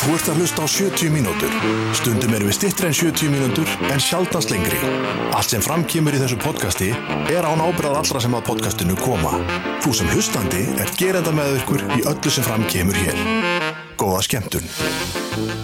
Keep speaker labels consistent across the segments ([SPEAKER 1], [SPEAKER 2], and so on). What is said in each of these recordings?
[SPEAKER 1] Þú ert að hlusta á 70 mínútur. Stundum erum við stittri en 70 mínútur en sjaldast lengri. Allt sem framkýmur í þessu podcasti er án ábyrðað allra sem að podcastinu koma. Þú sem hlustandi er gerenda með ykkur í öllu sem framkýmur hér. Góða skemmtun.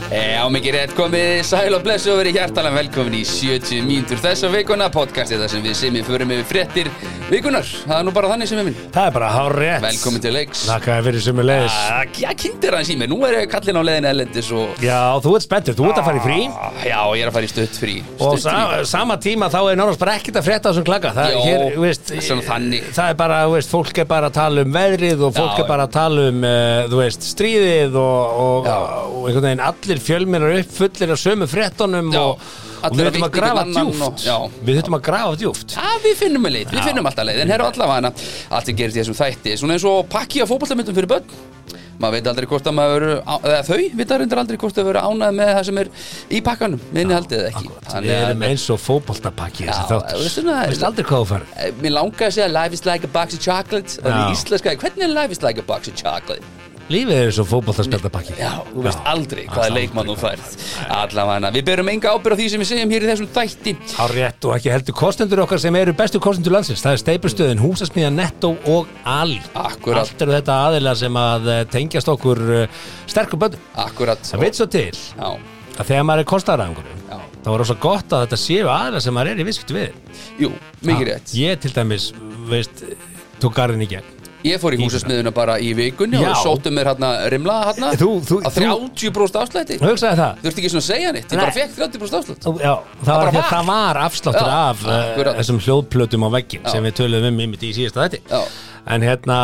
[SPEAKER 2] Já, Eh, mikið rétt komið, sæl og blessu og verið hjartalega velkomin í 70 mínútur þessa vikuna, podcastið þar sem við sem við förum yfir fréttir vikunar, það er nú bara þannig sem við minn,
[SPEAKER 3] Það er bara hár rétt
[SPEAKER 2] velkomin til leiks. Ah,
[SPEAKER 3] Þakkaði fyrir sem er leiðis
[SPEAKER 2] Já, kynntir hans í mig, nú er ég kallin á leiðin ellendis og Ah,
[SPEAKER 3] Já, þú ert spenntur, þú ert að fara í frí
[SPEAKER 2] já, ég er að fara í stutt frí.
[SPEAKER 3] Og
[SPEAKER 2] Stutt
[SPEAKER 3] sa sama tíma þá er náttúrulega bara ekkert að frétta á þessum klaka Það
[SPEAKER 2] Jó,
[SPEAKER 3] er hér, þú veist
[SPEAKER 2] það er svona þannig.
[SPEAKER 3] Það er bara, þú veist, fólk er bara að tala um veðrið og
[SPEAKER 2] Já,
[SPEAKER 3] fólk er bara að tala um, uh, þú veist, stríðið og, og,
[SPEAKER 2] Já.
[SPEAKER 3] og einhvern veginn allir fjölmiðlar upp fullir af sömu fréttunum
[SPEAKER 2] Já,
[SPEAKER 3] og, og
[SPEAKER 2] allir
[SPEAKER 3] við
[SPEAKER 2] að
[SPEAKER 3] þurfum að
[SPEAKER 2] vitna
[SPEAKER 3] grafa
[SPEAKER 2] einhvern annan og-
[SPEAKER 3] djúft
[SPEAKER 2] já.
[SPEAKER 3] Við þurfum að grafa djúft
[SPEAKER 2] Já, við finnum að leið, við finnum alltaf leið, en herra allavega hana, allt sem gerist í þessum þætti, svona eins og pakki af fótballtamöndum fyrir börn, maður veit aldrei hvort að maður, á- eða þau veit aldrei hvort að vera ánað með það sem er í pakkanum, minni haldið eða ekki.
[SPEAKER 3] Við
[SPEAKER 2] að-
[SPEAKER 3] erum eins og fótboltapakki þessi
[SPEAKER 2] Já,
[SPEAKER 3] þáttur
[SPEAKER 2] þú veist
[SPEAKER 3] Þú
[SPEAKER 2] svona-
[SPEAKER 3] veist aldrei hvað þú farið
[SPEAKER 2] Eh, Mér langaði að segja Life is like a box of chocolate Það
[SPEAKER 3] Já.
[SPEAKER 2] er íslenska Hvernig er Life is like a box of chocolate?
[SPEAKER 3] Lífið er eins og fótboltaspjaldapakki
[SPEAKER 2] Já, þú veist aldrei hvaða leikmann þú færð Allavega, við berum enga ábyrð á því sem við segjum hér í þessum þætti
[SPEAKER 3] Á rétt og ekki heldur kostendur okkar sem eru bestu kostendur landsins. Það er steipustöðin, húsasmíða, netto og ali.
[SPEAKER 2] Akkúrat.
[SPEAKER 3] Allt eru þetta aðila sem að eh, tengjast okkur eh, sterkum bönnum.
[SPEAKER 2] Akkurat
[SPEAKER 3] Það veit svo til
[SPEAKER 2] Já,
[SPEAKER 3] að þegar maður er kostaræðingur,
[SPEAKER 2] Já.
[SPEAKER 3] þá er rosa gott að þetta séu aðila sem maður er í viðskipt við.
[SPEAKER 2] jú, mikið rétt
[SPEAKER 3] Ég til dæmis, veist, tók garðin í gegn.
[SPEAKER 2] Ég fór í húsasmiðuna bara í vikunni
[SPEAKER 3] Já.
[SPEAKER 2] og sóttum mér hérna rimla hérna
[SPEAKER 3] Þú- þú-
[SPEAKER 2] að 30% afslætti
[SPEAKER 3] Hugsaði það?
[SPEAKER 2] Þurfti ekki svona að segja neitt, ég bara
[SPEAKER 3] Nei.
[SPEAKER 2] fekk 30% afslætt
[SPEAKER 3] Já, það var,
[SPEAKER 2] bara
[SPEAKER 3] því að
[SPEAKER 2] var.
[SPEAKER 3] það var afsláttur
[SPEAKER 2] Já,
[SPEAKER 3] af uh,
[SPEAKER 2] akkurat.
[SPEAKER 3] þessum hljóðplötum á veggin
[SPEAKER 2] Já.
[SPEAKER 3] sem við töluðum um ymmit í síðasta þætti
[SPEAKER 2] Já.
[SPEAKER 3] en hérna,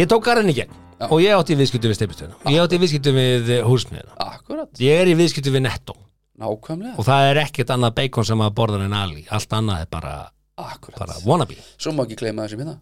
[SPEAKER 3] ég tók garðin í gegn
[SPEAKER 2] Já.
[SPEAKER 3] og ég átti í viðskiptum við steipustöðuna ég átti í viðskiptum við húsmiðuna
[SPEAKER 2] Akkurat,
[SPEAKER 3] ég er í viðskiptum við netto
[SPEAKER 2] nákvæmlega
[SPEAKER 3] og það er ekkert annað beikon sem að borða en ali allt annað er bara, bara
[SPEAKER 2] Akkurat,
[SPEAKER 3] wannabe
[SPEAKER 2] svo má ekki gleyma þessum hérna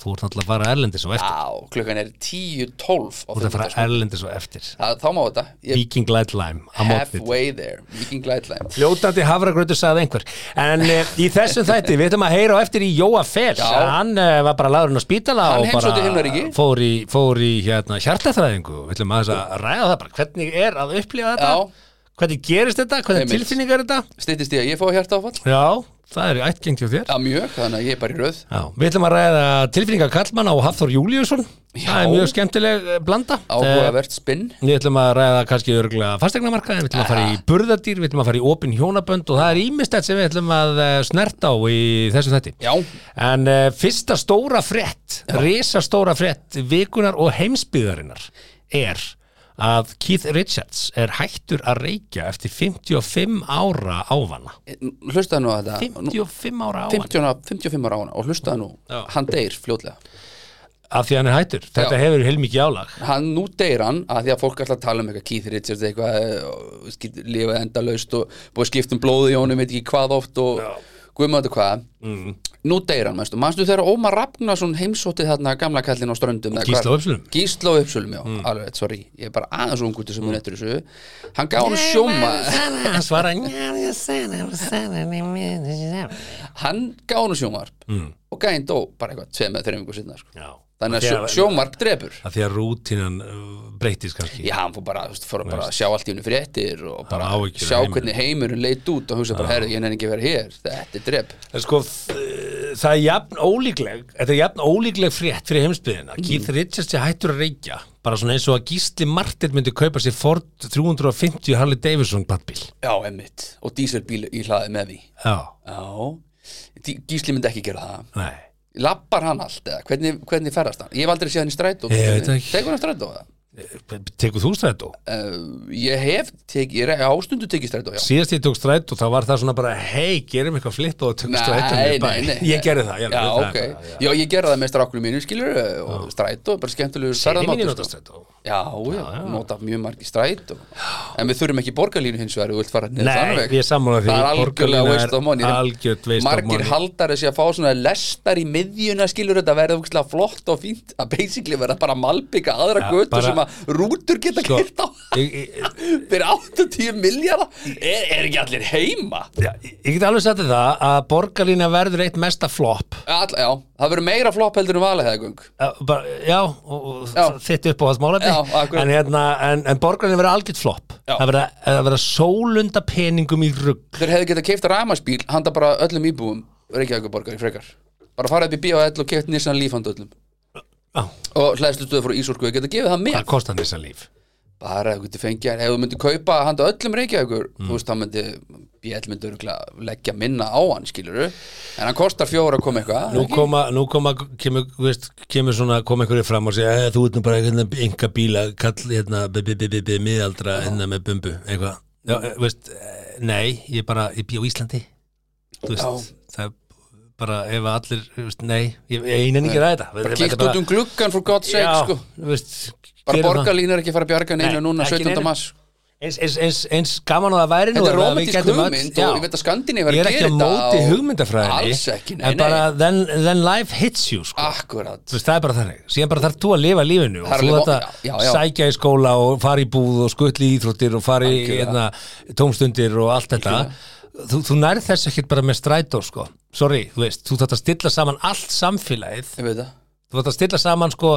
[SPEAKER 3] þú ert náttúrulega að fara erlendis og eftir
[SPEAKER 2] Já, klukkan er 10.12 á
[SPEAKER 3] þú ert að fara
[SPEAKER 2] fimmtudagsmorgun.
[SPEAKER 3] erlendis og eftir
[SPEAKER 2] Það- Þá má þetta sko. Ég
[SPEAKER 3] Viking Light Lime á mótið
[SPEAKER 2] halfway there Viking Lightline
[SPEAKER 3] Fljótandi hafragrötu sagði einhver En uh, í þessum þætti, við ætlum að heyra á eftir í Jóa Fels
[SPEAKER 2] Já.
[SPEAKER 3] Hann uh, var bara laðurinn á spítala
[SPEAKER 2] Hann
[SPEAKER 3] og bara
[SPEAKER 2] heimsótti himnaríki.
[SPEAKER 3] fór í, fór í hérna, hjartaþræðingu Við ætlum aðeins að ræða það bara Hvernig er að upplifa þetta?
[SPEAKER 2] Já.
[SPEAKER 3] Hvernig gerist þetta? Hvernig
[SPEAKER 2] Einmitt.
[SPEAKER 3] tilfinningar er þetta?
[SPEAKER 2] Stittist ég að ég fá hjarta áfall
[SPEAKER 3] Já, það er í ættgengt hjá þér
[SPEAKER 2] Já mjög, þannig að ég er bara í röð
[SPEAKER 3] Já, við ætlum að ræða tilfinningar Kallmann á Hafþór Júliusson Það er
[SPEAKER 2] Já.
[SPEAKER 3] mjög skemmtileg eh, blanda Eh,
[SPEAKER 2] Áhugavert spinn
[SPEAKER 3] Við ætlum að ræða kannski örgulega fastegnamarkaðin, við ætlum að fara í burðardýr, við ætlum að fara í opin hjónabönd og það er ímistætt sem við ætlum að eh, snerta á í þessu þætti.
[SPEAKER 2] Já,
[SPEAKER 3] En uh, fyrsta stóra frétt, risastóra frétt vikunar og heimsbyðarinnar er að Keith Richards er hættur að reykja eftir 55 ára ávana.
[SPEAKER 2] hlustaði nú að þetta Nú-
[SPEAKER 3] 55 ára ávana?
[SPEAKER 2] 50, ára- 55 ára á hana og hlustaði nú
[SPEAKER 3] Já.
[SPEAKER 2] Hann deyr fljótlega
[SPEAKER 3] Af því hann er hættur. Þetta
[SPEAKER 2] Já.
[SPEAKER 3] hefur heilmikið álag.
[SPEAKER 2] Hann nú deyr hann að því að fólk alltaf tala um eitthvað Keith Richards eitthvað eh, og skip- lifað endalaust og búið að skipta um blóði í honum veit ekki hvað oft og guðmöndu hvað
[SPEAKER 3] Mhm.
[SPEAKER 2] mm. Nú deyr hann, manstu, manstu þegar Ómar Ragnarsson heimsótti þarna gamla kallin á ströndum eða
[SPEAKER 3] Gísla
[SPEAKER 2] hvar-
[SPEAKER 3] Uppsölum. Mm.
[SPEAKER 2] Gísla og Uppsölum, já, alveg, rétt, sorry Ég er bara aðeins ungutur sem hún eftir þessu Hann gaf hann sjóma
[SPEAKER 3] Hann svarar, "Já, ég
[SPEAKER 2] Hann gaf hann sjómarp og gæinn dó bara eitthvað tveim eða þreim yngur sinna sko.
[SPEAKER 3] Já.
[SPEAKER 2] Þannig
[SPEAKER 3] Mm. Því
[SPEAKER 2] að sjó, sjómarp drepur
[SPEAKER 3] að því að rútínan uh, breytist kannski
[SPEAKER 2] Já, hann fór bara, þú veist, fór bara að sjá allt í hennu fréttir og bara
[SPEAKER 3] Hann á áhyggjur af
[SPEAKER 2] sjá
[SPEAKER 3] heiminum.
[SPEAKER 2] hvernig heimurinn leit út og hugsa bara, herðu, ég nenni ekki að vera hér Þetta er drep
[SPEAKER 3] En sko, þ- það er jafn ólíkleg þetta er jafn ólíkleg frétt fyrir heimsbyðina mm. Keith Richards er hættur að reykja bara svona eins og að Gísli Martin myndi kaupa sér Ford 350 Harley Davidson blattbíl
[SPEAKER 2] Já, emmitt, og díselbíl í hlaði með því
[SPEAKER 3] Já,
[SPEAKER 2] Já, Dí- Gísli myndi ekki gera það
[SPEAKER 3] nei
[SPEAKER 2] Lappar hann allt eða, hvernig, hvernig ferðast hann? Ég hef aldrei séð hann í strætó
[SPEAKER 3] Ég veit ekki.
[SPEAKER 2] Tekur hann strætó eða?
[SPEAKER 3] Tekur þú strætó?
[SPEAKER 2] Uh, ég hef tekið, ég er ástundu tekið strætó, já
[SPEAKER 3] Síðast ég tók strætó, þá var það svona bara hei, gerum eitthvað flip og tökum strætó niður í bæ. Ég gerði það,
[SPEAKER 2] já,
[SPEAKER 3] ég gerði
[SPEAKER 2] ok
[SPEAKER 3] það
[SPEAKER 2] já. ég gerði það með strákunum mínu, skilur og strætó, bara skemmtilegu
[SPEAKER 3] Ég minni
[SPEAKER 2] ferðamátur
[SPEAKER 3] nota
[SPEAKER 2] sko.
[SPEAKER 3] strætó
[SPEAKER 2] já, já, nota mjög margi strætó en við þurfum ekki borgarlínu hins vegar ef þú vilt fara niður þannig
[SPEAKER 3] Nei,
[SPEAKER 2] veg.
[SPEAKER 3] ég er sammála því
[SPEAKER 2] það er
[SPEAKER 3] Borgarlína
[SPEAKER 2] algjörlega waste of money
[SPEAKER 3] Algjört waste of
[SPEAKER 2] margir
[SPEAKER 3] money.
[SPEAKER 2] haldar þessi að fá svona lestar í miðjuna skilur þetta verða úkslega flott og fínt að basically verða bara malbygga aðra
[SPEAKER 3] Ja,
[SPEAKER 2] götu
[SPEAKER 3] bara-
[SPEAKER 2] sem að rútur geta
[SPEAKER 3] sko,
[SPEAKER 2] kyrt á
[SPEAKER 3] ég, ég,
[SPEAKER 2] fyrir 80 miljardar er, er ekki allir heima
[SPEAKER 3] Já, ég ég get alveg sagt þér það að borgarlína verður eitt mesta flop
[SPEAKER 2] All, já, það verður meira flopp heldur en valahæðagöng
[SPEAKER 3] Uh, bara, já, og, og
[SPEAKER 2] Já.
[SPEAKER 3] þitt upp á hans málefni
[SPEAKER 2] Já, akkurat.
[SPEAKER 3] en, hérna, en, en borgarinn verða algjört flopp
[SPEAKER 2] Já.
[SPEAKER 3] það verða það verða sólunda peningum í rugg
[SPEAKER 2] þeir hefðu getað keift ræmasbíl handa bara öllum íbúum Reykjavíkuborgar í frekar bara fara upp í B.A.L. og keift Nissan Leaf handa öllum
[SPEAKER 3] Já.
[SPEAKER 2] og hlæðslu stöðu frá Ísorku þau getað gefið það með
[SPEAKER 3] hvað kostar þess að líf
[SPEAKER 2] bara ef þú getur fengið ef þú myndir kaupa handa öllum Reykjavíkur
[SPEAKER 3] Mm.
[SPEAKER 2] þú veist, það myndi B.L. myndi örugglega leggja minna á hann, skilur en hann kostar fjóra kom eitthvað
[SPEAKER 3] nú
[SPEAKER 2] ekki?
[SPEAKER 3] koma, nú koma kemur, þú veist, kemur svona, kom einhverju fram og segja "Eh, þú ert nú bara hérna, enga bíla kall, hérna, b- b- b- b- b- miðaldra hérna með bumbu, eitthvað já, eh, þú veist, eh, nei, ég bara, ég bý á Íslandi þú veist, það er bara ef allir, þú veist, nei ég, ég einan ekki ræða þetta
[SPEAKER 2] bara
[SPEAKER 3] Þetta er
[SPEAKER 2] kíkt út um gluggan for God's sake,
[SPEAKER 3] Já,
[SPEAKER 2] sko
[SPEAKER 3] þú veist,
[SPEAKER 2] bara
[SPEAKER 3] gerum það.
[SPEAKER 2] borgarlín er ekki að fara að bjarga neinu
[SPEAKER 3] Nei,
[SPEAKER 2] núna
[SPEAKER 3] ekki
[SPEAKER 2] 17.
[SPEAKER 3] neinu.
[SPEAKER 2] mars
[SPEAKER 3] eins, eins, eins, eins gaman að það væri nú
[SPEAKER 2] Þetta er
[SPEAKER 3] að við
[SPEAKER 2] romantísk
[SPEAKER 3] gætum öll-
[SPEAKER 2] hugmynd
[SPEAKER 3] já.
[SPEAKER 2] og ég veit að Skandinavíu er að
[SPEAKER 3] Ég er ekki
[SPEAKER 2] gera
[SPEAKER 3] að
[SPEAKER 2] þetta
[SPEAKER 3] móti
[SPEAKER 2] og-
[SPEAKER 3] hugmyndafræðinni
[SPEAKER 2] Alls ekki, nei, Ah.
[SPEAKER 3] En bara then, then life hits you sko.
[SPEAKER 2] akkurat
[SPEAKER 3] Þú veist, það er bara þannig, síðan bara þarf þú að lifa lífinu
[SPEAKER 2] Það
[SPEAKER 3] og
[SPEAKER 2] er
[SPEAKER 3] þú
[SPEAKER 2] alveg-
[SPEAKER 3] þetta
[SPEAKER 2] já, já, já.
[SPEAKER 3] sækja í skóla og fara í búð og skutli í íþróttir og fara í
[SPEAKER 2] Algjörlega.
[SPEAKER 3] hérna, tómstundir og allt þetta þú, þú nærð þess ekkert bara með strætó sko. sorry, þú veist, þú þarft að stilla saman allt samfélagið,
[SPEAKER 2] ég veit það
[SPEAKER 3] þú þarft að stilla saman sko,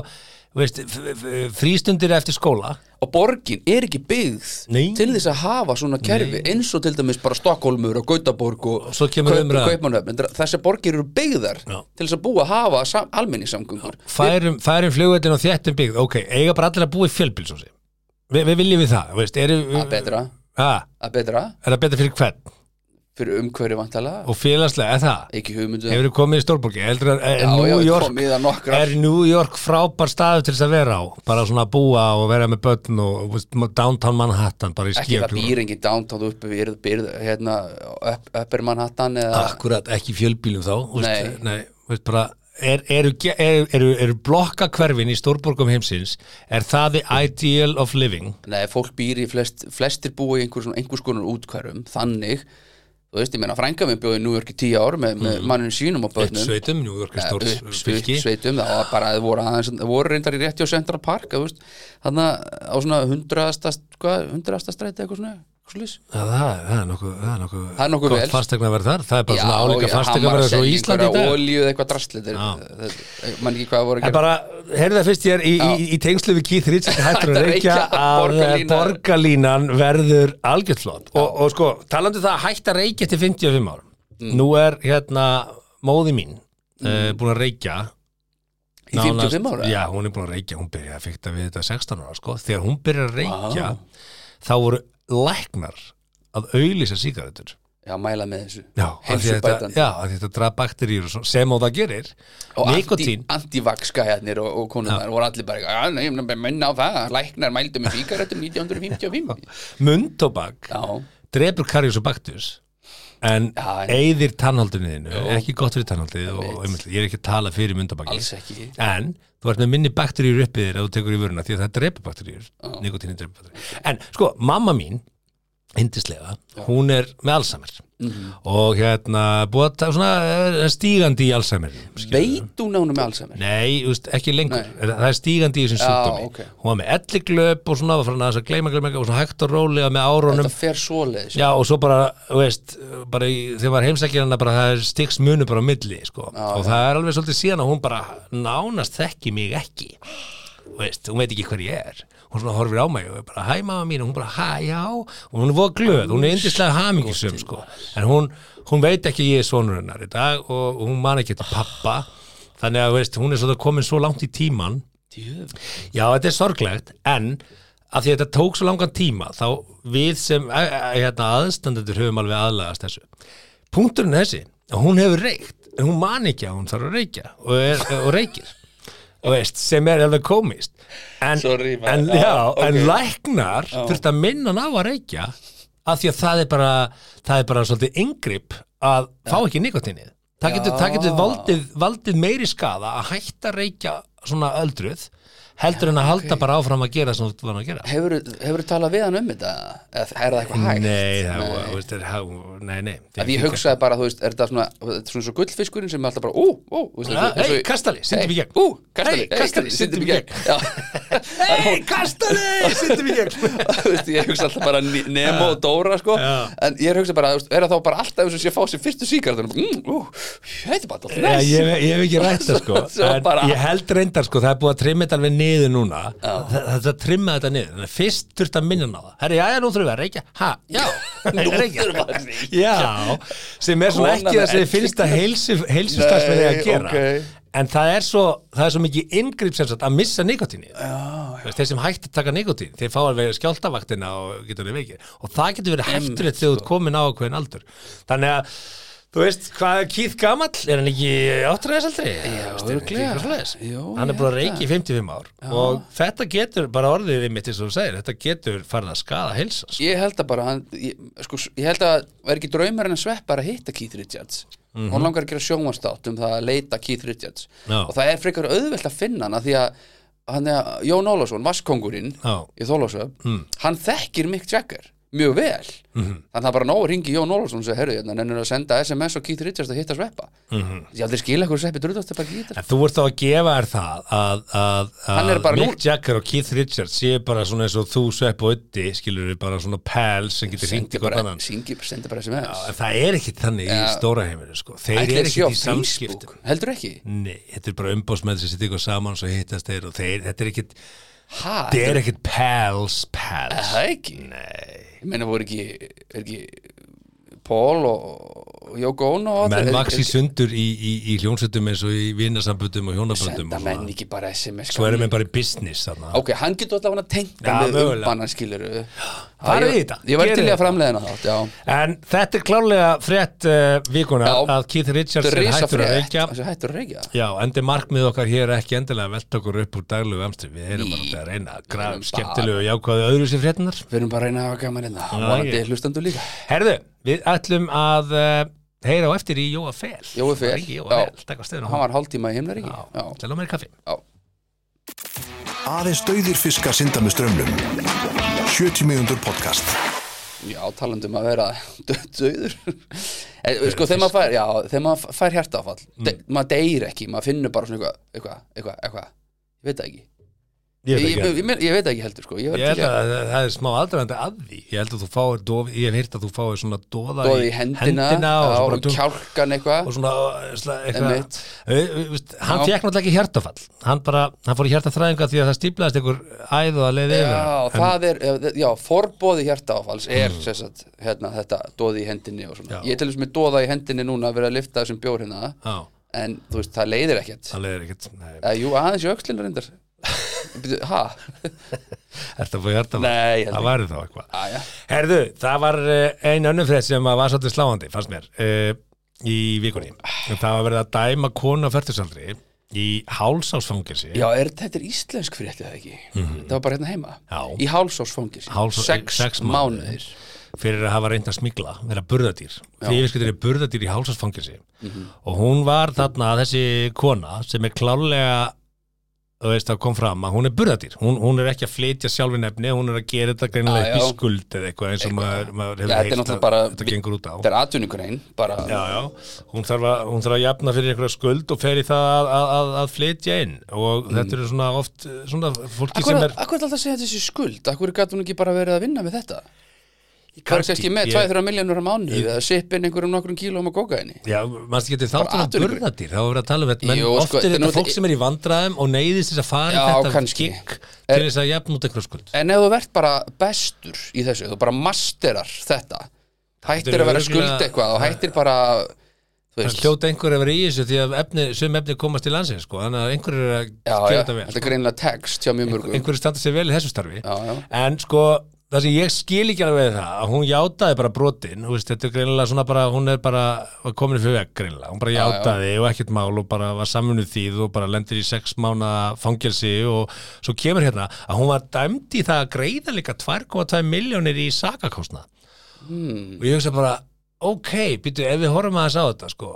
[SPEAKER 3] þú veist, f- f- frístundir eftir skóla
[SPEAKER 2] og borgin er ekki byggð
[SPEAKER 3] Nei.
[SPEAKER 2] til þess að hafa svona kerfi eins og til dæmis bara Stokkólmur og Gautaborg og,
[SPEAKER 3] svo kemur umræðan.
[SPEAKER 2] Kaupmannöfn þessar borgir eru byggðar
[SPEAKER 3] Já.
[SPEAKER 2] til þess að búa að hafa sam, almenningssamgöngur
[SPEAKER 3] færum, færum flugvöldin og þéttum byggð ok, eiga bara allir að búa í fjölbílsósi Vi, við viljum við það veist, er,
[SPEAKER 2] að betra,
[SPEAKER 3] er
[SPEAKER 2] að betra
[SPEAKER 3] það betra fyrir hvern
[SPEAKER 2] fyrir umhverju vantala
[SPEAKER 3] og félagslega, er það
[SPEAKER 2] ekki hugmyndu
[SPEAKER 3] hefur þið komið í Stórborgi heldur að er, New York,
[SPEAKER 2] komið að nokkra
[SPEAKER 3] er New York frábær staður til þess að vera á bara svona að búa og vera með börn og veist, downtown Manhattan bara í
[SPEAKER 2] ekki það
[SPEAKER 3] skjöflur
[SPEAKER 2] býr engin downtown uppi við erum byrð hérna upp, uppir Manhattan eða
[SPEAKER 3] akkurat, ekki í fjölbílum þá
[SPEAKER 2] Nei.
[SPEAKER 3] veist, nei, veist, bara, er, eru, ge- eru, eru, eru blokka hverfin í Stórborgum heimsins er það the ideal of living
[SPEAKER 2] Nei, fólk býr í flest, flestir búa í einhver, svona, einhvers konar útkværum, þannig þú veist, ég meina frænga minn bjóði í New York í tíu ár með,
[SPEAKER 3] Mhm.
[SPEAKER 2] með manninu sínum og
[SPEAKER 3] Upp
[SPEAKER 2] börnum
[SPEAKER 3] sveitum, New York er stórt
[SPEAKER 2] Upp-
[SPEAKER 3] fylki
[SPEAKER 2] uppsveitum, það var bara það voru, aðeins, það voru reyndar í rétti á Central Park að, þú veist, þannig að á svona hundraðasta hvað, hundraðasta stræti eitthvað svona eitthvað svoleiðis.
[SPEAKER 3] Já, það, það er nokkuð, það er nokkuð,
[SPEAKER 2] Það er nokkuð vel.
[SPEAKER 3] gott fastegna verð þar það er bara svona
[SPEAKER 2] Já,
[SPEAKER 3] álíka
[SPEAKER 2] já, hann
[SPEAKER 3] fastegna
[SPEAKER 2] var að
[SPEAKER 3] verð svo í
[SPEAKER 2] selja
[SPEAKER 3] Íslandi í
[SPEAKER 2] einhverja
[SPEAKER 3] dag
[SPEAKER 2] olíu eða eitthvað drastlið mann ekki hvað voru að
[SPEAKER 3] En
[SPEAKER 2] gera
[SPEAKER 3] bara, heyrðu það fyrst ég er í, í, í tengslu við Keith Richards hættur að
[SPEAKER 2] Þetta
[SPEAKER 3] reykja
[SPEAKER 2] reykja,
[SPEAKER 3] að
[SPEAKER 2] borgarlínan-
[SPEAKER 3] borgarlínan verður algjört flott og, og sko, talandi um það að hætta að reykja til 55 árum
[SPEAKER 2] Mm.
[SPEAKER 3] nú er hérna móði mín uh, búin að reykja
[SPEAKER 2] í 55 ára
[SPEAKER 3] Já, hún er búin að reykja, hún byrjaði að fykta við þetta 16 ára sko, þegar hún byrjaði að reykja
[SPEAKER 2] Vá.
[SPEAKER 3] þá voru læknar að auðlýsa sígarettur
[SPEAKER 2] já, mæla með þessu
[SPEAKER 3] Já, af því að þetta,
[SPEAKER 2] heilsubætandi
[SPEAKER 3] já, af því að þetta draf bakteríur og svo, sem og það gerir
[SPEAKER 2] og
[SPEAKER 3] Nikotín,
[SPEAKER 2] anti-vaxgæðarnir og, og konundar voru allir bara, já, nei, ég mun- munna á það læknar mældu með fíkarættum 1955
[SPEAKER 3] mundtobak
[SPEAKER 2] já,
[SPEAKER 3] drepur karjus og baktus en
[SPEAKER 2] Já, en-
[SPEAKER 3] eyðir tannhaldinu þínu er ekki gott fyrir tannhaldið og einmitt, ég er ekki að tala fyrir mundtabaki
[SPEAKER 2] alls ekki
[SPEAKER 3] en þú ert með minni bakteríur uppið þér að þú tekur í vöruna því að það drepur bakteríur nikotínin drepur bakteríur en sko, mamma mín hindislega, hún er með Alzheimer og hérna búið að ta- svona eh, stígandi í Alzheimer
[SPEAKER 2] veit hún ánum með Alzheimer
[SPEAKER 3] Nei, úst, ekki lengur,
[SPEAKER 2] Nei.
[SPEAKER 3] það er stígandi í þessum
[SPEAKER 2] Já,
[SPEAKER 3] sjúkdómi
[SPEAKER 2] ok.
[SPEAKER 3] Hún var með elliklöp og svona, var farin aðeins að gleyma, gleyma, gleyma og svona hægt og rólega með árunum
[SPEAKER 2] þetta fer svoleiðis
[SPEAKER 3] Já, og svo bara, þú veist, bara í, þegar maður heimsækir hana bara það er stiks munu bara á milli, sko og það er alveg svolítið síðan að hún bara nánast þekki mig ekki Þú veist, hún veit ekki hver ég er hún svona horfir á mig og er bara, hæ mamma mín og hún bara, hæ, já, og hún er voða glöð hún er yndislega hamingisum, sko en hún, hún veit ekki að ég er sonur hennar í dag og hún man ekki þetta pappa þannig að, þú veist, hún er svolítið komin svo langt í tíman
[SPEAKER 2] Djöfull.
[SPEAKER 3] Já, þetta er sorglegt, en að því að þetta tók svo langan tíma þá við sem eh, eh, hérna, aðstandendur höfum alveg aðlagast þessu Punkturinn er þessi, að hún hefur reykt en hún man ekki að hún þarf að reykja og, er, og reykir og veist, sem er alveg komist en,
[SPEAKER 2] Sorry, maður.
[SPEAKER 3] en,
[SPEAKER 2] Já,
[SPEAKER 3] já,
[SPEAKER 2] ok.
[SPEAKER 3] en læknar þurft að minna hann á að reykja að því að það er bara, það er bara svolítið yngripp að fá ekki nikotinnið það getur, það getur valdið, valdið meiri skada að hætta að reykja svona öldruð heldur en að halda bara áfram að gera sem þú var að gera
[SPEAKER 2] Hefur þú talað við hann um þetta? Eða er það eitthvað hægt?
[SPEAKER 3] Nei, það var, þú veist, það er- það- nei, nei
[SPEAKER 2] Ef ég hugsaði bara, þú veist, er þetta svona, þetta er svona svo gullfiskurinn sem er alltaf bara, ú, ú, þú veist,
[SPEAKER 3] Ja,
[SPEAKER 2] eins og-
[SPEAKER 3] hey, kastali, syndum í gegn.
[SPEAKER 2] Ú, kastali,
[SPEAKER 3] Hey, kastali, syndum í gegn.
[SPEAKER 2] Já,
[SPEAKER 3] Hei, kastali, sittum í gegn
[SPEAKER 2] þú veist, ég hugsa alltaf bara Ni- Nemo og Dóra, sko
[SPEAKER 3] Já.
[SPEAKER 2] En ég hugsa bara, þú veist, er það þá bara alltaf eins og sé að fá sér fyrstu síkartunum mm, Ú, þetta er bara alltaf
[SPEAKER 3] Já,
[SPEAKER 2] næs
[SPEAKER 3] ég, hef- ég hef ekki rætt það sko
[SPEAKER 2] Svo
[SPEAKER 3] en
[SPEAKER 2] bara-
[SPEAKER 3] ég held reyndar sko, það er búið að trimma þetta alveg niður núna það, það, það trimma þetta niður, þannig að fyrst þurft að minna hann á það herri, já, já, nú þurfum við að reykja, ha, já
[SPEAKER 2] Nú
[SPEAKER 3] reykja.
[SPEAKER 2] þurfum við að reykja.
[SPEAKER 3] já, sem er svona
[SPEAKER 2] Konan
[SPEAKER 3] ekki það
[SPEAKER 2] er
[SPEAKER 3] sem þið
[SPEAKER 2] ekki-
[SPEAKER 3] finnst að heilsustarfsmenni að
[SPEAKER 2] Nei,
[SPEAKER 3] gera
[SPEAKER 2] ok.
[SPEAKER 3] en það er svo, það er svo mikið inngrip sem sagt að missa nikotíni þeir sem hægt að taka nikotín, þeir fá að vera skjáltavaktina og getur þeir veikir og það getur verið hættulegt þegar þú
[SPEAKER 2] sko.
[SPEAKER 3] ert komin á ákveðin aldur þannig að Þú veist, hvað er Keith Gamall? Er hann ekki áttræðis aldrei? Já,
[SPEAKER 2] örugglega. Jú,
[SPEAKER 3] Hann er
[SPEAKER 2] ég
[SPEAKER 3] búin að reiki í 55 ár og þetta getur, bara orðið við mitt eins og þú segir, þetta getur farið að skada heilsa. sko.
[SPEAKER 2] Ég held að bara, hann, ég, sko, ég held að er ekki draumar en að svepp bara að hitta Keith Richards mm Hún langar að gera sjónvarstátt um það að leita Keith Richards
[SPEAKER 3] Mhm. Já.
[SPEAKER 2] Og það er frekar auðvelt að finna hann að því að hann er að Jón Ólafsson, vaskongurinn
[SPEAKER 3] Já. Mm.
[SPEAKER 2] í Þólasöf Hann þekkir Mick Jagger mjög vel
[SPEAKER 3] Mhm.
[SPEAKER 2] Þannig að það er bara nóg að ringi Jón Ólafsson og segja, herru, hérna, hann er að senda SMS og Keith Richards að hitta sveppa
[SPEAKER 3] Mhm.
[SPEAKER 2] Ég aldrei skila hverju sveppi drúðast að bara gítar
[SPEAKER 3] En þú ert þá að gefa þér það að, að,
[SPEAKER 2] Hann er
[SPEAKER 3] að
[SPEAKER 2] bara
[SPEAKER 3] Mick
[SPEAKER 2] nú-
[SPEAKER 3] Jagger og Keith Richards séu bara svona eins og þú svepp og ötti, skilur við bara svona pæls sem getur hringt
[SPEAKER 2] Sendi
[SPEAKER 3] í hvort
[SPEAKER 2] bara,
[SPEAKER 3] annan.
[SPEAKER 2] syngi- sendi bara SMS
[SPEAKER 3] En Það er ekki þannig í stóra heiminu, sko. Þeir
[SPEAKER 2] Ætli
[SPEAKER 3] eru
[SPEAKER 2] þeir séu á
[SPEAKER 3] ekki í
[SPEAKER 2] Facebook,
[SPEAKER 3] samskiptum.
[SPEAKER 2] heldur ekki?
[SPEAKER 3] Nei, þetta er bara umbóðsmenn sem sitt ykkur saman svo hittast þeir og þeir, þetta er ekkit,
[SPEAKER 2] Ha,
[SPEAKER 3] þetta er ekkit pals, pals.
[SPEAKER 2] Það ekki? Nei Ég meina voru ekki, er ekki Paul og Jóko Ono og
[SPEAKER 3] menn
[SPEAKER 2] allir-
[SPEAKER 3] vaks í sundur í, í, í hljónsveitum eins og í vinnasamböndum og hjónaböndum
[SPEAKER 2] Senda
[SPEAKER 3] og
[SPEAKER 2] menn
[SPEAKER 3] svona.
[SPEAKER 2] ekki bara SMS
[SPEAKER 3] svo erum við bara í business þarna
[SPEAKER 2] Ok, hann getur allavega að tengja
[SPEAKER 3] Já,
[SPEAKER 2] með
[SPEAKER 3] mögulega.
[SPEAKER 2] umbannan skilur
[SPEAKER 3] Farið í þetta,
[SPEAKER 2] Ég var
[SPEAKER 3] gerið
[SPEAKER 2] til í
[SPEAKER 3] þetta.
[SPEAKER 2] að framleiðina þátt, já
[SPEAKER 3] en þetta er klárlega frétt uh, vikuna
[SPEAKER 2] Já.
[SPEAKER 3] að Keith Richards
[SPEAKER 2] Þetta er
[SPEAKER 3] er
[SPEAKER 2] risa
[SPEAKER 3] hættur að
[SPEAKER 2] frétt
[SPEAKER 3] reykja
[SPEAKER 2] Þessi hættur að reykja
[SPEAKER 3] já, endi markmið okkar hér er ekki endilega að velta okkur upp úr daglegu amstri við erum bara að reyna að grafa
[SPEAKER 2] Við
[SPEAKER 3] um
[SPEAKER 2] erum
[SPEAKER 3] skemmtilegu og jákvæðu öðru sér fréttinar
[SPEAKER 2] Við erum bara að reyna að hafa gaman hérna
[SPEAKER 3] Já,
[SPEAKER 2] Vonandi
[SPEAKER 3] ég-
[SPEAKER 2] hlustandu líka
[SPEAKER 3] herðu, við ætlum að uh, heyra á eftir í Jóa Fel
[SPEAKER 2] Jói Fel, já.
[SPEAKER 3] Jóa Fel, takk á stöðunum
[SPEAKER 2] Hann var hálftíma í himnaríki Já,
[SPEAKER 3] já, til á meiri kaffi
[SPEAKER 2] já
[SPEAKER 1] Aðeins dauðir fiskar synda með strömmlum. 70 mínútur podcast.
[SPEAKER 2] Já, talandum um að vera dau- dauður En, Sko, þegar maður fær, já, þegar maður fær hjartafall
[SPEAKER 3] Mm.
[SPEAKER 2] de, maður deyr ekki, maður finnur bara svona eitthvað, eitthvað, eitthvað, eitthvað Ég veit það ekki Ég,
[SPEAKER 3] Ég veit
[SPEAKER 2] ég,
[SPEAKER 3] ekki.
[SPEAKER 2] ég, meina- ég veit það ekki heldur, sko Ég
[SPEAKER 3] Ég
[SPEAKER 2] var
[SPEAKER 3] held
[SPEAKER 2] til í að
[SPEAKER 3] að það- það er smá aðdraðandi að því Ég held að þú fáir, dof, ég hef heyrt að þú fáir svona doða
[SPEAKER 2] doði í hendina,
[SPEAKER 3] og,
[SPEAKER 2] á,
[SPEAKER 3] svo bara
[SPEAKER 2] um
[SPEAKER 3] tung-
[SPEAKER 2] kjálkan eitthvað
[SPEAKER 3] og svona uh, sla-
[SPEAKER 2] Einmitt.
[SPEAKER 3] eitthvað Ö, ö, veist, Hann
[SPEAKER 2] Já.
[SPEAKER 3] fekk náttúrulega ekki hjartafall Hann bara, hann fór í hjartaþræðinga því að það stíplaðist einhver æð og að leiði yfir hann.
[SPEAKER 2] Já, það er, eh, já, forbóði hjartaáfalls er, mm. sérstætt, hérna, þetta doði í hendinni og svona
[SPEAKER 3] Já.
[SPEAKER 2] Ég til þess með doða í hendinni núna að vera að lifta þessum bjór hérna
[SPEAKER 3] Já,
[SPEAKER 2] En, þú veist, það leiðir ekkert
[SPEAKER 3] það leiðir ekkert Nei.
[SPEAKER 2] Eh, Jú, aðeins í öxlinu reyndar Bíddu, Ha?
[SPEAKER 3] Ertu að fá hjartafall?
[SPEAKER 2] Nei, ég held
[SPEAKER 3] það væri þá eitthvað
[SPEAKER 2] Æja
[SPEAKER 3] Herðu, það var einu önnum frétt sem að var svolítið sláandi, fannst mér uh, í vikunni Það var verið að dæma konu á færtusaldri í hálsásfangelsi
[SPEAKER 2] Já, er, þetta er íslensk frétti það ekki Það var bara hérna heima
[SPEAKER 3] Mhm. Já.
[SPEAKER 2] Í hálsásfangir
[SPEAKER 3] Hálsás-
[SPEAKER 2] Sex,
[SPEAKER 3] sex mánuðir.
[SPEAKER 2] mánuðir
[SPEAKER 3] fyrir að hafa reynd að smigla, vera burðadýr því yfirskyttir er burðadýr í hálsasfangelsi
[SPEAKER 2] Mhm.
[SPEAKER 3] og hún var þarna þessi kona sem er klálega þú veist það kom fram að hún er burðadýr hún, hún er ekki að flytja sjálfi nefni hún er að gera
[SPEAKER 2] Já,
[SPEAKER 3] þetta greinilega
[SPEAKER 2] já.
[SPEAKER 3] upp í skuld eða eitthvað eins og maður, maður
[SPEAKER 2] Já,
[SPEAKER 3] hefur
[SPEAKER 2] þetta er
[SPEAKER 3] heyrt
[SPEAKER 2] náttúrulega
[SPEAKER 3] að
[SPEAKER 2] bara-
[SPEAKER 3] þetta gengur út á
[SPEAKER 2] Þetta er atvinnugrein bara
[SPEAKER 3] já, já, hún þarf, að, hún þarf að jafna fyrir einhverja skuld og fer í það að, að, að, að flytja inn og
[SPEAKER 2] Mhm.
[SPEAKER 3] þetta eru svona oft eh, svona fólki
[SPEAKER 2] Akkur
[SPEAKER 3] sem
[SPEAKER 2] er
[SPEAKER 3] er
[SPEAKER 2] akkur er alltaf að segja þessi skuld Akkur gat hún ekki bara verið að vinna með þetta Það er
[SPEAKER 3] Kannski,
[SPEAKER 2] kannski með
[SPEAKER 3] ég-
[SPEAKER 2] 2-3 miljónur á mánu Eða sippin einhverjum nokkrum kílum á kókaini
[SPEAKER 3] Já, mannst ekki þetta þáttur
[SPEAKER 2] Bara
[SPEAKER 3] um
[SPEAKER 2] atvinnugrein.
[SPEAKER 3] burðadýr, þá verður að tala um þetta menn
[SPEAKER 2] Jú,
[SPEAKER 3] oft
[SPEAKER 2] sko,
[SPEAKER 3] er
[SPEAKER 2] þetta er
[SPEAKER 3] þetta
[SPEAKER 2] nú-
[SPEAKER 3] fólk sem er í vandræðum og neyðist þess að fara í
[SPEAKER 2] Já,
[SPEAKER 3] þetta
[SPEAKER 2] kannski.
[SPEAKER 3] gikk til þess að jafn út einhverja skuld
[SPEAKER 2] En ef þú verð bara bestur í þessu Þú bara masterar þetta Hættir
[SPEAKER 3] Þetta er
[SPEAKER 2] að vera
[SPEAKER 3] örugglega-
[SPEAKER 2] skuld eitthvað Og hættir bara Þú
[SPEAKER 3] Það hljóta einhver að vera í þessu því að efni, sum efni komast til landsins sko, þannig að einhver er að
[SPEAKER 2] Já,
[SPEAKER 3] gera
[SPEAKER 2] já,
[SPEAKER 3] þetta vel sko.
[SPEAKER 2] þetta er greinilega text hjá mjög mörgum
[SPEAKER 3] einhver standa sér vel í þessu starfi
[SPEAKER 2] Já, já.
[SPEAKER 3] en sko, það sem ég skil ekki alveg við það, að hún játaði bara brotin þú veist, þetta er greinilega svona bara, hún er bara var komin fyrir veg greinilega, hún bara
[SPEAKER 2] Já, já.
[SPEAKER 3] játaði og ekkert mál og bara var saminuð þýð og bara lendir í sex mána fangelsi og svo kemur hérna að hún var dæmd í það að greiða líka 2,2 miljónir í sakakostna hmm. og ég hugsa bara ok, býtu, ef við horfum aðeins á þetta sko,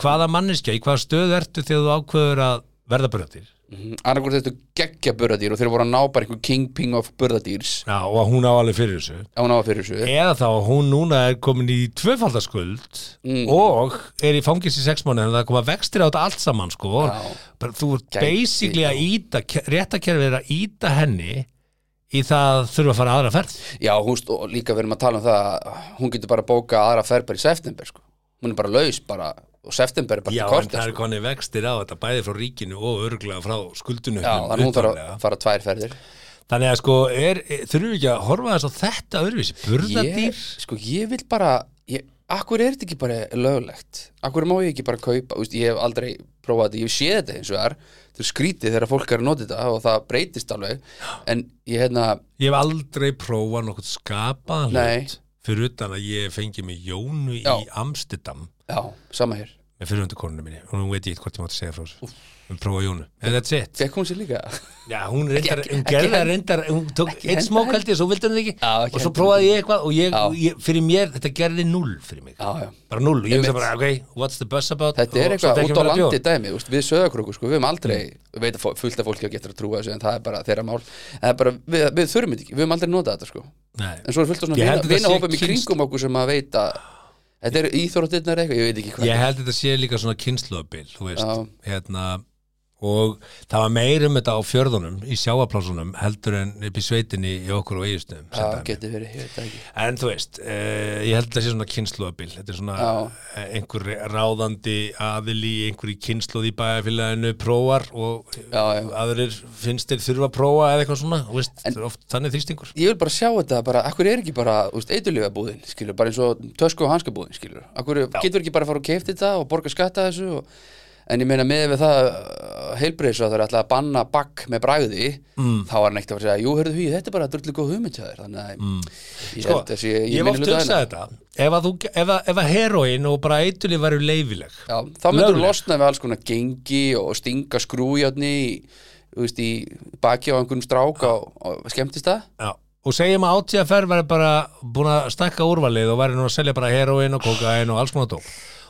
[SPEAKER 3] hvaða manneskja, í hvaða stöð ertu þegar þú ákveður að verða brötir
[SPEAKER 2] annarkur þetta Mhm. geggja burðadýr og þeir voru að ná bara einhver kingping of burðadýrs
[SPEAKER 3] Já, og að hún á alveg fyrir þessu
[SPEAKER 2] á náða fyrir þessu
[SPEAKER 3] eða þá að hún núna er komin í tvöfaldaskuld
[SPEAKER 2] Mm.
[SPEAKER 3] og er í fangis í sex mánuði en það koma vextir á þetta allt saman sko
[SPEAKER 2] Já.
[SPEAKER 3] Bara, þú ert
[SPEAKER 2] Gæti,
[SPEAKER 3] basically að íta réttakerfið er að íta henni í það þurfa að fara aðra ferð
[SPEAKER 2] Já, hún stó, og líka verðum að tala um það að hún getur bara að bóka aðra ferð bara í september sko. hún er bara laus bara, og september er bara
[SPEAKER 3] Já,
[SPEAKER 2] til
[SPEAKER 3] en
[SPEAKER 2] kortir
[SPEAKER 3] það er
[SPEAKER 2] sko.
[SPEAKER 3] konni vextir á þetta bæði frá ríkinu og örglega frá skuldunum
[SPEAKER 2] Já, þannig að hún þarf að fara tvær ferðir
[SPEAKER 3] Þannig að sko, er, þurfum við ekki að horfa þess að þetta öðruvísi, burðadýr
[SPEAKER 2] ég, sko, ég vil bara ég, Akkur er þetta ekki bara löglegt? Akkur má ég ekki bara kaupa? Úst, ég hef aldrei prófað þetta, ég hef séð þetta eins og þar Þú skrítið þegar fólk er að nota þetta og það breytist alveg En ég hérna,
[SPEAKER 3] Ég hef aldrei prófað nokkuð skapaðan
[SPEAKER 2] Nei.
[SPEAKER 3] hlut fyrir utan að ég fengi mig Jónu
[SPEAKER 2] Já.
[SPEAKER 3] í Amstidam
[SPEAKER 2] já, sama hér
[SPEAKER 3] með fyrirhundu konunni minni og nú veit ég ekki hvort ég mátti segja frá þessu við prófa Jónu, en that's it
[SPEAKER 2] Fekk hún sér líka?
[SPEAKER 3] Já, hún reyndar,
[SPEAKER 2] ekki-
[SPEAKER 3] hún
[SPEAKER 2] ekki
[SPEAKER 3] gerði það
[SPEAKER 2] hend-
[SPEAKER 3] reyndar hún tók eitt
[SPEAKER 2] henda
[SPEAKER 3] smók
[SPEAKER 2] henni.
[SPEAKER 3] held ég, svo vildi hann það ekki
[SPEAKER 2] Já, ekki
[SPEAKER 3] og svo
[SPEAKER 2] henda
[SPEAKER 3] prófaði ég eitthvað og ég,
[SPEAKER 2] Já.
[SPEAKER 3] ég, fyrir mér, þetta gerði null fyrir mig
[SPEAKER 2] Já, já
[SPEAKER 3] bara null, og ég veist
[SPEAKER 2] Einmitt.
[SPEAKER 3] bara, ok, what's the buzz about
[SPEAKER 2] Þetta er
[SPEAKER 3] Og svo
[SPEAKER 2] eitthvað
[SPEAKER 3] fekk ég
[SPEAKER 2] út á
[SPEAKER 3] mér að bjór.
[SPEAKER 2] landi dæmi, úst, við söðakrúku sko, við höfum aldrei, mm. veit að fó- fullt af fólki að getur að trúa þessu en það er bara þeirra mál en það er bara, við, við þurfum þetta ekki, við höfum aldrei notað þetta sko en
[SPEAKER 3] Nei.
[SPEAKER 2] svo er fullt af
[SPEAKER 3] Ég
[SPEAKER 2] svona
[SPEAKER 3] held þetta sé
[SPEAKER 2] vinahópum í
[SPEAKER 3] kynst-
[SPEAKER 2] kringum okkur sem að veita þetta er íþróttirnar eða eitthvað, ég veit ekki hvað
[SPEAKER 3] Ég held þetta sé líka svona kynnslóðabil, þú veist,
[SPEAKER 2] Já.
[SPEAKER 3] hérna og það var meir um þetta á fjörðunum í sjáaplásunum heldur en upp í sveitinni í okkur og eigistum
[SPEAKER 2] það getur verið, ég veit það ekki
[SPEAKER 3] en þú veist, eh, ég held þetta sé svona kynnslóðabil þetta er svona
[SPEAKER 2] Já.
[SPEAKER 3] eh, einhver ráðandi aðili einhver í kynnslóð í bæjarfélaginu prófar og
[SPEAKER 2] já, já.
[SPEAKER 3] aðrir finnst þeir þurfa að prófa eða eitthvað svona, þú veist,
[SPEAKER 2] En-
[SPEAKER 3] en, oft þannig þrýstingur
[SPEAKER 2] Ég vil bara sjá þetta, bara, akkur er ekki bara eitulífa búðin, skilur, bara eins og tösku og hanska búðin, skilur, akkur getur ekki bara að fara og keifti þetta og borga skatta þessu og, en ég meina með við það heilbreyðis að það er alltaf að banna bakk með bragði,
[SPEAKER 3] Mm.
[SPEAKER 2] þá er hann ekkert að fara að segja jú, hörðu hví, þetta er bara drullu góð hugmynd hjá þér þannig að ég
[SPEAKER 3] Sko,
[SPEAKER 2] held að sé,
[SPEAKER 3] ég hef
[SPEAKER 2] minni
[SPEAKER 3] oft
[SPEAKER 2] hluta
[SPEAKER 3] hugsað
[SPEAKER 2] hennar.
[SPEAKER 3] þetta ef að, þú, ef að, ef að heroin og bara eitulif varu leifileg
[SPEAKER 2] Já, þá myndur
[SPEAKER 3] Lögleg.
[SPEAKER 2] þú losna við alls konar gengi og stinga skrújarni í, þú veist, í baki á einhverjum strák á, á skemmtist það?
[SPEAKER 3] Já, og segjum að átíðaferð væri bara búin að stakka úrvalið og væri nú að selja bara heroin og kokain og alls konar dóp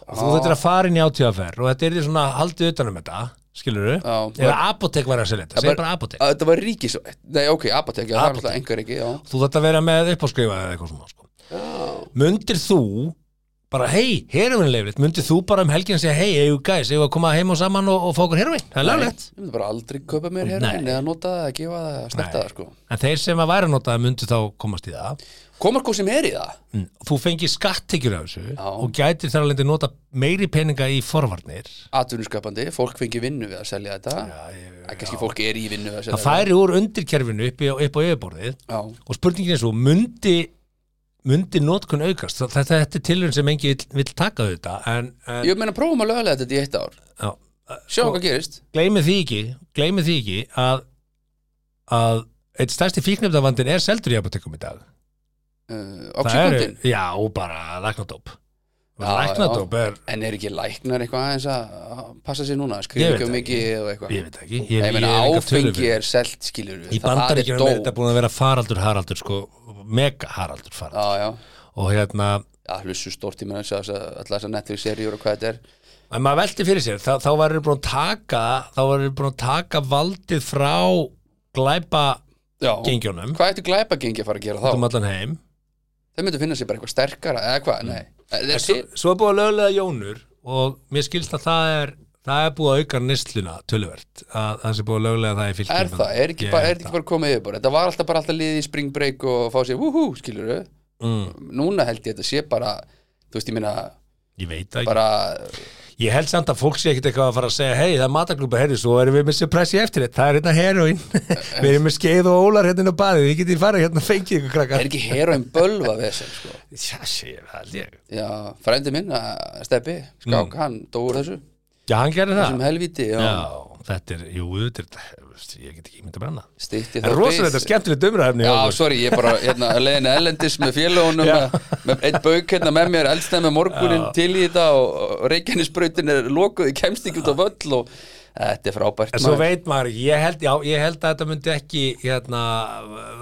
[SPEAKER 3] og þú þetta er að fara inn í átíðaferð og þetta er því svona haldið utanum þetta skilur du,
[SPEAKER 2] Já.
[SPEAKER 3] eða apotek væri að selja þetta segjum bara apotek,
[SPEAKER 2] Að Þetta var ríkis, nei ok, apotek, já, það er alltaf
[SPEAKER 3] Apótek.
[SPEAKER 2] engar ekki, já
[SPEAKER 3] þú þetta vera með uppáskrifa eða eitthvað svona sko. mundir þú bara hei, heroin leifrið, mundir þú bara um helgin segja hei, eigum gæs, eigum að koma heim og saman og, og fá okkur heroin, það er laglegt
[SPEAKER 2] Ég myndi bara aldrei kaupa mér
[SPEAKER 3] Nei.
[SPEAKER 2] heroin eða nota það, gefa það, snerta það sko
[SPEAKER 3] en þeir sem að væri að nota það mundir þá komast í það
[SPEAKER 2] Komar hvað sem er í það?
[SPEAKER 3] Mm, þú fengir skattekjur af þessu
[SPEAKER 2] Já.
[SPEAKER 3] og gætir þar alveg að nota meiri peninga í forvarnir
[SPEAKER 2] Atvinnuskapandi, fólk fengi vinnu við að selja þetta já, Kannski fólk er í vinnu við að selja
[SPEAKER 3] það færi úr undirkerfinu upp, í, upp á yfirborðið
[SPEAKER 2] þetta Já,
[SPEAKER 3] og spurningin er svo, mundi mundi notkun aukast þetta, þetta er tilhörn sem engi vill, vill taka þetta en, en
[SPEAKER 2] ég meina prófum að lögulega þetta í eitt ár
[SPEAKER 3] já,
[SPEAKER 2] Sjá
[SPEAKER 3] Sko-
[SPEAKER 2] hvað gerist
[SPEAKER 3] gleymi því ekki gleymi því ekki að að eitt stærsti fíknefndavandin er seldur í apotekum í dag
[SPEAKER 2] uh, á
[SPEAKER 3] Það eru-
[SPEAKER 2] kvikmyndin
[SPEAKER 3] já, og bara læknadóp
[SPEAKER 2] Já,
[SPEAKER 3] læknadóp er,
[SPEAKER 2] En er ekki læknar eitthvað aðeins að að passa sér núna,
[SPEAKER 3] Ég
[SPEAKER 2] skrifa
[SPEAKER 3] veit
[SPEAKER 2] ekki um
[SPEAKER 3] það
[SPEAKER 2] mikið
[SPEAKER 3] ekki.
[SPEAKER 2] og eitthvað
[SPEAKER 3] ég veit ekki ég,
[SPEAKER 2] Ég meina
[SPEAKER 3] hef enga tölu
[SPEAKER 2] áfengi
[SPEAKER 3] fyrir.
[SPEAKER 2] er selt, skilur við
[SPEAKER 3] Í bandaríkjum er þetta búin að vera faraldur haraldur sko, mega haraldur faraldur
[SPEAKER 2] Já, já,
[SPEAKER 3] og hérna,
[SPEAKER 2] já, hlussu stórt í mér að sjá þess að alltaf þess að Netflix-seríur og hvað þetta er
[SPEAKER 3] en maður velti fyrir sér þá, þá varir búin að taka þá varir búin að taka valdið frá glæpa
[SPEAKER 2] Já,
[SPEAKER 3] gengjónum
[SPEAKER 2] hvað ættu glæpa að fara að gera þá?
[SPEAKER 3] um allan heim
[SPEAKER 2] þeir myndu finna sér bara eitthvað sterkara eða hvað, nei Það er
[SPEAKER 3] Mm. svo,
[SPEAKER 2] til-
[SPEAKER 3] svo er búin að lögulega jónur og mér skilst að það er það er búið að auka nýstluna töluvert að það sé búið að lögulega það í fylgjum
[SPEAKER 2] er það, er ekki, bara, er ekki bara komið yfir bara þetta var alltaf bara alltaf liðið í spring break og fá sér wúhú, skilur við
[SPEAKER 3] mm,
[SPEAKER 2] núna held ég þetta sé bara, þú veist ég minna
[SPEAKER 3] ég veit það ekki
[SPEAKER 2] bara,
[SPEAKER 3] ég held samt að fólk sé ekkit eitthvað að fara að segja hei það er mataglúpa, herri, svo erum við með suppressi eftir þetta það er hérna heroin, við erum með skeið og ólar hérna inn á baðið, þið getið farið hérna og fengið ykkur krakkar
[SPEAKER 2] er ekki heroin bölva vesen, sko,
[SPEAKER 3] já, sé, það held ég
[SPEAKER 2] já, frændi minn að steppi, skák, hann dóur þessu
[SPEAKER 3] Mm. já, hann gerir
[SPEAKER 2] sem
[SPEAKER 3] það,
[SPEAKER 2] helviti, já, já.
[SPEAKER 3] já, þetta er, jú, þetta er veist, ég get ekki myndið að brenna
[SPEAKER 2] stýtti
[SPEAKER 3] en rosalega þetta er skemmtilegt umræðefni
[SPEAKER 2] Já,
[SPEAKER 3] Jóhann.
[SPEAKER 2] sorry, ég bara, hérna, leiðin ellendis með félögunum,
[SPEAKER 3] Já.
[SPEAKER 2] að- með eitt bauk hérna með mér, eldstæð með morgunin til í þetta og, og reikjanisbrautin er lokuð, ég kemst ekki út á völl og þetta er frábært.
[SPEAKER 3] En svo
[SPEAKER 2] maður.
[SPEAKER 3] veit maður, ekki, ég held, já, ég held að þetta myndi ekki, hérna,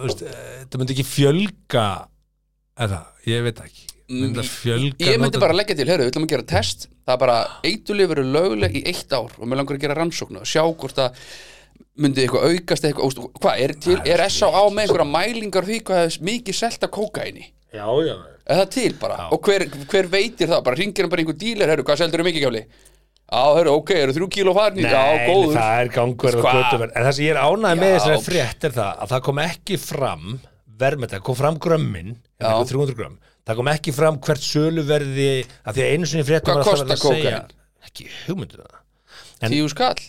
[SPEAKER 3] veist, eh, þetta myndi ekki fjölga, eða, ég veit það ekki, myndi að fjölga
[SPEAKER 2] Mm, Ég myndi
[SPEAKER 3] notendum.
[SPEAKER 2] bara leggja til, heyrðu, við ætlum að gera test það er bara, eitulif eru löguleg í eitt ár og mér langar að gera rannsóknu og sjá hvort að myndi eitthvað aukast eitthvað, óstu, hvað, er, til, er S.A.A. með einhverja mælingar því hvað hefði mikið selta kókaini?
[SPEAKER 3] Já, já
[SPEAKER 2] Er það til bara? Og hver, hver veitir það? Bara ringir hann bara einhver dílar, herru, hvað seldur er mikið kjáli? Á, herru, ok, eru þrjú kíló farin í
[SPEAKER 3] Nei,
[SPEAKER 2] Já, góður
[SPEAKER 3] það er gangverð og
[SPEAKER 2] Hva?
[SPEAKER 3] götuverð En það sem ég er ánægð með
[SPEAKER 2] Já.
[SPEAKER 3] þessari frétt er það að það kom ekki fram verðmætt, það kom fram grömmin
[SPEAKER 2] Já.
[SPEAKER 3] 300 grömm, það kom ekki fram hvert söluverði að því að einu sinni frétt
[SPEAKER 2] Hvað kostar
[SPEAKER 3] Ekki hugmyndur það, en-
[SPEAKER 2] Tíu skall,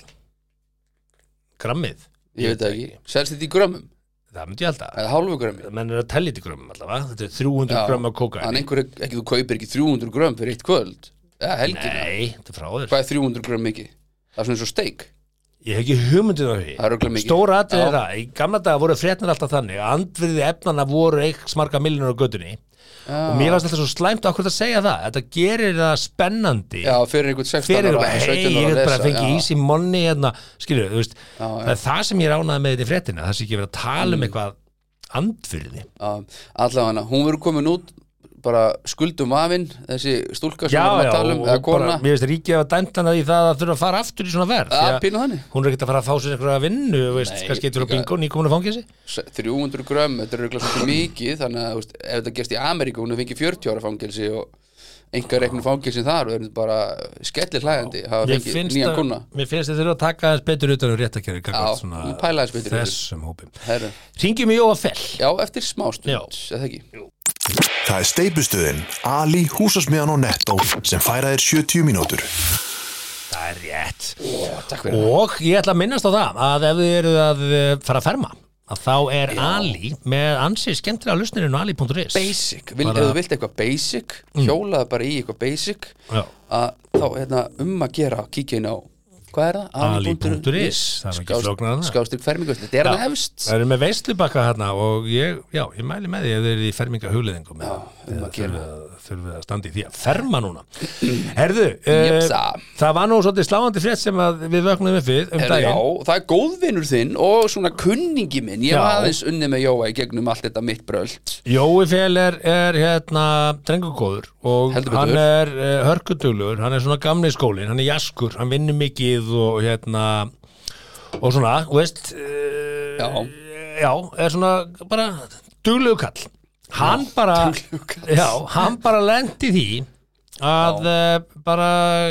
[SPEAKER 3] grammið
[SPEAKER 2] ég veit það ekki Selst þetta í grömmum,
[SPEAKER 3] Það myndi ég held að
[SPEAKER 2] eða hálfu grömmi
[SPEAKER 3] menn er að tellja þetta í grömmum allavega þetta er 300
[SPEAKER 2] Já.
[SPEAKER 3] grömm af
[SPEAKER 2] Þannig
[SPEAKER 3] kókaini
[SPEAKER 2] einhver, ekki þú kaupir ekki 300 grömm fyrir eitt kvöld Eða helgina,
[SPEAKER 3] Nei, þetta er frá þér
[SPEAKER 2] hvað er 300 grömm mikið? Það er svona eins og steik
[SPEAKER 3] Ég hef ekki hugmyndið á
[SPEAKER 2] Það er örugglega
[SPEAKER 3] því
[SPEAKER 2] mikið.
[SPEAKER 3] Stóra atrið er
[SPEAKER 2] Já.
[SPEAKER 3] það, í gamla daga voru frétnar alltaf þannig að andverði efnana voru eitthvað smarga millunar á gödunni og mér varst alltaf svo slæmt okkur að segja það þetta gerir það spennandi
[SPEAKER 2] Já, fyrir einhvern 16
[SPEAKER 3] fyrir
[SPEAKER 2] ára,
[SPEAKER 3] bara, hei,
[SPEAKER 2] 17 ára
[SPEAKER 3] ég
[SPEAKER 2] að
[SPEAKER 3] er bara að
[SPEAKER 2] lesa,
[SPEAKER 3] fengi
[SPEAKER 2] já.
[SPEAKER 3] easy money hérna, skilur, þú veist
[SPEAKER 2] Já, já. Mm.
[SPEAKER 3] það er það sem ég ránaði með þetta í fréttina það sé ekki verið að tala um eitthvað andfyrði
[SPEAKER 2] Já, allavega hún verður komin út bara skuldum afinn þessi stúlka sem
[SPEAKER 3] já,
[SPEAKER 2] við erum
[SPEAKER 3] já,
[SPEAKER 2] að tala um
[SPEAKER 3] og
[SPEAKER 2] eða
[SPEAKER 3] bara,
[SPEAKER 2] kona,
[SPEAKER 3] mér veist ríkið að dæmt hana í það að þurfa að fara aftur í svona verð
[SPEAKER 2] að
[SPEAKER 3] því að
[SPEAKER 2] pínu þannig
[SPEAKER 3] hún er ekkert að fara að fá sér einhverja vinnu þú veist,
[SPEAKER 2] Nei,
[SPEAKER 3] kannski eitthvað
[SPEAKER 2] líka-
[SPEAKER 3] bingo, nýkomin að fangja
[SPEAKER 2] 300 grömm, þetta er eitthvað svolítið mikið þannig að þú veist, ef þetta gerst í Ameríku hún er fengið 40 ára fangelsi og einhver reiknum fangelsin þar og er bara skellir hlægandi, hafa
[SPEAKER 3] Mér
[SPEAKER 2] fengið
[SPEAKER 3] finnst,
[SPEAKER 2] nýjan
[SPEAKER 3] að,
[SPEAKER 2] kuna
[SPEAKER 3] mér finnst að þurfa að taka aðeins betur utan um réttakjörðu
[SPEAKER 2] Já, hún pæla aðeins betur í þessu.
[SPEAKER 3] þessum hópum
[SPEAKER 2] Herra.
[SPEAKER 3] Ringjum í Jóa Fell
[SPEAKER 2] Já, eftir smástund,
[SPEAKER 3] Já.
[SPEAKER 2] eða ekki
[SPEAKER 1] Það er steipustuðin Ali, húsasmiðan og Netto sem færa þér 70 mínútur.
[SPEAKER 3] Það er rétt
[SPEAKER 2] Takk fyrir
[SPEAKER 3] Og ég ætla að minnast á það að ef þið eru að eh, fara að ferma að þá er Ali með ansið skemmtilega lusnirinn á Ali.is
[SPEAKER 2] Basic, Vil,
[SPEAKER 3] Bara- Mm.
[SPEAKER 2] ef þú vilt eitthvað basic hjólaðu bara í eitthvað basic
[SPEAKER 3] Já.
[SPEAKER 2] að þá hérna, um að gera kíkja inn á hvað er það?
[SPEAKER 3] Ali.is, það er ekki flóknara en það.
[SPEAKER 2] skástur fermingvöld, þetta er hann efst
[SPEAKER 3] Það eru með veislubakka hérna og ég, já, ég mæli með því ef þeir eru í ferminga hugleðingum eða
[SPEAKER 2] um
[SPEAKER 3] eða
[SPEAKER 2] að gera.
[SPEAKER 3] þurfið að, þurfi að standa í því að ferma núna Herðu, eh,
[SPEAKER 2] Jepsa.
[SPEAKER 3] það var nú svolítið sláandi frétt sem að við vöknum upp við um
[SPEAKER 2] Herra, já,
[SPEAKER 3] daginn
[SPEAKER 2] það er góðvinur þinn og svona kunningi minn ég
[SPEAKER 3] Já.
[SPEAKER 2] var aðeins unni með Jóa í gegnum allt þetta mitt bröld
[SPEAKER 3] Jói Fél er, er hérna drengugóður og
[SPEAKER 2] Heldur betur.
[SPEAKER 3] hann er uh, hörkuduglur, hann er svona gamli skólin, hann er jaskur, hann vinnur mikið og hérna og svona, þú veist uh,
[SPEAKER 2] Já.
[SPEAKER 3] já, er svona bara duglegu kall hann bara,
[SPEAKER 2] duglegur kall.
[SPEAKER 3] já, hann bara lendi því að uh, bara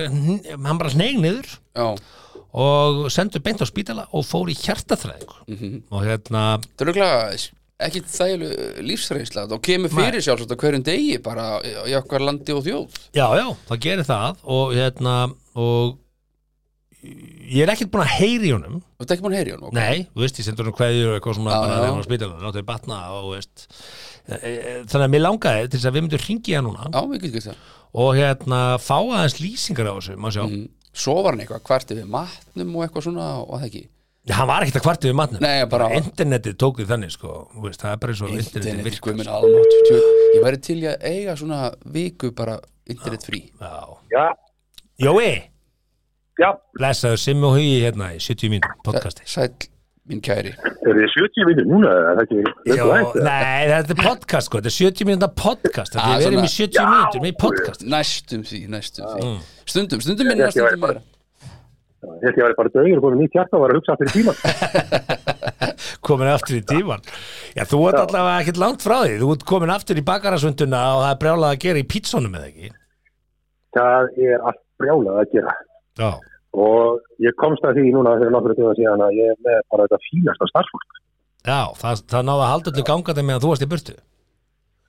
[SPEAKER 3] hn- hann bara hneig niður
[SPEAKER 2] Já,
[SPEAKER 3] og sendur beint á spítala og fór í hjartaþræðingu og hérna
[SPEAKER 2] það Mhm. er örugglega ekki þægileg eh, lífsreynsla þá kemur fyrir sjálfsagt á hverjum degi bara í okkar landi og þjóð
[SPEAKER 3] Já, já, það gerir það og hérna og ég er ekkert búin að heyri honum
[SPEAKER 2] Þú ert ekki búin að heyri hann ok?
[SPEAKER 3] Nei, þú veist, ég sendur hann kveðjur og eitthvað svona
[SPEAKER 2] Já,
[SPEAKER 3] bara
[SPEAKER 2] já.
[SPEAKER 3] þegar hann spítalinn, láttu ég batna og þú veist E, e, þannig að mér langaði til þess að við myndum hringi hann núna
[SPEAKER 2] Já, við getum gert það
[SPEAKER 3] og hérna fá aðeins lýsingar á þessu, maður sjá
[SPEAKER 2] Mm. Svo var hann eitthvað kvarti við matnum og eitthvað svona og það ekki
[SPEAKER 3] Hann var ekkert að kvartu við matnum
[SPEAKER 2] Nei, bara-
[SPEAKER 3] Internetið tók því þannig, sko þú veist, það er bara eins og internetið
[SPEAKER 2] Internet,
[SPEAKER 3] virkar
[SPEAKER 2] guð minn almátt djú- Ég væri til í að eiga svona viku bara internet frí
[SPEAKER 3] sko. Já.
[SPEAKER 4] Já,
[SPEAKER 3] Jói,
[SPEAKER 4] já,
[SPEAKER 3] blessaðu Simmi og Hugi hérna í 70 mínum podcasti
[SPEAKER 2] Sæll, minn kæri
[SPEAKER 4] er þið 70 vinnir núna, er það ekki
[SPEAKER 3] Já,
[SPEAKER 4] löngu hægt? eða?
[SPEAKER 3] nei, þetta er podcast sko, þetta er 70 mínúnda podcast
[SPEAKER 2] Ah,
[SPEAKER 3] Þetta við erum í
[SPEAKER 2] svona-
[SPEAKER 3] 70 mínútur með podcast
[SPEAKER 2] Næstum því, næstum því
[SPEAKER 3] Mm.
[SPEAKER 2] Stundum, stundum minna,
[SPEAKER 4] Ég- ég væri
[SPEAKER 2] stundum
[SPEAKER 4] bara-
[SPEAKER 2] meira
[SPEAKER 4] Ég held ég væri bara dögur og komið nýtt hjarta og var að hugsa fyrir tíma.
[SPEAKER 3] komin aftur í tíman Já, þú ert allavega ekkert langt frá því Þú ert komin aftur í bakarasvönduna og það er brjálað að gera í pítsonum eða ekki
[SPEAKER 4] það er allt brjálað að gera.
[SPEAKER 3] Já,
[SPEAKER 4] Og ég komst að því núna fyrir nokkur tíma síðan að ég er með bara þetta fínasta starfsfólk.
[SPEAKER 3] Já það, það náða að halda öllu gangandi meðan þú varst í burtu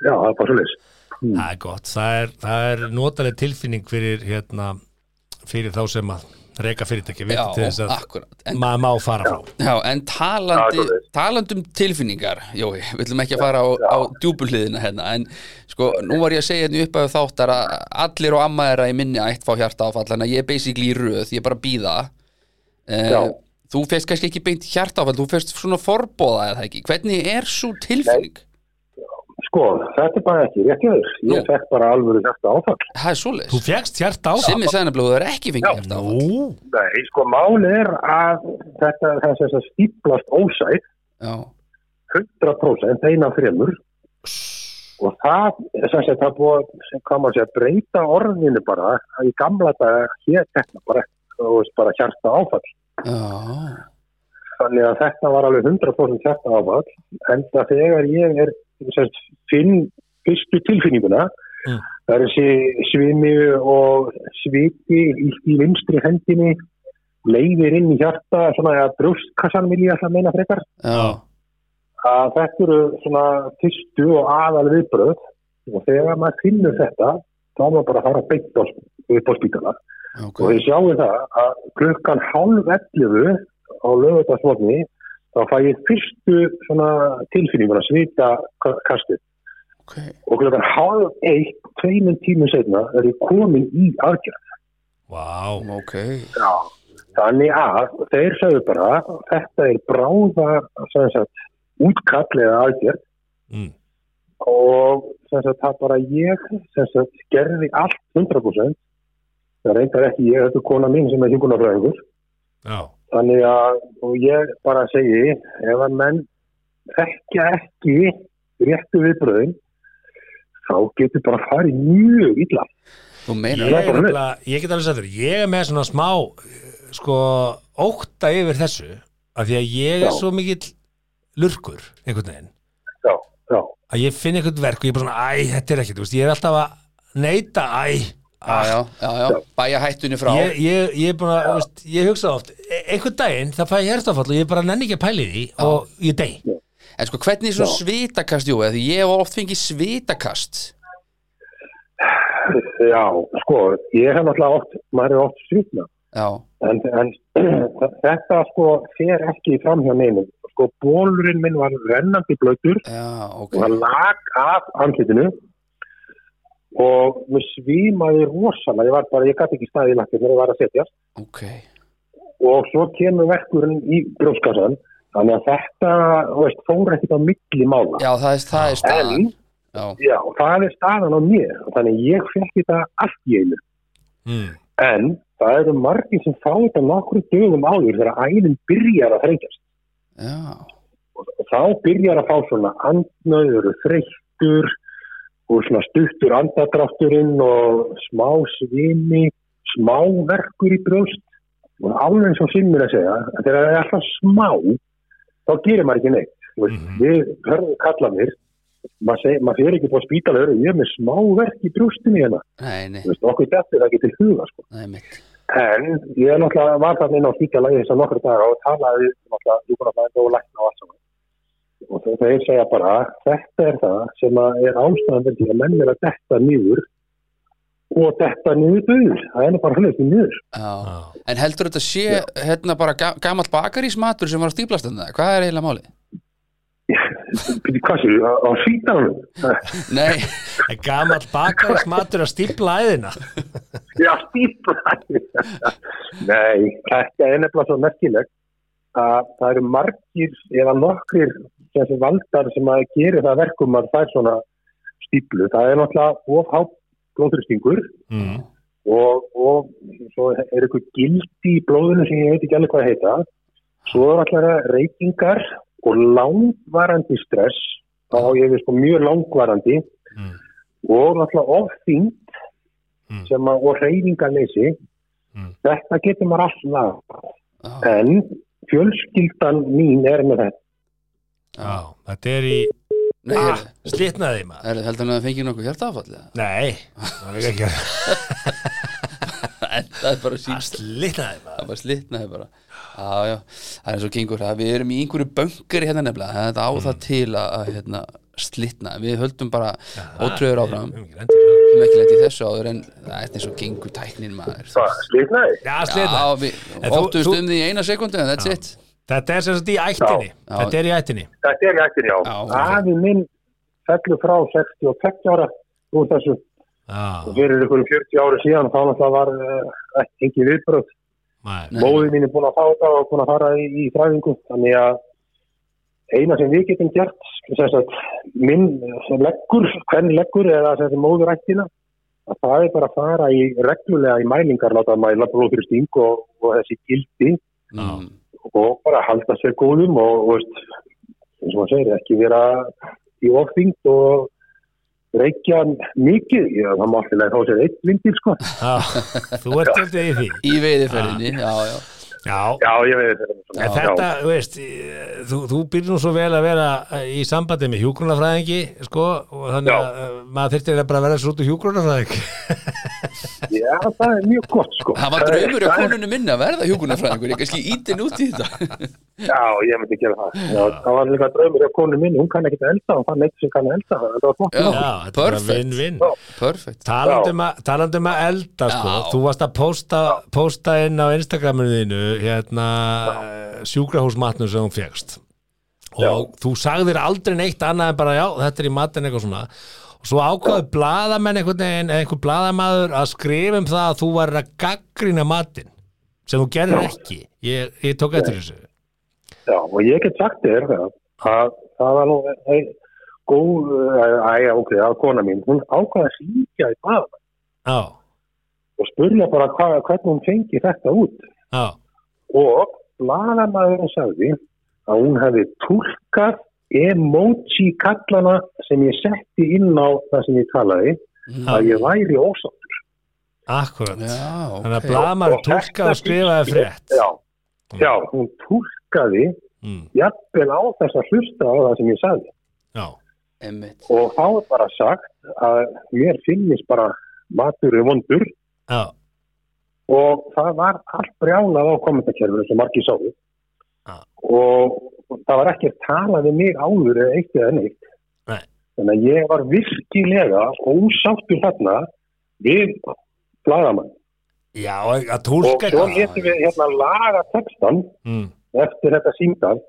[SPEAKER 4] Já, það er bara svolítið.
[SPEAKER 3] Það er gott, það er, það er notaleg tilfinning fyrir hérna fyrir þá sem að reyka fyrirtæki vita til þess
[SPEAKER 2] Já,
[SPEAKER 3] að
[SPEAKER 2] akkurat En,
[SPEAKER 3] maður má fara frá
[SPEAKER 2] já, en talandi,
[SPEAKER 4] Já, svoleiðis.
[SPEAKER 2] talandi um tilfinningar Jói, við ætlum ekki að fara á, á djúbulhliðina hérna En sko, nú var ég að segja hérna upp að þáttar að allir og amma þeirra í minni ætt fá hjarta áfall Þannig að ég er basically í röð, ég er bara að býða
[SPEAKER 4] Já.
[SPEAKER 2] eh, Þú fyrst kannski ekki beint hjarta áfall, þú fyrst svona forbóða eða ekki Hvernig er svo tilfinning?
[SPEAKER 4] Sko, þetta er bara ekki rétt yfir.
[SPEAKER 2] Nú.
[SPEAKER 4] Ég fekk bara alvöru hjarta áfall.
[SPEAKER 2] Það er
[SPEAKER 3] Þú
[SPEAKER 2] svoleiðis
[SPEAKER 3] fjækst hjarta á
[SPEAKER 2] Simmi sagði nefnilega að þú er ekki fengið hjarta áfall
[SPEAKER 3] Nú,
[SPEAKER 4] Nei, sko, mál er að þetta, þess að stíplast ósætt,
[SPEAKER 2] Já,
[SPEAKER 4] 100% eina fremur. Og það, sem sagt, það búið, sem kom að segja, breyta orðinu bara, í gamla daga, hér, þetta bara, þú veist, bara hjarta áfall.
[SPEAKER 2] já
[SPEAKER 4] Þannig að þetta var alveg 100% þetta áfall, en það þegar ég er, sem, sagt, finn fyrstu tilfinninguna,
[SPEAKER 3] Mm.
[SPEAKER 4] það er þessi svimi og sviti í, í vinstri hendinni, leiðir inn í hjarta, svona að brjóstkassan vil ég alltaf meina frekar,
[SPEAKER 2] já,
[SPEAKER 4] að þetta eru svona fyrstu og aðal viðbröð og þegar maður finnur þetta, þá er maður bara að fara beint á, upp á spítala
[SPEAKER 2] ok
[SPEAKER 4] og þið sjáum það að klukkan hálf 11 á lögutarsvotni þá fæ ég fyrstu svona tilfinninguna svita kastu
[SPEAKER 2] ok,
[SPEAKER 4] og klukkan hálf eitt, tveimund tímum setna er ég komin í aðgjörð
[SPEAKER 3] Vá,
[SPEAKER 2] ok
[SPEAKER 4] þannig að þeir sagðu bara þetta er bráða sem sagt, útkall eða aðgjörð
[SPEAKER 3] Mm.
[SPEAKER 4] og sem sagt, það bara ég sem sagt, gerði allt 100% það reyndar ekki ég, þetta er kona mín sem er hingulafræðingur
[SPEAKER 3] já,
[SPEAKER 4] Þannig að, og ég bara segi, ef að menn þekkja ekki réttu viðbröðin, þá getur bara farið mjög illa.
[SPEAKER 2] þú
[SPEAKER 3] ég,
[SPEAKER 2] meinar
[SPEAKER 4] Já.
[SPEAKER 2] það?
[SPEAKER 4] er bara
[SPEAKER 3] nefnilega, ég get alveg sagt þér ég er með svona smá eh, sko, ókta yfir þessu af því að ég er
[SPEAKER 4] Já.
[SPEAKER 3] svo mikill lurkur, einhvern veginn
[SPEAKER 4] Já, já,
[SPEAKER 3] að ég finn einhvern verk og ég er bara svona, æ, þetta er ekkert þú veist, ég er alltaf að neyta, æ
[SPEAKER 2] já, já, já, já, bæja hættunni frá
[SPEAKER 3] Ég, ég, ég er búin að, þú veist, ég hugsa oft e- einhvern daginn, það fæ ég hérstafall og ég bara nenni ekki að pæli því og ég dey
[SPEAKER 2] en sko hvernig er svona
[SPEAKER 4] Já.
[SPEAKER 2] svitakast jú, eða því ég hef oft fengið svitakast
[SPEAKER 4] já, sko, ég hef náttúrulega oft, maður er oft svitna,
[SPEAKER 2] já,
[SPEAKER 4] en, en þetta sko fer ekki fram hjá neinum. Sko, bólurinn minn var rennandi blöður
[SPEAKER 2] já, ok
[SPEAKER 4] og það lag af andlitinu og mér svímaði rosalega, ég var bara, ég gæti ekki staðið í lakið þegar ég var að setja.
[SPEAKER 2] ok,
[SPEAKER 4] og svo kemur verkurinn í brjóskassan þannig að þetta þú veist, fór ekkert á milli mála
[SPEAKER 2] já, það er, það er staðan
[SPEAKER 4] en
[SPEAKER 2] já,
[SPEAKER 4] já, það er staðan á mér og þannig að ég fekk þetta allt í einu
[SPEAKER 3] mm.
[SPEAKER 4] en það eru margir sem fá þetta nokkru dögum áður þegar æðin byrjar að þreytast
[SPEAKER 2] já,
[SPEAKER 4] og þá byrjar að fá svona andnöður þreyttur og svona stuttur andadrátturinn og smá svimi smá verkur í brjóst og alveg eins og sinnur að segja að þegar það er alltaf smá þá gerir maður ekki neitt Þú veist,
[SPEAKER 3] Mhm.
[SPEAKER 4] við hörðum kallanir maður, seg, maður fyrir ekki búið að spýta lögur ég er með smá verk í brjóstinni hérna
[SPEAKER 2] nei, nei,
[SPEAKER 4] Þú veist, okkur dættir það getur huga sko.
[SPEAKER 2] nei mitt
[SPEAKER 4] en ég er náttúrulega var þarna inn á spítala í þess að nokkur dagar og talaði við náttúrulega hjúkunarfæðinga og lækna og allt saman og þau- þeir segja bara þetta er það sem að er ástæðan fyrir því að menn er að detta nýður og detta nýður döður það er nú bara hlutið nýður
[SPEAKER 2] já,
[SPEAKER 3] já.
[SPEAKER 2] En heldur þetta sé hérna bara ga gamall bakarísmatur sem var að stíplast þarna? Hvað er eiginlega máli?
[SPEAKER 4] Býtu, hvað séu, á, á sítanum?
[SPEAKER 2] Nei,
[SPEAKER 3] En gamall bakaris matur að stípla æðina
[SPEAKER 4] Já, stíflæði. Nei, þetta er nefnilega svo merkilegt að það eru margir eða nokkrir þessi valdar sem að gera það verkum að það er svona stíflu. Það er náttúrulega ofhá blóðrýstingur
[SPEAKER 3] mm.
[SPEAKER 4] og, og svo er eitthvað gildi í blóðinu sem ég veit ekki alveg hvað heita. Svo er alltaf reykingar og langvarandi stress, þá á ég við sko mjög langvarandi
[SPEAKER 3] Mm.
[SPEAKER 4] og náttúrulega ofþyngd
[SPEAKER 3] Mm.
[SPEAKER 4] sem að, og reyningarleysi
[SPEAKER 3] Mm.
[SPEAKER 4] þetta getur maður allt lag
[SPEAKER 2] já,
[SPEAKER 4] en fjölskyldan mín er með þetta
[SPEAKER 3] já, þetta er í
[SPEAKER 2] nei,
[SPEAKER 3] ah,
[SPEAKER 2] heyrðu,
[SPEAKER 3] slitnaði maður
[SPEAKER 2] heyrðu, heldur hann að það fengið nokkuð hjartaáfall?
[SPEAKER 3] Nei, það er ekki að
[SPEAKER 2] En það er bara síst,
[SPEAKER 3] slitnaði maður
[SPEAKER 2] það bara slitnaði bara. Já, já, það er eins og gengur það. Við erum í einhverju böngari hérna nefnilega, þetta á
[SPEAKER 3] Mm.
[SPEAKER 2] það til að að, hérna, slitna. Við höldum bara ótröður áfram,
[SPEAKER 3] Við höfum ekki lent í þessu.
[SPEAKER 2] við erum ekki lent í þessu áður en það er eins og gengur tæknin maður.
[SPEAKER 4] slitnaði?
[SPEAKER 3] Já,
[SPEAKER 2] Já,
[SPEAKER 3] slitnaði
[SPEAKER 2] við
[SPEAKER 3] En þú-
[SPEAKER 2] óttumst
[SPEAKER 3] þú-
[SPEAKER 2] um því í eina sekundu en that's it.
[SPEAKER 3] Þetta er sem sagt í ættinni
[SPEAKER 2] Já.
[SPEAKER 3] Þetta er í ættinni
[SPEAKER 4] Þetta er ekki, já.
[SPEAKER 2] Já, ok.
[SPEAKER 4] Afi minn fellur frá 62 ára úr þessu
[SPEAKER 3] Já,
[SPEAKER 4] fyrir ykkur 40 ári síðan þá náttúrulega var eh, ekki ekki viðbröð
[SPEAKER 3] maður
[SPEAKER 2] Nei.
[SPEAKER 4] móðið mín er búin að fá þetta og búin að fara í, í fræðingu þannig að eina sem við getum gert sem sagt, minn sem leggur, hvern leggur eða sem sagt móðurættina að það er bara að fara í reglulega í mælingar láta mæla blóðfyrsting og, og þessi gildi
[SPEAKER 3] Já.
[SPEAKER 2] Mm.
[SPEAKER 4] og bara halda sér góðum og, og veist, eins og maður segir ekki vera í ofþyngd og reykja mikið, já það má alltaf þá sér eitt vindir sko
[SPEAKER 3] Já, Þú ert alltaf í því
[SPEAKER 2] Í veiðiferðinni, já, já.
[SPEAKER 3] Já,
[SPEAKER 4] Já, ég veit þetta.
[SPEAKER 3] En þetta, þú veist, eh, þú, þú býrð nú svo vel að vera eh, í sambandi með hjúgrunafræðingi, sko, og þannig
[SPEAKER 4] Já.
[SPEAKER 3] að eh, maður þyrfti eiginlega bara að vera svo út úr hjúgrunafræðing.
[SPEAKER 4] Já, það er mjög gott sko.
[SPEAKER 2] Það var draumur á
[SPEAKER 4] Það er-
[SPEAKER 2] konunni minna að verða hjúkunarfræðingur, ég kannski ítin út í þetta.
[SPEAKER 4] Já, ég myndi gera það. Já, það var líka draumur á konu minni, hún kann ekki að elda, hún fann eitt sem kann að elda, það var flott.
[SPEAKER 2] Já,
[SPEAKER 4] Já,
[SPEAKER 3] Já, þetta er bara
[SPEAKER 2] perfect.
[SPEAKER 3] vinn-vinn.
[SPEAKER 4] Já.
[SPEAKER 2] Perfect.
[SPEAKER 3] Talandum, um að- talandum að elda, sko,
[SPEAKER 2] Já.
[SPEAKER 3] þú varst að posta, posta inn á Instagraminu þínu, hérna, sjúkrahúsmatnum sem hún fegst. Og þú sagðir aldrei neitt annað en bara, já, þetta er í matinn eitthvað svona. Og svo ákvaðu blaðamenn einhvern veginn, einhver blaðamaður að skrifa um það að þú var að gaggrina matinn. sem þú gerir ekki ég, ég tók eftir þessu
[SPEAKER 4] já, og ég get sagt þér það, að það var nú ein, góð, eh, æja, ok, það var kona mín, hún ákvaði að hringja í bað
[SPEAKER 3] á,
[SPEAKER 4] og spurja bara hva, hvernig hún fengi þetta út.
[SPEAKER 3] á,
[SPEAKER 4] Og blaðamæðurinn sagði að hún hefði tólkað emoji kallana sem ég setti inn á það sem ég talaði,
[SPEAKER 2] Mm.
[SPEAKER 4] að ég væri ósáttur.
[SPEAKER 3] akkurat
[SPEAKER 2] Já,
[SPEAKER 3] þannig að
[SPEAKER 2] ok.
[SPEAKER 3] blamar
[SPEAKER 4] Og
[SPEAKER 3] tólka
[SPEAKER 4] þetta
[SPEAKER 3] og skrifaði
[SPEAKER 4] fylgir-
[SPEAKER 3] frétt
[SPEAKER 4] Já, já hún tólkaði
[SPEAKER 3] mm,
[SPEAKER 4] jafnvel á þess að hlusta á það sem ég sagði.
[SPEAKER 3] já,
[SPEAKER 2] Einmitt.
[SPEAKER 4] Og þá er bara sagt að mér finnist bara matur og vondur
[SPEAKER 3] já,
[SPEAKER 4] og það var allt brjálað á kommentarkerfinu sem margir sáðu.
[SPEAKER 3] Ah.
[SPEAKER 4] Og það var ekki talað við mig áður eða eitt eða neitt.
[SPEAKER 3] Nei.
[SPEAKER 4] Þannig að ég var virkilega ósáttur þarna við blagamann.
[SPEAKER 3] já, að
[SPEAKER 4] Og
[SPEAKER 3] tólka
[SPEAKER 4] svo letum við hérna laga textan
[SPEAKER 3] mm,
[SPEAKER 4] eftir þetta síndal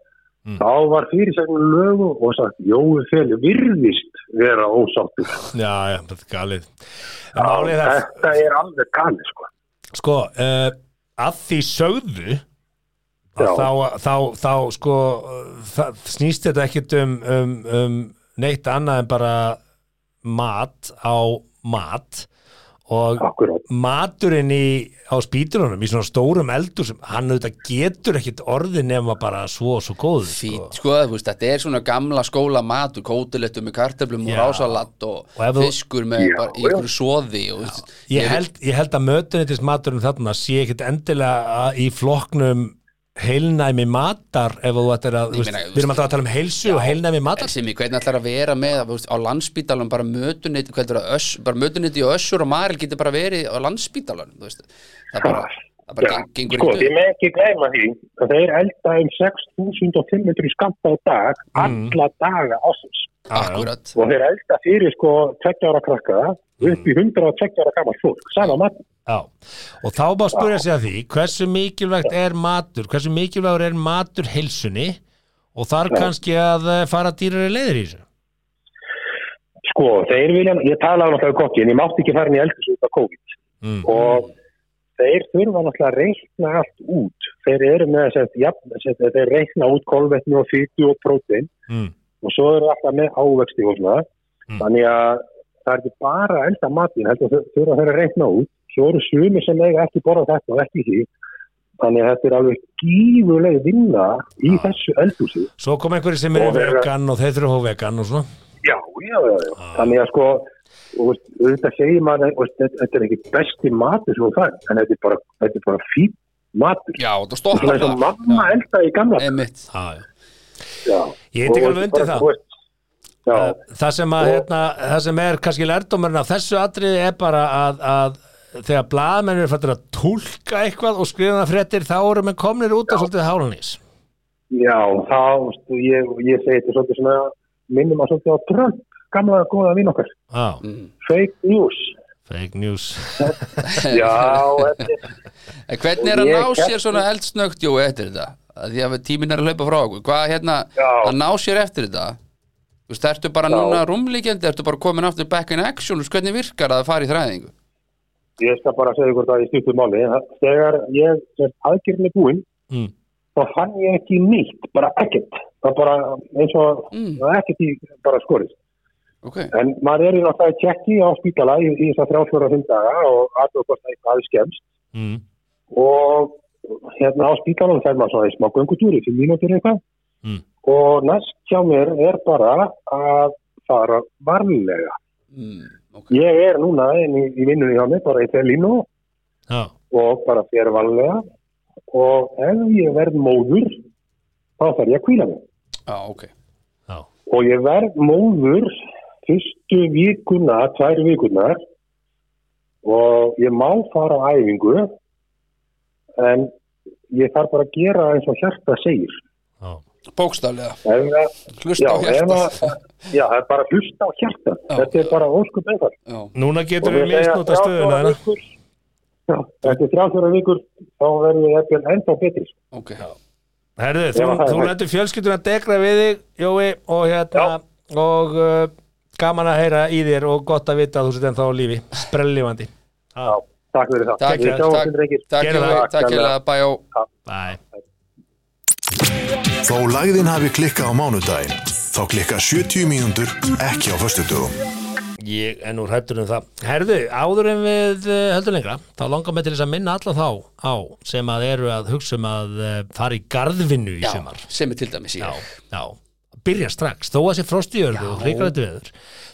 [SPEAKER 3] Mm.
[SPEAKER 4] þá var fyrirsæknum lögu og sagt Jói Feli virðist vera ósáttur
[SPEAKER 3] já, já, þetta er galið en málið er það,
[SPEAKER 4] þetta er alveg kanni sko.
[SPEAKER 3] sko uh, að því sögðu að
[SPEAKER 4] Já.
[SPEAKER 3] þá, þá, þá sko, eh, það snýst þetta ekkit um, um, um neitt annað en bara mat á mat og
[SPEAKER 4] akkurát,
[SPEAKER 3] maturinn í, á spýturunum í svona stórum eldur sem hann auðvitað getur ekkit orði nema bara svo og svo góð sko.
[SPEAKER 2] Fýt, sko, þú veist, þetta er svona gamla skóla matur, kótilettur með kartöflum og
[SPEAKER 3] Já.
[SPEAKER 2] rásalatt og,
[SPEAKER 3] Og ef þú-
[SPEAKER 2] fiskur með
[SPEAKER 4] Já,
[SPEAKER 2] bara, í
[SPEAKER 4] já.
[SPEAKER 2] einhverju soði og, þú veist,
[SPEAKER 3] ég, held, ég held að mötunetis maturinn þarna sé ekkit endilega að- í flokknum heilnæmi matar ef þú ættir
[SPEAKER 2] Ég
[SPEAKER 3] að, þú veist,
[SPEAKER 2] meina, þú
[SPEAKER 3] við erum
[SPEAKER 2] veist-
[SPEAKER 3] alltaf að tala um heilsu og heilnæmi matar
[SPEAKER 2] sem ég hvernig ætlar að vera með þú veist, á landspítalum bara mötuneyti hvernig að öss, bara mötuneyti og össur og maril getur bara verið á landspítalum þú veist, það bara, það bara
[SPEAKER 4] Já,
[SPEAKER 2] geng, gengur
[SPEAKER 4] sko,
[SPEAKER 2] ekki
[SPEAKER 4] ég með ekki gleyma því að þeir elda um 6500 skamta á dag
[SPEAKER 3] Mm.
[SPEAKER 4] alla daga ásins
[SPEAKER 2] upp akkurat,
[SPEAKER 4] og þeir elda fyrir sko 20 ára krakka
[SPEAKER 3] Mm.
[SPEAKER 4] upp í 120 ára gammal fólk sama mat
[SPEAKER 3] Já, og þá bara spurja sig að því hversu mikilvægt er matur hversu mikilvægur er matur heilsunni og þar
[SPEAKER 4] Já.
[SPEAKER 3] kannski að eh, fara dýrari leiðir í þessu
[SPEAKER 4] sko, þeir vilja, ég talaði náttúrulega um kokki en ég mátti ekki fara inn í eldur út af COVID
[SPEAKER 3] mm.
[SPEAKER 4] og þeir þurfa náttúrulega að reikna allt út þeir eru með þess að jafn, sem sagt, þeir reikna út kolvetni og fytu og prótein
[SPEAKER 3] Mm.
[SPEAKER 4] og svo eru alltaf með ávexti og svona
[SPEAKER 3] Mm.
[SPEAKER 4] þannig að það er ekki bara að elda matin heldur þau þurfa þeir að reikna út svo eru sumir sem eiga ekki borða þetta og ekki því þannig að þetta er alveg gífurleg vinna í þessu eldhúsi
[SPEAKER 3] Svo kom einhverju sem er
[SPEAKER 4] Og vera-
[SPEAKER 3] vegan og þeir þurfa að fá vegan og svona
[SPEAKER 4] Já, já, já, já. Þannig að sko, og veist, auðvitað segir maður, og veist, þetta þetta er ekki besti matur sem þú fær, en þetta er bara, þetta er bara fín matur.
[SPEAKER 2] já, það
[SPEAKER 4] Svona
[SPEAKER 2] stoppar
[SPEAKER 4] eins og
[SPEAKER 2] það
[SPEAKER 4] mamma elda í gamla.
[SPEAKER 2] einmitt,
[SPEAKER 3] Já, já.
[SPEAKER 4] Já.
[SPEAKER 3] Eh, Ég tek
[SPEAKER 4] Og
[SPEAKER 3] alveg undir
[SPEAKER 4] bara,
[SPEAKER 3] það. Eh.
[SPEAKER 4] þú veist, Já,
[SPEAKER 3] Það sem, að,
[SPEAKER 4] Og-
[SPEAKER 3] hérna, það sem er kannski lærdómurinn af þessu atriði er bara að, að þegar blaðmenn eru fættir að tólka eitthvað og skrifa það fréttir þá eru menn komnir út af svolítið hálunís
[SPEAKER 4] já, þá, veistu, ég, ég segi þetta svolítið svona, minnum að svolítið á Trump, gamla góða vinn okkar,
[SPEAKER 3] Já,
[SPEAKER 4] fake news.
[SPEAKER 3] fake news
[SPEAKER 2] Eh.
[SPEAKER 4] Já, þetta er,
[SPEAKER 2] en hvernig er að
[SPEAKER 4] Ég
[SPEAKER 2] ná
[SPEAKER 4] gæti-
[SPEAKER 2] sér svona eldsnögt jú, eftir þetta, að því að tíminn er að hlaupa frá okkur hvað hérna,
[SPEAKER 4] Já.
[SPEAKER 2] að ná sér eftir þetta þú veist, ertu bara
[SPEAKER 4] Já.
[SPEAKER 2] núna rúmlíkjandi, ertu bara komin aftur back in action, þú veist, hvernig virkar það að fara í þræðingu
[SPEAKER 4] ég skal bara segja ykkur það í stjúptum máli, þegar ég, sem aðgjörn er búinn,
[SPEAKER 3] mm.
[SPEAKER 4] þá fann ég ekki nýtt, bara ekkert. Það bara eins og
[SPEAKER 2] Mm.
[SPEAKER 4] það er ekkert í bara skorist.
[SPEAKER 2] ok,
[SPEAKER 4] En maður er í náttúrulega tjekki á spítala í, í þess að þrjáfjóra og fimm daga og aðtöðu hvort það eitthvað hafi skemmst.
[SPEAKER 3] Mm.
[SPEAKER 4] Og hérna á spítalanum fer maður svona í smá göngutúri, fimm mínútur eitthvað.
[SPEAKER 3] Mm.
[SPEAKER 4] Og næst hjá mér er bara að fara varlega.
[SPEAKER 2] mm, ok
[SPEAKER 4] Ég er núna inn í, í vinnunni hjá mér, bara í telínu
[SPEAKER 3] Já,
[SPEAKER 4] og bara fyrir varlega og ef ég verð móður þá þarf ég að kvíla mig
[SPEAKER 2] Já, ok
[SPEAKER 3] Já.
[SPEAKER 4] og ég verð móður fyrstu vikuna, tvær vikunar og ég má fara á æfingu en ég þarf bara að gera eins og hjarta segir
[SPEAKER 3] Já.
[SPEAKER 2] Bókstaflega,
[SPEAKER 4] ef það, já, hérna-
[SPEAKER 2] hlusta á
[SPEAKER 4] ef
[SPEAKER 2] hjarta
[SPEAKER 4] það já, það er bara að hlusta á hjarta
[SPEAKER 2] Já.
[SPEAKER 4] þetta er bara óskup einfalt
[SPEAKER 2] Já,
[SPEAKER 3] Núna
[SPEAKER 4] Og
[SPEAKER 3] getur við
[SPEAKER 4] þegar
[SPEAKER 3] misnóta
[SPEAKER 4] 34
[SPEAKER 3] stöðuna hérna.
[SPEAKER 4] vikur, já, eftir 30 vikur þá verður ég eftir ennþá betri
[SPEAKER 2] ok
[SPEAKER 3] Herðu,
[SPEAKER 4] Já,
[SPEAKER 3] þú,
[SPEAKER 4] það er
[SPEAKER 3] þú
[SPEAKER 4] hægt.
[SPEAKER 3] lætur fjölskylduna degra við þig, Jói, og hérna, og uh, gaman að heyra í þér og gott að vita að þú sett ennþá á lífi, sprellifandi.
[SPEAKER 4] já, takk fyrir það
[SPEAKER 2] Takk,
[SPEAKER 4] Við sjáum
[SPEAKER 2] takk,
[SPEAKER 4] sem drengir.
[SPEAKER 2] takk,
[SPEAKER 3] Gerðu það.
[SPEAKER 2] Jói, takk, takk, takk,
[SPEAKER 3] Bye.
[SPEAKER 1] Þó lægðin hafi klikkað á mánudaginn, þá klikka 70 mínútur ekki á föstudögum.
[SPEAKER 3] Ég er nú hættur um það. Herðu, áður en við eh, höldum lengra, þá langar mig til þess að minna alla þá á sem að eru að hugsa um að eh, fara í garðvinnu í
[SPEAKER 2] já,
[SPEAKER 3] sumar.
[SPEAKER 2] sem er til dæmis ég
[SPEAKER 3] Já, já. Byrja strax, þó að sé frost í örðu og hrikalegt veður.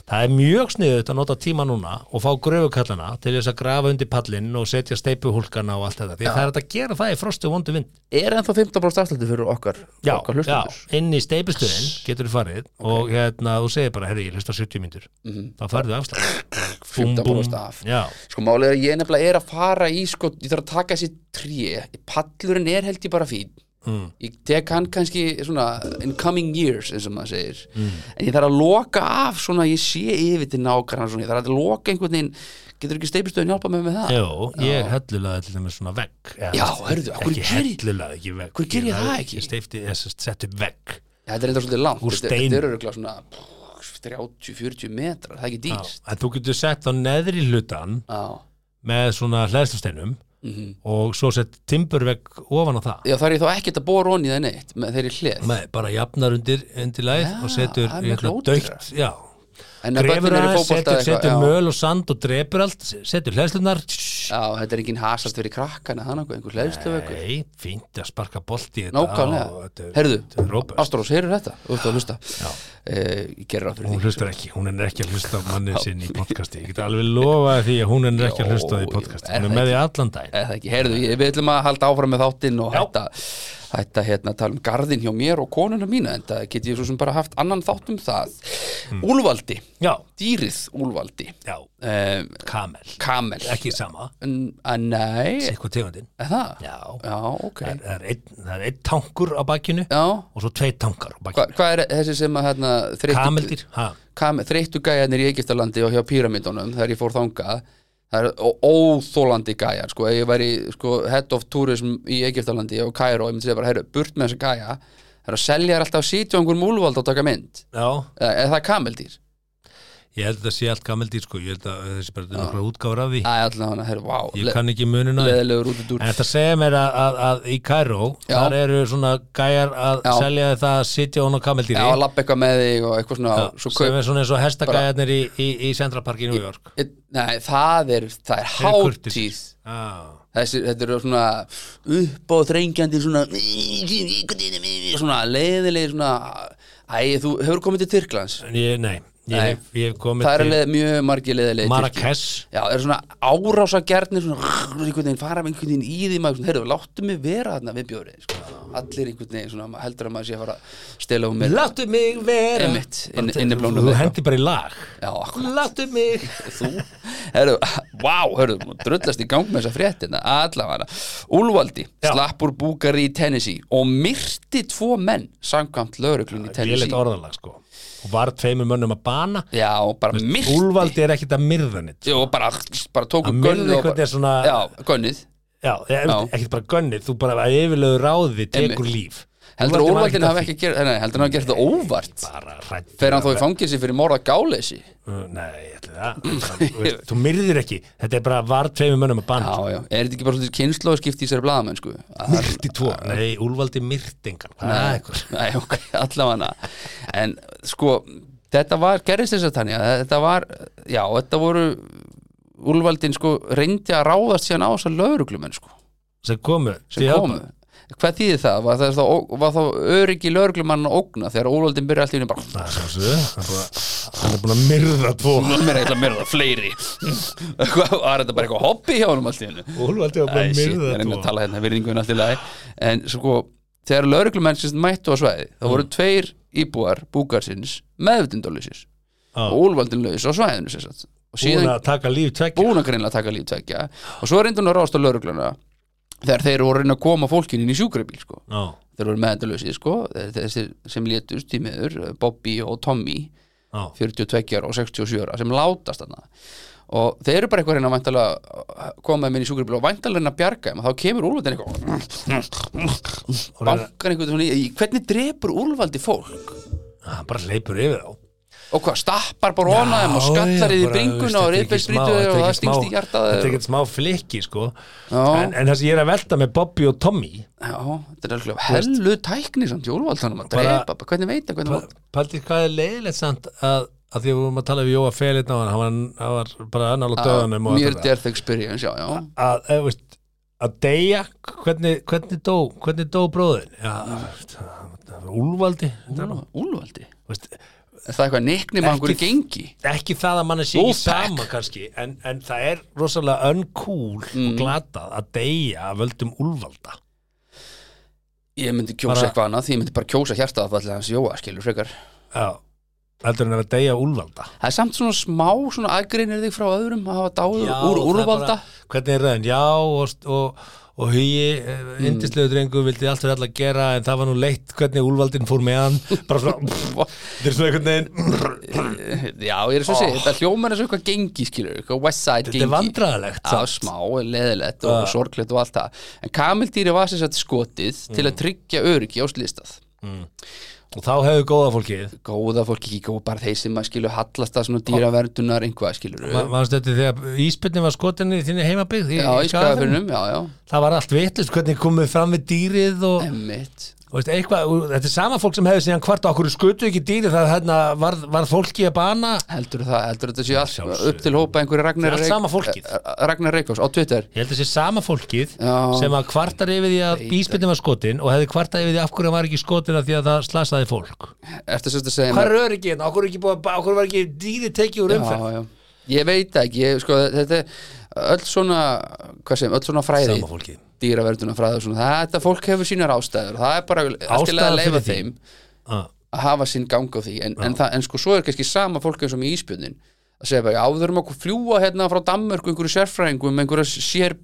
[SPEAKER 3] Það er mjög sniðut að nota tíma núna og fá gröfukallana til þess að grafa undir pallinn og setja steipuhulkana og allt þetta. Því að það er hægt að gera það í frostu vondu vind.
[SPEAKER 2] er ennþá 15% afslutu fyrir okkar
[SPEAKER 3] Já,
[SPEAKER 2] okkar
[SPEAKER 3] já,
[SPEAKER 2] hlustendur
[SPEAKER 3] inn í steipustuðin getur þú farið og hérna, þú segir bara, herri, ég hlusta 70 myndur. Mm -hmm. Það farðu afslæð.
[SPEAKER 2] 15% af.
[SPEAKER 3] Já,
[SPEAKER 2] sko málið er að ég nefnilega er að fara í sko, ég þarf að taka þessi tré pallurinn er held ég bara fín mm. ég tek hann kannski svona in coming years eins og maður segir
[SPEAKER 3] Mm.
[SPEAKER 2] en ég þarf að loka af svona að ég sé yfir til nákvæmna svona, ég þarf að loka einhvern veginn getur ekki steypistöðin hjálpa mig með það
[SPEAKER 3] Jó, ég hellulaði til dæmis svona vegg Eða,
[SPEAKER 2] Já,
[SPEAKER 3] þú veist,
[SPEAKER 2] heyrðu, af hverju
[SPEAKER 3] ekki
[SPEAKER 2] geri-
[SPEAKER 3] hellulaði ekki vegg
[SPEAKER 2] Af hverju geri ég það
[SPEAKER 3] lagði-
[SPEAKER 2] ekki?
[SPEAKER 3] Ég steifti, ég sem sagt sett upp vegg
[SPEAKER 2] þetta er enda svolítið langt,
[SPEAKER 3] Úr
[SPEAKER 2] þetta,
[SPEAKER 3] steini.
[SPEAKER 2] þetta er öruglega svona pff, 30-40 metrar, það er ekki
[SPEAKER 3] Já,
[SPEAKER 2] dýrst
[SPEAKER 3] en þú getur sett á neðri hlutan
[SPEAKER 2] já.
[SPEAKER 3] með svona hlæðslusteinum
[SPEAKER 2] Mhm.
[SPEAKER 3] og svo sett timburvegg ofan á það
[SPEAKER 2] já, það er ég þá ekkert að bóra onni það neitt með þeirri hlið
[SPEAKER 3] með bara jafnar undir, undir læð
[SPEAKER 2] Já,
[SPEAKER 3] og setur
[SPEAKER 2] það er
[SPEAKER 3] hérna,
[SPEAKER 2] miklu ódýrara.
[SPEAKER 3] dögt já,
[SPEAKER 2] en að
[SPEAKER 3] grefur
[SPEAKER 2] börnin eru í
[SPEAKER 3] aðeins,
[SPEAKER 2] fótbolta eða
[SPEAKER 3] setur,
[SPEAKER 2] eitthvað,
[SPEAKER 3] setur
[SPEAKER 2] já.
[SPEAKER 3] möl og sand og drepur allt setur hlæðslunar
[SPEAKER 2] Já, þetta er enginn hasast fyrir krakkana hann eitthvað, einhver hlæðslu eitthvað
[SPEAKER 3] Nei, fínt að sparka bolti í þetta og
[SPEAKER 2] Nákvæmlega,
[SPEAKER 3] þetta er- þetta er
[SPEAKER 2] heyrðu,
[SPEAKER 3] Róbert.
[SPEAKER 2] Ástrós, heyrðu þetta Þú ert að hlusta Eh, Ég gerir það
[SPEAKER 3] Hún
[SPEAKER 2] fyrir því
[SPEAKER 3] hlustar ekki, hún er ekki að hlusta á mannin sinn í podcasti, ég get alveg lofa því að hún er ekki að hlusta á því í
[SPEAKER 2] Jó,
[SPEAKER 3] podcasti
[SPEAKER 2] jú, er
[SPEAKER 3] hún er
[SPEAKER 2] það
[SPEAKER 3] með því allan dag
[SPEAKER 2] Eða ekki, heyrðu, ég, við ætlum að halda áfram með þáttinn og
[SPEAKER 3] Já.
[SPEAKER 2] hætta, hætta hérna að tala um garðin hjá mér og konuna mína en það get ég svo sem bara haft annan þátt um það
[SPEAKER 3] Hmm.
[SPEAKER 2] Úlvaldi,
[SPEAKER 3] Já,
[SPEAKER 2] dýrið Úlvaldi
[SPEAKER 3] já,
[SPEAKER 2] um,
[SPEAKER 3] kamel,
[SPEAKER 2] Kamel
[SPEAKER 3] ekki sama
[SPEAKER 2] En- að Nei,
[SPEAKER 3] eitthvað tegundin
[SPEAKER 2] er það?
[SPEAKER 3] Já,
[SPEAKER 2] Já, ok
[SPEAKER 3] það er einn það er einn tankur á bakinu
[SPEAKER 2] Já,
[SPEAKER 3] og svo tveit tankar á
[SPEAKER 2] Hva-
[SPEAKER 3] bakinu
[SPEAKER 2] hvað er þessi sem að hérna, þreyttu-
[SPEAKER 3] Kameldir, ha,
[SPEAKER 2] kam, þreyttu gæjarnir í Egiptalandi og hjá píramindunum þegar ég fór þangað það er ó- óþólandi gæjar sko, ef ég væri sko, head of tourism í Egiptalandi og Kairó, ég myndi segja bara, heyrðu, burt með þessa gæja það er að selja þér alltaf sítið á einhver múlvald að taka mynd,
[SPEAKER 3] já
[SPEAKER 2] eða eða það er kameldýr
[SPEAKER 3] ég held að það sé allt kameldir sko, ég held að þessi bara nokkra útgáfur af því,
[SPEAKER 2] það er alltaf hann að, heyrðu,
[SPEAKER 3] ég
[SPEAKER 2] vá
[SPEAKER 3] kann ekki munina
[SPEAKER 2] leðilegur út út úr
[SPEAKER 3] En þetta segja mér að, að, að í Kairó
[SPEAKER 2] Já.
[SPEAKER 3] þar eru svona gæjar að
[SPEAKER 2] Já.
[SPEAKER 3] selja þér það að sitja hún á kameldýri
[SPEAKER 2] já, að lappa eitthvað með þig og eitthvað svona
[SPEAKER 3] Já,
[SPEAKER 2] svo
[SPEAKER 3] sem
[SPEAKER 2] kaup,
[SPEAKER 3] er svona eins og hestagæðarnir í, í, í Central Park í New York
[SPEAKER 2] e, nei, það er það er
[SPEAKER 3] Eru kurteisir.
[SPEAKER 2] hátíð
[SPEAKER 3] ah.
[SPEAKER 2] Þessi, þetta eru svona upp og þrengjandi svona svona leiðilegir svona æ, þú hefur komið til Tyrklands
[SPEAKER 3] ég, Nei, ég,
[SPEAKER 2] Nei.
[SPEAKER 3] Hef, ég hef komið
[SPEAKER 2] það eru
[SPEAKER 3] til
[SPEAKER 2] leið, mjög margir leiðilegir
[SPEAKER 3] Marrakesh
[SPEAKER 2] Já, það eru svona árásagjarnir svona einhvern veginn fara með einhvern veginn í því maður, svona, heyrðu, láttu mig vera þarna við bjórið sko. allir einhvern veginn, svona, maður heldur að maður sé að fara að stela um mér
[SPEAKER 3] Láttu mig vera
[SPEAKER 2] Einmitt, inn-
[SPEAKER 3] Bara-
[SPEAKER 2] inniblónum
[SPEAKER 3] Þú
[SPEAKER 2] þetta.
[SPEAKER 3] hendi bara í lag
[SPEAKER 2] Já, akkurat.
[SPEAKER 3] Láttu mig
[SPEAKER 2] þú, herru, vá, herru, drullast í gang með þessa fréttina, allavega Úlvaldi,
[SPEAKER 3] Já.
[SPEAKER 2] slapp úr búkari í Tennessee og myrti tvo menn samkvæmt lögreglun í
[SPEAKER 3] Ég leitt
[SPEAKER 2] Tennessee
[SPEAKER 3] orðalag sko og var tveimur mönnum að bana
[SPEAKER 2] Já, bara myrti
[SPEAKER 3] Úlvaldi er ekkit að myrða sko. nýtt
[SPEAKER 2] Já, og bara, bara tóku
[SPEAKER 3] Að myrða
[SPEAKER 2] gönnu og
[SPEAKER 3] einhvern
[SPEAKER 2] bara-
[SPEAKER 3] er svona-
[SPEAKER 2] Já, gönnið
[SPEAKER 3] Já, ég-
[SPEAKER 2] Já.
[SPEAKER 3] ekkit bara gönnið þú bara að yfirlegu ráði tekur
[SPEAKER 2] Einmitt.
[SPEAKER 3] líf
[SPEAKER 2] Heldur að
[SPEAKER 3] var
[SPEAKER 2] Úlvaldin
[SPEAKER 3] ekkert að
[SPEAKER 2] hafi
[SPEAKER 3] því.
[SPEAKER 2] ekki gert, nei, heldur hann hafi gert það óvart
[SPEAKER 3] bara hrætt
[SPEAKER 2] Fer hann þó í fangelsi fyrir morða gáleysi
[SPEAKER 3] Nei, ætli það Þú veist, Þú myrðir ekki, þetta er bara var tveimur mönnum að bana
[SPEAKER 2] Já, já, er þetta ekki bara svolítið kynslu og skipti í sér blaðamenn, sko
[SPEAKER 3] Myrti tvo, Ah, nei, Úlvaldi myrtingan Nei,
[SPEAKER 2] Nei, ok, allavega En sko, þetta var gerðist þess að þannig að þetta var já, þetta voru Úlvaldin sko reyndi að ráðast síðan á þess að lauruglumenn sko
[SPEAKER 3] sem komu
[SPEAKER 2] sem komu Hvað þýðir það? Var það, þá, var þá öryggi lögreglumann að ógna þegar ólöldin byrja allt í henni bara
[SPEAKER 3] Það er sjálfsögðu, hann er búinn að- Ah, hann er búin að myrða tvo
[SPEAKER 2] Mér er eitthvað mér það fleiri Hvað var þetta bara eitthvað hobby hjá honum allt í henni?
[SPEAKER 3] Úlvaldi var
[SPEAKER 2] Æ,
[SPEAKER 3] búin að
[SPEAKER 2] shit,
[SPEAKER 3] myrða
[SPEAKER 2] ég reyndi að
[SPEAKER 3] tvo
[SPEAKER 2] tala hérna virðingun allt í lagi En sko, þegar lögreglumenn sinns mættu á svæði
[SPEAKER 3] Mm.
[SPEAKER 2] þá voru tveir íbúar búkarsins meðvitundalösir
[SPEAKER 3] Já.
[SPEAKER 2] og úlvaldin laus á svæðinu sem sagt. og
[SPEAKER 3] Búin
[SPEAKER 2] síðan
[SPEAKER 3] Ah, að taka líf tvekja
[SPEAKER 2] búin að greinlega taka líf tvekja og svo reyndi hún að rásta lögregluna þegar þeir voru að reyna að koma fólkinu inn í sjúkrabíl sko.
[SPEAKER 3] Já,
[SPEAKER 2] þeir voru meðendalösið sko. Þeir- þessir sem létust í meður Bobby og Tommy
[SPEAKER 3] já,
[SPEAKER 2] 42 ára og 67 ára sem látast þarna og þeir eru bara eitthvað að reyna væntalega að koma þeim inn í sjúkrabíl og væntalega reyna að bjarga þeim og þá kemur úlvaldin eitthvað
[SPEAKER 3] Og reyna-
[SPEAKER 2] bankar einhvern svona í, í- hvernig drepur úlvaldi fólk
[SPEAKER 3] hann bara leipur yfir þá
[SPEAKER 2] og hvað, stappar bara ofna þeim og skallar í bringuna og reyðbeinsbrítu og það stingst í hjartað
[SPEAKER 3] Þetta er
[SPEAKER 2] og-
[SPEAKER 3] ekkert smá flikki sko
[SPEAKER 2] Já.
[SPEAKER 3] en, en það sem ég er að velta með Bobby og Tommy
[SPEAKER 2] Já, þetta er alveg hellu tækni samt jólvaldanum að
[SPEAKER 3] Bara-
[SPEAKER 2] drepa, bara, hvernig veit það hvernig veit
[SPEAKER 3] Paldi, hvað er leiðilegt samt að, að því að við vorum að tala við Jóa Felitna og hann, hann, var- hann var bara annála döðanum og
[SPEAKER 2] Ah, Mér
[SPEAKER 3] allt þetta.
[SPEAKER 2] death experience, já, já
[SPEAKER 3] að, að, veist, að deyja hvernig, hvernig dó, hvernig dó bróðin já, mm. úlvaldi
[SPEAKER 2] Úlvaldi,
[SPEAKER 3] veist,
[SPEAKER 2] er það eitthvað nikni með einhverju gengi?
[SPEAKER 3] ekki það að mann sé ekki
[SPEAKER 2] Wolfpack.
[SPEAKER 3] sama kannski, en, en það er rosalega uncool og glatað að deyja að völdum úlvalda
[SPEAKER 2] Ég myndi kjósa
[SPEAKER 3] Bara-
[SPEAKER 2] eitthvað annað, því ég myndi bara kjósa hjartaðafallið hans Jóa, skilur frekar
[SPEAKER 3] já, heldur en að deyja af úlvalda
[SPEAKER 2] Það er samt svona smá, svona aðgreinir þig frá öðrum að hafa dáður
[SPEAKER 3] Já,
[SPEAKER 2] úr
[SPEAKER 3] það er
[SPEAKER 2] úrvalda
[SPEAKER 3] bara- hvernig er röðin, já og, og, og hugi, mm. indislegu drengu vildi allt fyrir alla gera en það var nú leitt hvernig úlvaldin fór með hann bara svona, þetta er svona einhvern veginn
[SPEAKER 2] Já, ég er svo að segja, þetta hljómar eins og eitthvað gengi, skilur, eitthvað westside gengi
[SPEAKER 3] þetta er vandræðalegt
[SPEAKER 2] Já, smá, leðilegt og sorglegt og allt það En kamildýri var sér satt skotið til að tryggja öryggi á slistað
[SPEAKER 3] og þá hefur góða fólkið
[SPEAKER 2] góða fólki ekki góð, bara þeir sem að skilu hallast að svona dýraverdunar einhvað skilur
[SPEAKER 3] Ma- mannstu þetta þegar íspilni var skotinni í þinni heimabyggð í-
[SPEAKER 2] já,
[SPEAKER 3] í
[SPEAKER 2] í skafurinnum,
[SPEAKER 3] Skagafirðinum?
[SPEAKER 2] já, já,
[SPEAKER 3] það var allt vitlust hvernig komið fram við dýrið og,
[SPEAKER 2] emmitt
[SPEAKER 3] og veist, eitthvað, og þetta er sama fólk sem hefur síðan hvart okkur skutu ekki dýrið það hérna, var, var fólki að bana
[SPEAKER 2] heldur það, heldur þetta sé allt
[SPEAKER 3] sjálfsögðu.
[SPEAKER 2] upp til hópa einhverju Ragnar
[SPEAKER 3] Allt
[SPEAKER 2] Reyk-
[SPEAKER 3] sama fólkið.
[SPEAKER 2] Eh, Ragnar Reykjós á Twitter
[SPEAKER 3] ég held að sé sama fólkið
[SPEAKER 2] Já.
[SPEAKER 3] sem að kvartar yfir því að íspilni var skotin og hefði kvartar yfir því af hverju hann var ekki skotin af því að það slasaði fólk
[SPEAKER 2] eftir sem þetta segja
[SPEAKER 3] hvað
[SPEAKER 2] mér-
[SPEAKER 3] er öryggi hérna, okkur, okkur var ekki dýrið tekið úr umferð
[SPEAKER 2] já, já. ég veit það ekki, ég, sko, þetta er öll svona, hvað sem, öll svona fræði
[SPEAKER 3] sama fólkið
[SPEAKER 2] dýraverdunar fræði og svona, það- þetta fólk hefur sínar ástæður það er bara allt í lagi að
[SPEAKER 3] Ástæða
[SPEAKER 2] leifa
[SPEAKER 3] fyrir því.
[SPEAKER 2] þeim
[SPEAKER 3] ah.
[SPEAKER 2] að hafa sinn gang á því en, en, það, en sko svo er kannski sama fólk eins og með íspjörnin að segja bara, já við þurfum að fljúa hérna frá Danmörku einhverju sérfræðingu með einhverja sér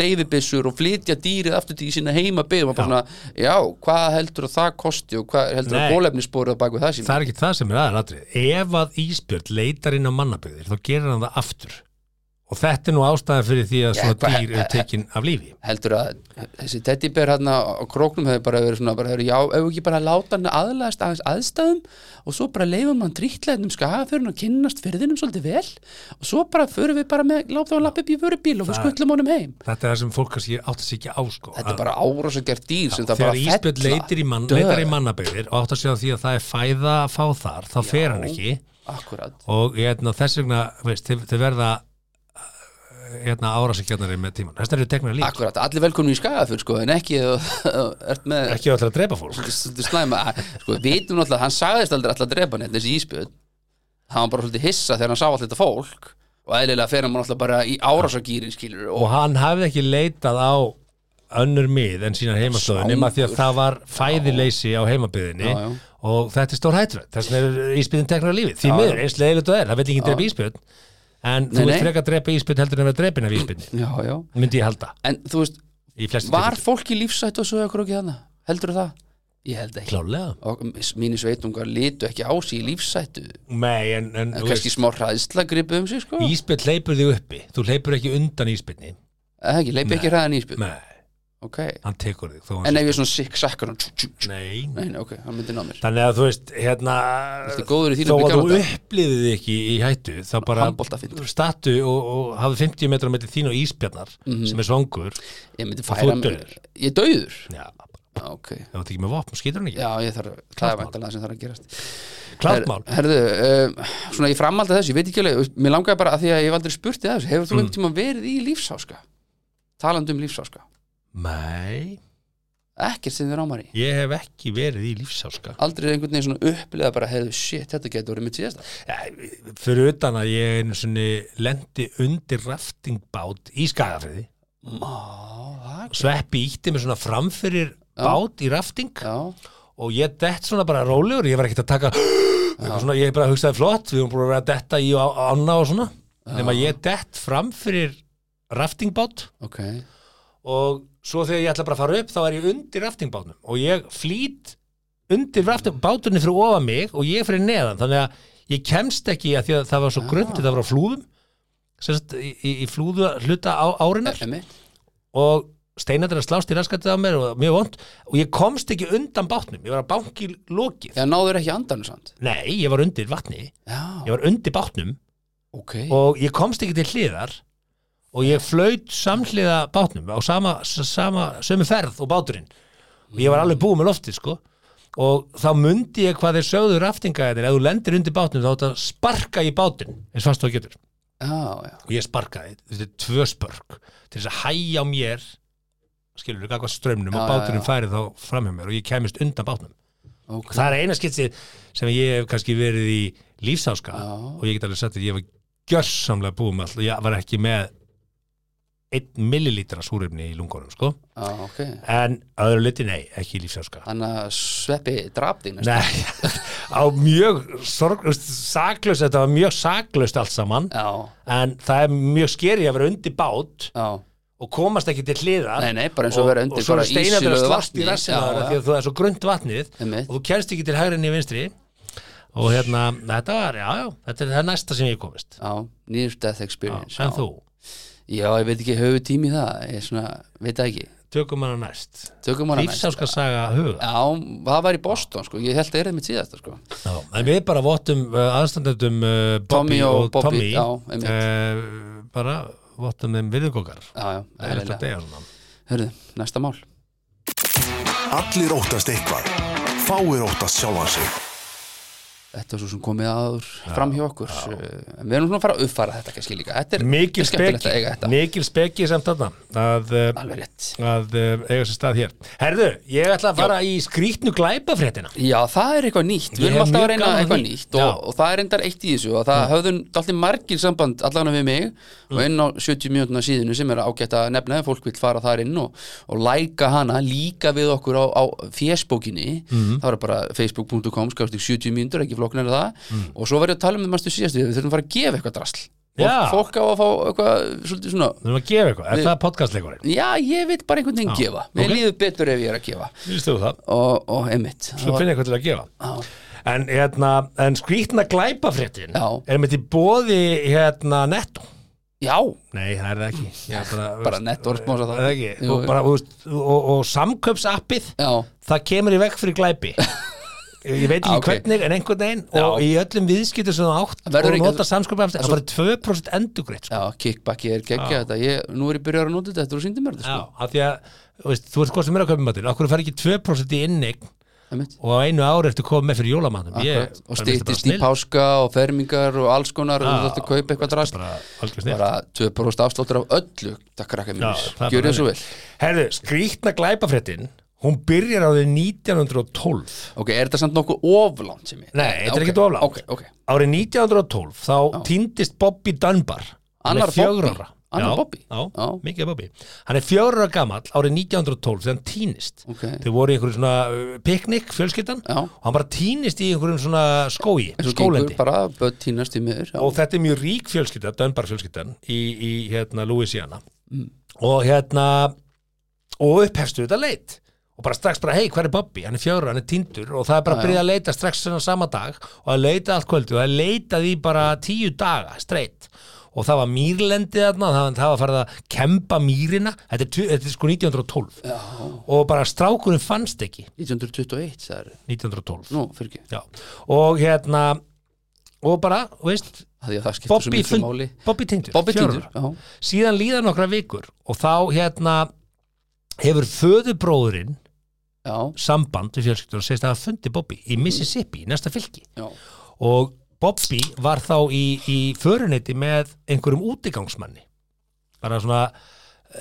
[SPEAKER 2] deyfibissur og flytja dýrið aftur til í sína heima byggum já. Svona, já, hvað heldur að það kosti og hvað heldur
[SPEAKER 3] Nei.
[SPEAKER 2] að bólefnisporið að baku það sín
[SPEAKER 3] það er ekki það sem er aðalatrið ef að Ísbjörn leitar inn á mannabyggðir þá gerir hann það aftur og þetta er nú ástæðan fyrir því að svona
[SPEAKER 2] hvað-
[SPEAKER 3] dýr er tekin af lífi
[SPEAKER 2] heldur að þessi teddybér hérna á króknum hefur bara verið svona bara, hefur, já, ef við ekki bara láta hann aðlaðast aðeins aðstæðum og svo bara leifum hann drýtleginum skagafjörn og kynnast fyrðinum svolítið vel og svo bara förum við bara með, láta hann lappa upp í vörubíl og við skullum honum heim
[SPEAKER 3] þetta er það sem fólk kannski átt að sig ekki á sko
[SPEAKER 2] Þetta er
[SPEAKER 3] að
[SPEAKER 2] bara árás að gera dýr sem það bara
[SPEAKER 3] þegar Ísbjörn
[SPEAKER 2] fella.
[SPEAKER 3] leitar í, mann,
[SPEAKER 2] Dö.
[SPEAKER 3] leitar í mannabyggðir og átt að sig á því að það er fæða að fá þar þá fer hann ekki
[SPEAKER 2] Akkurat
[SPEAKER 3] og hérna, þess vegna veist, þeir, þeir verða hérna, árásingjarnari með tíman þess vegna eru teknar líf
[SPEAKER 2] Akkurat, allir velkomin í skagafjörn sko en ekki ef þú ert með
[SPEAKER 3] ekki átt að drepa fólk
[SPEAKER 2] svolítið slæma sko, við vitum náttúrulega, hann sagðist aldrei alltaf að drepa hann þessi íspjöð, hann var bara svolítið hissa þegar hann sá allir þetta fólk og eðlilega fer hann náttúrulega bara í árásagýrin skilur og
[SPEAKER 3] og hann hafði ekki leitað á önnur mið en sína heimastöðu nema því að það var fæðileysi á heimabyðinni
[SPEAKER 2] Já, já.
[SPEAKER 3] og þetta er stór hættur þess vegna er íspyðin teknar af lífi því miður, eins leiðilegt og er, það vill ekki drepa íspyðin en
[SPEAKER 2] Nei,
[SPEAKER 3] þú vilt
[SPEAKER 2] nei.
[SPEAKER 3] frekar drepa íspyðin heldur en að vera drepin af íspyðin
[SPEAKER 2] já, já.
[SPEAKER 3] myndi ég halda
[SPEAKER 2] en þú veist,
[SPEAKER 3] í flestu
[SPEAKER 2] var fólk í lífsættu og sögðu okkur ekki þannig, heldur það? Ég held ekki
[SPEAKER 3] klálega
[SPEAKER 2] og mínir sveitungar litu ekki á sig í lífsættu
[SPEAKER 3] Nei, en, en þú
[SPEAKER 2] kannski
[SPEAKER 3] veist,
[SPEAKER 2] smá hræðsla gripu um sig sko
[SPEAKER 3] íspyðin leipur þig uppi þú leipur ekki undan íspyðin
[SPEAKER 2] eða ekki, leipi ekki hræðan íspjöð
[SPEAKER 3] Nei,
[SPEAKER 2] okay.
[SPEAKER 3] hann tekur þig þó hann
[SPEAKER 2] en
[SPEAKER 3] sé-
[SPEAKER 2] ef ég er svona sikk sakkar hann tjú, tjú, tjú.
[SPEAKER 3] Nei,
[SPEAKER 2] Nei, nei, ok, hann myndi ná mér
[SPEAKER 3] þannig að þú veist, hérna
[SPEAKER 2] Ertu góður í þínu
[SPEAKER 3] þó að
[SPEAKER 2] byggjaranda?
[SPEAKER 3] þú upplýðið ekki í hættu þá bara
[SPEAKER 2] Handboltafintur.
[SPEAKER 3] statu og, og hafið 50 metra mellir þín og íspjarnar
[SPEAKER 2] Mhm.
[SPEAKER 3] sem er svangur
[SPEAKER 2] ég myndi
[SPEAKER 3] þú
[SPEAKER 2] færa
[SPEAKER 3] ert
[SPEAKER 2] mér
[SPEAKER 3] dauður.
[SPEAKER 2] ég er dauður
[SPEAKER 3] já,
[SPEAKER 2] Já, ok,
[SPEAKER 3] ef þú tekir með vopn, skýtur hann ekki
[SPEAKER 2] já, ég þarf það er vantalega sem þarf að gerast
[SPEAKER 3] klart mál,
[SPEAKER 2] Her- Herðu, uh, svona ég framhaldi þessu, ég veit ekki alveg mér langaði bara að því að ég hef aldrei spurt þið þessu hefur
[SPEAKER 3] Mm.
[SPEAKER 2] þú einhvern tímann verið í lífsáska? talandi um lífsáska
[SPEAKER 3] nei
[SPEAKER 2] ekkert sem þið rámar í
[SPEAKER 3] Ég hef ekki verið í lífsáska
[SPEAKER 2] aldrei einhvern veginn svona upplega bara hefðu shit, þetta getur verið mitt síðasta
[SPEAKER 3] Fyrir utan að ég einu sinni lendi undir raftingbát í skagafriði
[SPEAKER 2] Má, það er-
[SPEAKER 3] Sveppi ítti mig svona framfyrir bát í rafting
[SPEAKER 2] Já,
[SPEAKER 3] og ég dett svona bara rólegur ég var ekkert að taka eitthvað svona, ég bara hugsaði flott, við erum búin að vera að detta í og á- ána og svona, nema ég dett framfyrir raftingbát
[SPEAKER 2] ok E,
[SPEAKER 3] og svo þegar ég ætla bara að fara upp þá er ég undir raftingbátnum og ég flýt undir raftingbátunni fyrir ofa mig og ég fyrir neðan þannig að ég kemst ekki að því að það var svo gröndið það var á flúðum sérst, í, í, í flúðu hluta á, árinar
[SPEAKER 2] Emmi,
[SPEAKER 3] og steinandir að slást í raskatið á mér og mjög vond og ég komst ekki undan bátnum ég var að banki lokið
[SPEAKER 2] já, náður ekki andanum samt
[SPEAKER 3] nei, ég var undir vatni
[SPEAKER 2] Já,
[SPEAKER 3] ég var undir bátnum
[SPEAKER 2] ok
[SPEAKER 3] og ég komst ekki til hliðar og ég flaut samhliða bátnum á sama, s- sama sömu ferð og báturinn og ég var alveg búið með loftið sko og þá mundi ég hvað þeir sögðu raftingaðir ef þú lendir undir bátnum þá þetta sparka í bátinn eins fast þú getur
[SPEAKER 2] Já, já,
[SPEAKER 3] og ég sparkaði, þetta er tvö spörk til þess að hæja á mér skilur við hvað strömmnum
[SPEAKER 2] Já,
[SPEAKER 3] og
[SPEAKER 2] já,
[SPEAKER 3] báturinn
[SPEAKER 2] já.
[SPEAKER 3] færi þá framhjá mér og ég kemist undan bátnum
[SPEAKER 2] ok
[SPEAKER 3] það er eina skiptið sem ég hef kannski verið í lífsáska
[SPEAKER 2] Já.
[SPEAKER 3] og ég get alveg sagt að ég var gjörsamlega búið með allt og ég var ekki með 1 millilítra súrefni í lungunum sko.
[SPEAKER 2] Já, ok
[SPEAKER 3] en öðru liti nei, ekki í lífsáska
[SPEAKER 2] Þannig að sveppi drapti næst
[SPEAKER 3] nei, á mjög sorg, saklaust, þetta var mjög saklaust allt saman
[SPEAKER 2] Já,
[SPEAKER 3] en það er mjög skeri að vera undir bát
[SPEAKER 2] já,
[SPEAKER 3] og komast ekki til hliðar
[SPEAKER 2] Nei, nei, bara eins og að vera undir
[SPEAKER 3] og svo
[SPEAKER 2] bara
[SPEAKER 3] er steinarnir að
[SPEAKER 2] ísilögðu
[SPEAKER 3] slast í
[SPEAKER 2] vatni.
[SPEAKER 3] rassina
[SPEAKER 2] Já,
[SPEAKER 3] þar af því að þú er svo grönt vatnið
[SPEAKER 2] Einmitt.
[SPEAKER 3] og þú kennst ekki til hægri en í vinstri og hérna, þetta var, já, já þetta er það er næsta sem ég komist já,
[SPEAKER 2] já, near death experience
[SPEAKER 3] en þú,
[SPEAKER 2] Já, ég veit ekki, höfu tími í það Ég svona, veit það ekki
[SPEAKER 3] tökum hana næst
[SPEAKER 2] Tökum hana næst
[SPEAKER 3] lífsáska saga huga
[SPEAKER 2] Já, það var í Boston, sko Ég held að er það mitt síðasta, sko
[SPEAKER 3] já, en við bara vottum uh, aðstandendum uh, Bobby
[SPEAKER 2] Tommy og
[SPEAKER 3] og,
[SPEAKER 2] Bobby,
[SPEAKER 3] Tommy
[SPEAKER 2] já, einmitt.
[SPEAKER 3] uh, bara vottum þeim virðugokar
[SPEAKER 2] Já, já,
[SPEAKER 3] það er eftir að
[SPEAKER 2] eðlilega.
[SPEAKER 3] deyja svona
[SPEAKER 2] Hörðu, næsta mál
[SPEAKER 1] Allir óttast eitthvað. Fáir óttast sjálfan sig.
[SPEAKER 2] Þetta er svo sem komið aður fram hjá okkur já. Við erum svona að fara að uppfara þetta kannski líka Þetta er þetta
[SPEAKER 3] mikil
[SPEAKER 2] er skemmtilegt
[SPEAKER 3] speki,
[SPEAKER 2] að eiga þetta
[SPEAKER 3] mikil speki samt þarna að uh,
[SPEAKER 2] Alveg rétt
[SPEAKER 3] að uh, eiga sér stað hér Herðu, ég ætla að fara í skrýtnu glæpafréttina
[SPEAKER 2] Já, það er eitthvað nýtt, við
[SPEAKER 3] Ég
[SPEAKER 2] erum
[SPEAKER 3] hef
[SPEAKER 2] alltaf að
[SPEAKER 3] mjög
[SPEAKER 2] reyna
[SPEAKER 3] gaman af
[SPEAKER 2] eitthvað
[SPEAKER 3] því.
[SPEAKER 2] nýtt og,
[SPEAKER 3] Já.
[SPEAKER 2] og það er endar eitt í þessu og það höfðun alltaf margir samband allan við mig
[SPEAKER 3] Mm.
[SPEAKER 2] og inn á 70 mjönduna síðinu sem er ágætt að nefna ef fólk vil fara þar inn og, og læka hana líka við okkur á, á fésbókinni,
[SPEAKER 3] Mhm.
[SPEAKER 2] það var bara facebook.com skástík 70 mjöndur, ekki flokknar það
[SPEAKER 3] Mm.
[SPEAKER 2] og svo var ég að tala um það mannstu síðast við við þurfum að fara að gefa eitthvað drasl
[SPEAKER 3] Já.
[SPEAKER 2] fólk, fólk á að fá eitthvað svolítið svona
[SPEAKER 3] Við erum að gefa eitthvað, er það podcastleikurinn?
[SPEAKER 2] Já, ég vil bara einhvern veginn
[SPEAKER 3] Já,
[SPEAKER 2] gefa Mér
[SPEAKER 3] ok.
[SPEAKER 2] líður betur ef ég er að gefa
[SPEAKER 3] Vistu þú það?
[SPEAKER 2] Og, og einmitt
[SPEAKER 3] Svo finn ég eitthvað til að gefa En, hérna, en skrýtna glæpafréttin
[SPEAKER 2] Já.
[SPEAKER 3] er með því bóði hérna, netto
[SPEAKER 2] Já,
[SPEAKER 3] Nei, það er það ekki Ég er bara,
[SPEAKER 2] bara netto er sponsa það
[SPEAKER 3] Það er ekki,
[SPEAKER 2] Jú,
[SPEAKER 3] og, bara, og, og, og samköpsappið
[SPEAKER 2] Já,
[SPEAKER 3] það kemur í veg fyrir glæpi Ég veit
[SPEAKER 2] Já,
[SPEAKER 3] ekki
[SPEAKER 2] ok.
[SPEAKER 3] hvernig, en einhvern veginn og
[SPEAKER 2] Já.
[SPEAKER 3] í öllum viðskiptum sem það átt
[SPEAKER 2] Það verður
[SPEAKER 3] og
[SPEAKER 2] ekki-
[SPEAKER 3] nota samsköpum það er bara 2% endugreitt
[SPEAKER 2] já, kickbacki er geggja þetta ég, Nú er ég byrjar að nota þetta, þetta er síndi mér þetta
[SPEAKER 3] Já,
[SPEAKER 2] sko.
[SPEAKER 3] af því að þú veist, þú ert hvað sem er að kaupa matinn, okkur fær ekki 2% í innig
[SPEAKER 2] Einmitt.
[SPEAKER 3] og á einu ári eftir komið með fyrir jólamatnum
[SPEAKER 2] Akkurat. Og stýttist í páska og fermingar og alls konar og þetta kaupa eitthvað drast
[SPEAKER 3] bara, algjör snill.
[SPEAKER 2] Bara 2% afsláttur af öllu Takk krakka
[SPEAKER 3] Já,
[SPEAKER 2] mínus,
[SPEAKER 3] það er
[SPEAKER 2] gjör
[SPEAKER 3] bara
[SPEAKER 2] ég svo vel
[SPEAKER 3] þannig. Herðu, skrýtna glæpafréttin hún byrjar á því 1912
[SPEAKER 2] Ok, er þetta samt nokkuð oflánt sem ég
[SPEAKER 3] Nei, þetta er
[SPEAKER 2] Ok,
[SPEAKER 3] ekkert oflánt.
[SPEAKER 2] Ok, ok,
[SPEAKER 3] árið 1912 þá týndist Bobby Dunbar Hann er
[SPEAKER 2] Annar
[SPEAKER 3] fjögurra
[SPEAKER 2] Bobby?
[SPEAKER 3] ára.
[SPEAKER 2] Annar
[SPEAKER 3] Já,
[SPEAKER 2] Bobby?
[SPEAKER 3] Já,
[SPEAKER 2] Já.
[SPEAKER 3] mikið Bobby Hann er fjögur ára gamall árið 1912 þegar hann týnist
[SPEAKER 2] Ok.
[SPEAKER 3] Þau voru í einhverjum svona uh, piknik, fjölskyldan
[SPEAKER 2] Já.
[SPEAKER 3] og hann bara týnist í einhverjum svona skói,
[SPEAKER 2] Eins og gengur
[SPEAKER 3] skólendi
[SPEAKER 2] bara, börn týnast í miður já.
[SPEAKER 3] og þetta er mjög rík fjölskylda, Dunbar fjölskyldan í, í hérna Louisiana og hérna og upphefstu þetta leit og bara strax bara, hei, hvað er Bobby? Hann er fjóra, hann er tindur og það er bara að byrja að leita strax svona sama dag og að leita allt kvöldi og að leita því bara tíu daga, streitt og það var mýrlendið þarna það, það var farið að kempa mýrina þetta er, tu- þetta er sko 1912 Já. og bara strákurinn fannst ekki
[SPEAKER 2] 1921, það er
[SPEAKER 3] 1912
[SPEAKER 2] Nú, fyrir ekki,
[SPEAKER 3] Já. og hérna og bara, þú veist,
[SPEAKER 2] það er það skiptir svo
[SPEAKER 3] Bobby,
[SPEAKER 2] miklu
[SPEAKER 3] fund,
[SPEAKER 2] máli
[SPEAKER 3] Bobby Tindur,
[SPEAKER 2] Bobby
[SPEAKER 3] fjögurra
[SPEAKER 2] Tindur,
[SPEAKER 3] ára.
[SPEAKER 2] já,
[SPEAKER 3] síðan líða nokkra vikur og þá hérna hefur föðubróðurinn
[SPEAKER 2] já,
[SPEAKER 3] samband við fjölskyldur og segist að hafa fundið Bobby í Mississippi, í næsta fylki
[SPEAKER 2] já,
[SPEAKER 3] og Bobby var þá í, í föruneyti með einhverjum útigangsmanni bara svona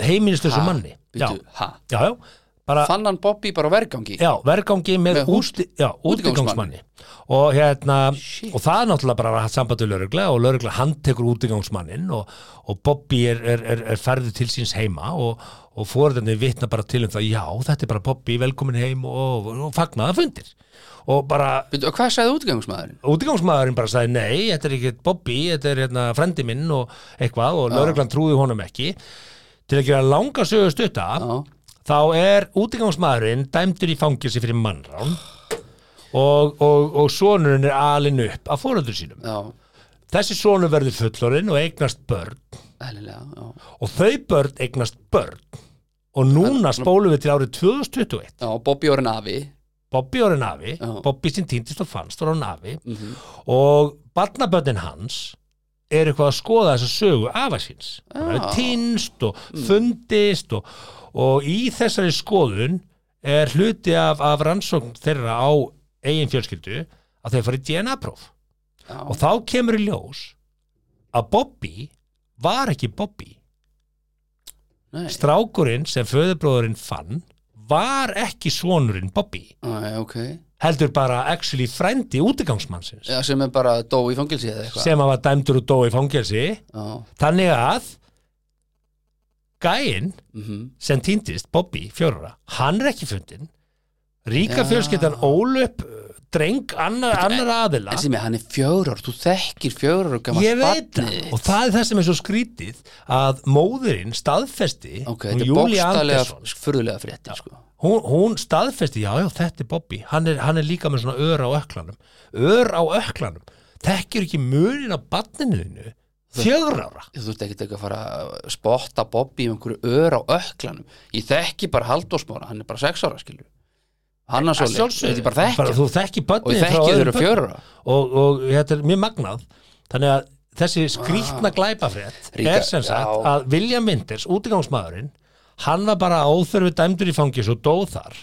[SPEAKER 3] heimilistlösu
[SPEAKER 2] Ha,
[SPEAKER 3] manni já,
[SPEAKER 2] býtu, ha
[SPEAKER 3] já, já, bara,
[SPEAKER 2] fann hann Bobby bara á vergangi
[SPEAKER 3] já, vergangi með,
[SPEAKER 2] Með
[SPEAKER 3] með
[SPEAKER 2] hú-
[SPEAKER 3] úti, já,
[SPEAKER 2] útigangsmanni.
[SPEAKER 3] útigangsmanni og hérna,
[SPEAKER 2] Shit.
[SPEAKER 3] og það er náttúrulega bara hatt samband við lögregla og lögregla handtekur útigangsmannin og, og Bobby er, er, er, er færður til síns heima og, og fórðinni vitna bara til um það, já, þetta er bara Bobby, velkomin heim og, og fagnaða fundir og bara
[SPEAKER 2] Byrju, hvað sagði útgangsmaðurinn?
[SPEAKER 3] útigangsmaðurinn bara sagði nei, þetta er ekki Bobby, þetta er hérna frendi minn og eitthvað og lögreglan trúði honum ekki til að gera langa sögu stutta
[SPEAKER 2] Já,
[SPEAKER 3] þá er útigangsmaðurinn dæmdur í fangelsi fyrir mannrán og, og, og sonurinn er alinn upp af fóröldur sínum
[SPEAKER 2] já,
[SPEAKER 3] þessi sonur verður fullorinn og eignast börn
[SPEAKER 2] eðlilega já.
[SPEAKER 3] og þau börn eignast börn og núna spólum við til árið 2021
[SPEAKER 2] já, Bobby orðin afi
[SPEAKER 3] Bobby orðin afi,
[SPEAKER 2] Já.
[SPEAKER 3] Bobby sem týndist og fannst orðin afi
[SPEAKER 2] mm
[SPEAKER 3] og barnaböndin hans er eitthvað að skoða þessa sögu afa síns hann
[SPEAKER 2] Já. Mm.
[SPEAKER 3] er týnst og fundist og, og í þessari skoðun er hluti af, af rannsókn þeirra á eigin fjölskyldu að þeir farið DNA-próf
[SPEAKER 2] já,
[SPEAKER 3] og þá kemur í ljós að Bobby var ekki Bobby
[SPEAKER 2] nei,
[SPEAKER 3] strákurinn sem föðurbróðurinn fann var ekki sonurinn Bobby
[SPEAKER 2] Æ, ok
[SPEAKER 3] heldur bara actually frendi útigangsmannsins
[SPEAKER 2] já, sem er bara dó í fangilsi eða eitthvað
[SPEAKER 3] sem að var dæmdur og dó í fangelsi
[SPEAKER 2] já,
[SPEAKER 3] Þannig að gæinn
[SPEAKER 2] mm
[SPEAKER 3] sem týndist, Bobby, fjórara, hann er ekki fundin. Ríka
[SPEAKER 2] Já.
[SPEAKER 3] fjölskyldan ólup uh, dreng annar, annar aðila.
[SPEAKER 2] en sem er, hann er fjórar, þú þekkir fjórar og gammal
[SPEAKER 3] Ég veit það. Og það er það sem er svo skrítið að móðurinn staðfesti,
[SPEAKER 2] ok,
[SPEAKER 3] hún
[SPEAKER 2] þetta er
[SPEAKER 3] Júlía
[SPEAKER 2] bókstallega
[SPEAKER 3] Andersson,
[SPEAKER 2] furðulega fréttir sko.
[SPEAKER 3] hún, hún staðfesti, já, já, þetta er Bobby. Hann er, hann er líka með svona ör á öklanum. Ör á öklanum. Þekkir ekki munin á barninuðinu. Fjögur ára.
[SPEAKER 2] þú ert ekkert ekki að fara að spotta Bobby í einhverju ör á öklanum ég þekki bara Halldórsmára, hann er bara sex ára skilju, hann er svo leik
[SPEAKER 3] Að sjálfsögðu.
[SPEAKER 2] ég bara þekki,
[SPEAKER 3] bara,
[SPEAKER 2] hann.
[SPEAKER 3] þú þekki
[SPEAKER 2] og ég
[SPEAKER 3] börnin frá
[SPEAKER 2] þekki þau
[SPEAKER 3] öðrum
[SPEAKER 2] eru
[SPEAKER 3] börnum
[SPEAKER 2] fjórar
[SPEAKER 3] og, og þetta er mjög magnað þannig að þessi skrýtna glæpafrétt
[SPEAKER 2] Ríka-
[SPEAKER 3] er sem sagt
[SPEAKER 2] Ah. já.
[SPEAKER 3] að William Winters, útigangsmaðurinn hann var bara óþörfi dæmdur í fangis og dóð þar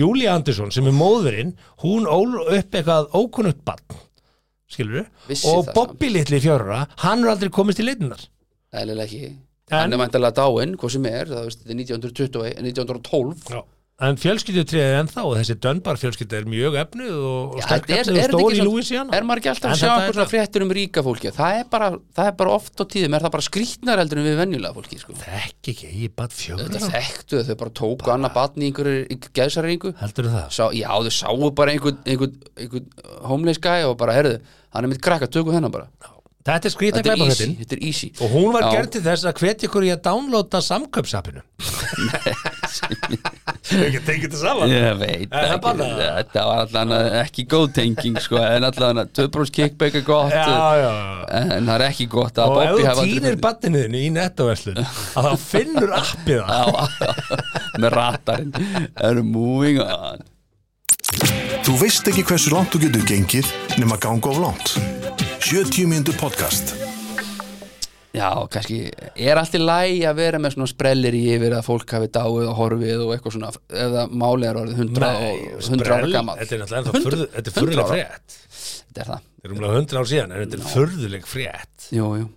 [SPEAKER 3] Júlía Andersson sem er móðurinn hún ól upp eitthvað ókunnugt barn skilur
[SPEAKER 2] Vissi
[SPEAKER 3] og
[SPEAKER 2] það
[SPEAKER 3] Bobby litli fjörra hann er aldrei komist í leitinnar
[SPEAKER 2] eðlilega ekki
[SPEAKER 3] En-
[SPEAKER 2] hann er mæntalega dáinn, hvað sem er það, veist, þetta er 1920, 1912
[SPEAKER 3] en fjölskyldutrið er ennþá og þessi Dunbar fjölskylda er mjög efnuð og, og
[SPEAKER 2] Já,
[SPEAKER 3] sterk
[SPEAKER 2] þetta er-
[SPEAKER 3] efnuð
[SPEAKER 2] er
[SPEAKER 3] og
[SPEAKER 2] þetta
[SPEAKER 3] stór
[SPEAKER 2] ekki
[SPEAKER 3] í
[SPEAKER 2] svona-
[SPEAKER 3] Louisiana
[SPEAKER 2] er maður ekki alltaf
[SPEAKER 3] En
[SPEAKER 2] að sjá
[SPEAKER 3] þetta er
[SPEAKER 2] einhver svona
[SPEAKER 3] það.
[SPEAKER 2] fréttur um ríka fólki það er bara, það er bara oft á tíðum er það bara skrýtnar heldur en við venjulega fólki sko.
[SPEAKER 3] ekki ekki, ég bara fjörra
[SPEAKER 2] þetta þekktu þau, þau bara tóku annað batni í einhverju gæðsaringu
[SPEAKER 3] heldur það
[SPEAKER 2] Sá, já, þau sáu bara einhvern einhvern, einhvern homeless guy og bara, herðu, hann er mitt krakka, tökum þennan bara.
[SPEAKER 3] Þetta er skrýta
[SPEAKER 2] Þetta er easy,
[SPEAKER 3] glæpafréttin
[SPEAKER 2] þetta er easy.
[SPEAKER 3] og hún var
[SPEAKER 2] Já.
[SPEAKER 3] gerð til þess að hvetja ykkur í að downloada samköpsappinu Ekki tengið þetta saman
[SPEAKER 2] Ég veit
[SPEAKER 3] Er það
[SPEAKER 2] ekki,
[SPEAKER 3] bannað?
[SPEAKER 2] þetta var allan að- ekki góð tenging, sko, en allan að töbrós kickback er gott,
[SPEAKER 3] Já, já, já
[SPEAKER 2] en það er ekki gott að
[SPEAKER 3] Og ef
[SPEAKER 2] Bobby
[SPEAKER 3] þú
[SPEAKER 2] hafa
[SPEAKER 3] týnir banninuðinu í nettoverslun að þá finnur appið það
[SPEAKER 2] Já, með ratarinn, erum moving on.
[SPEAKER 1] Þú veist ekki hversu langt þú getur gengið nema ganga of langt. 70 mínútur podcast.
[SPEAKER 2] Já, kannski er allt í læg að vera með svona sprellir í yfir að fólk hafi dáið og horfið og eitthvað svona eða málið er orðið 100, og, 100 ára
[SPEAKER 3] sprell-
[SPEAKER 2] gamall
[SPEAKER 3] Þetta er náttúrulega ennþá furðu- þetta er
[SPEAKER 2] 100
[SPEAKER 3] furðuleg
[SPEAKER 2] ára.
[SPEAKER 3] frétt
[SPEAKER 2] Þetta er það,
[SPEAKER 3] Þetta er umlega 100 ár síðan en þetta er furðuleg frétt
[SPEAKER 2] jú, jú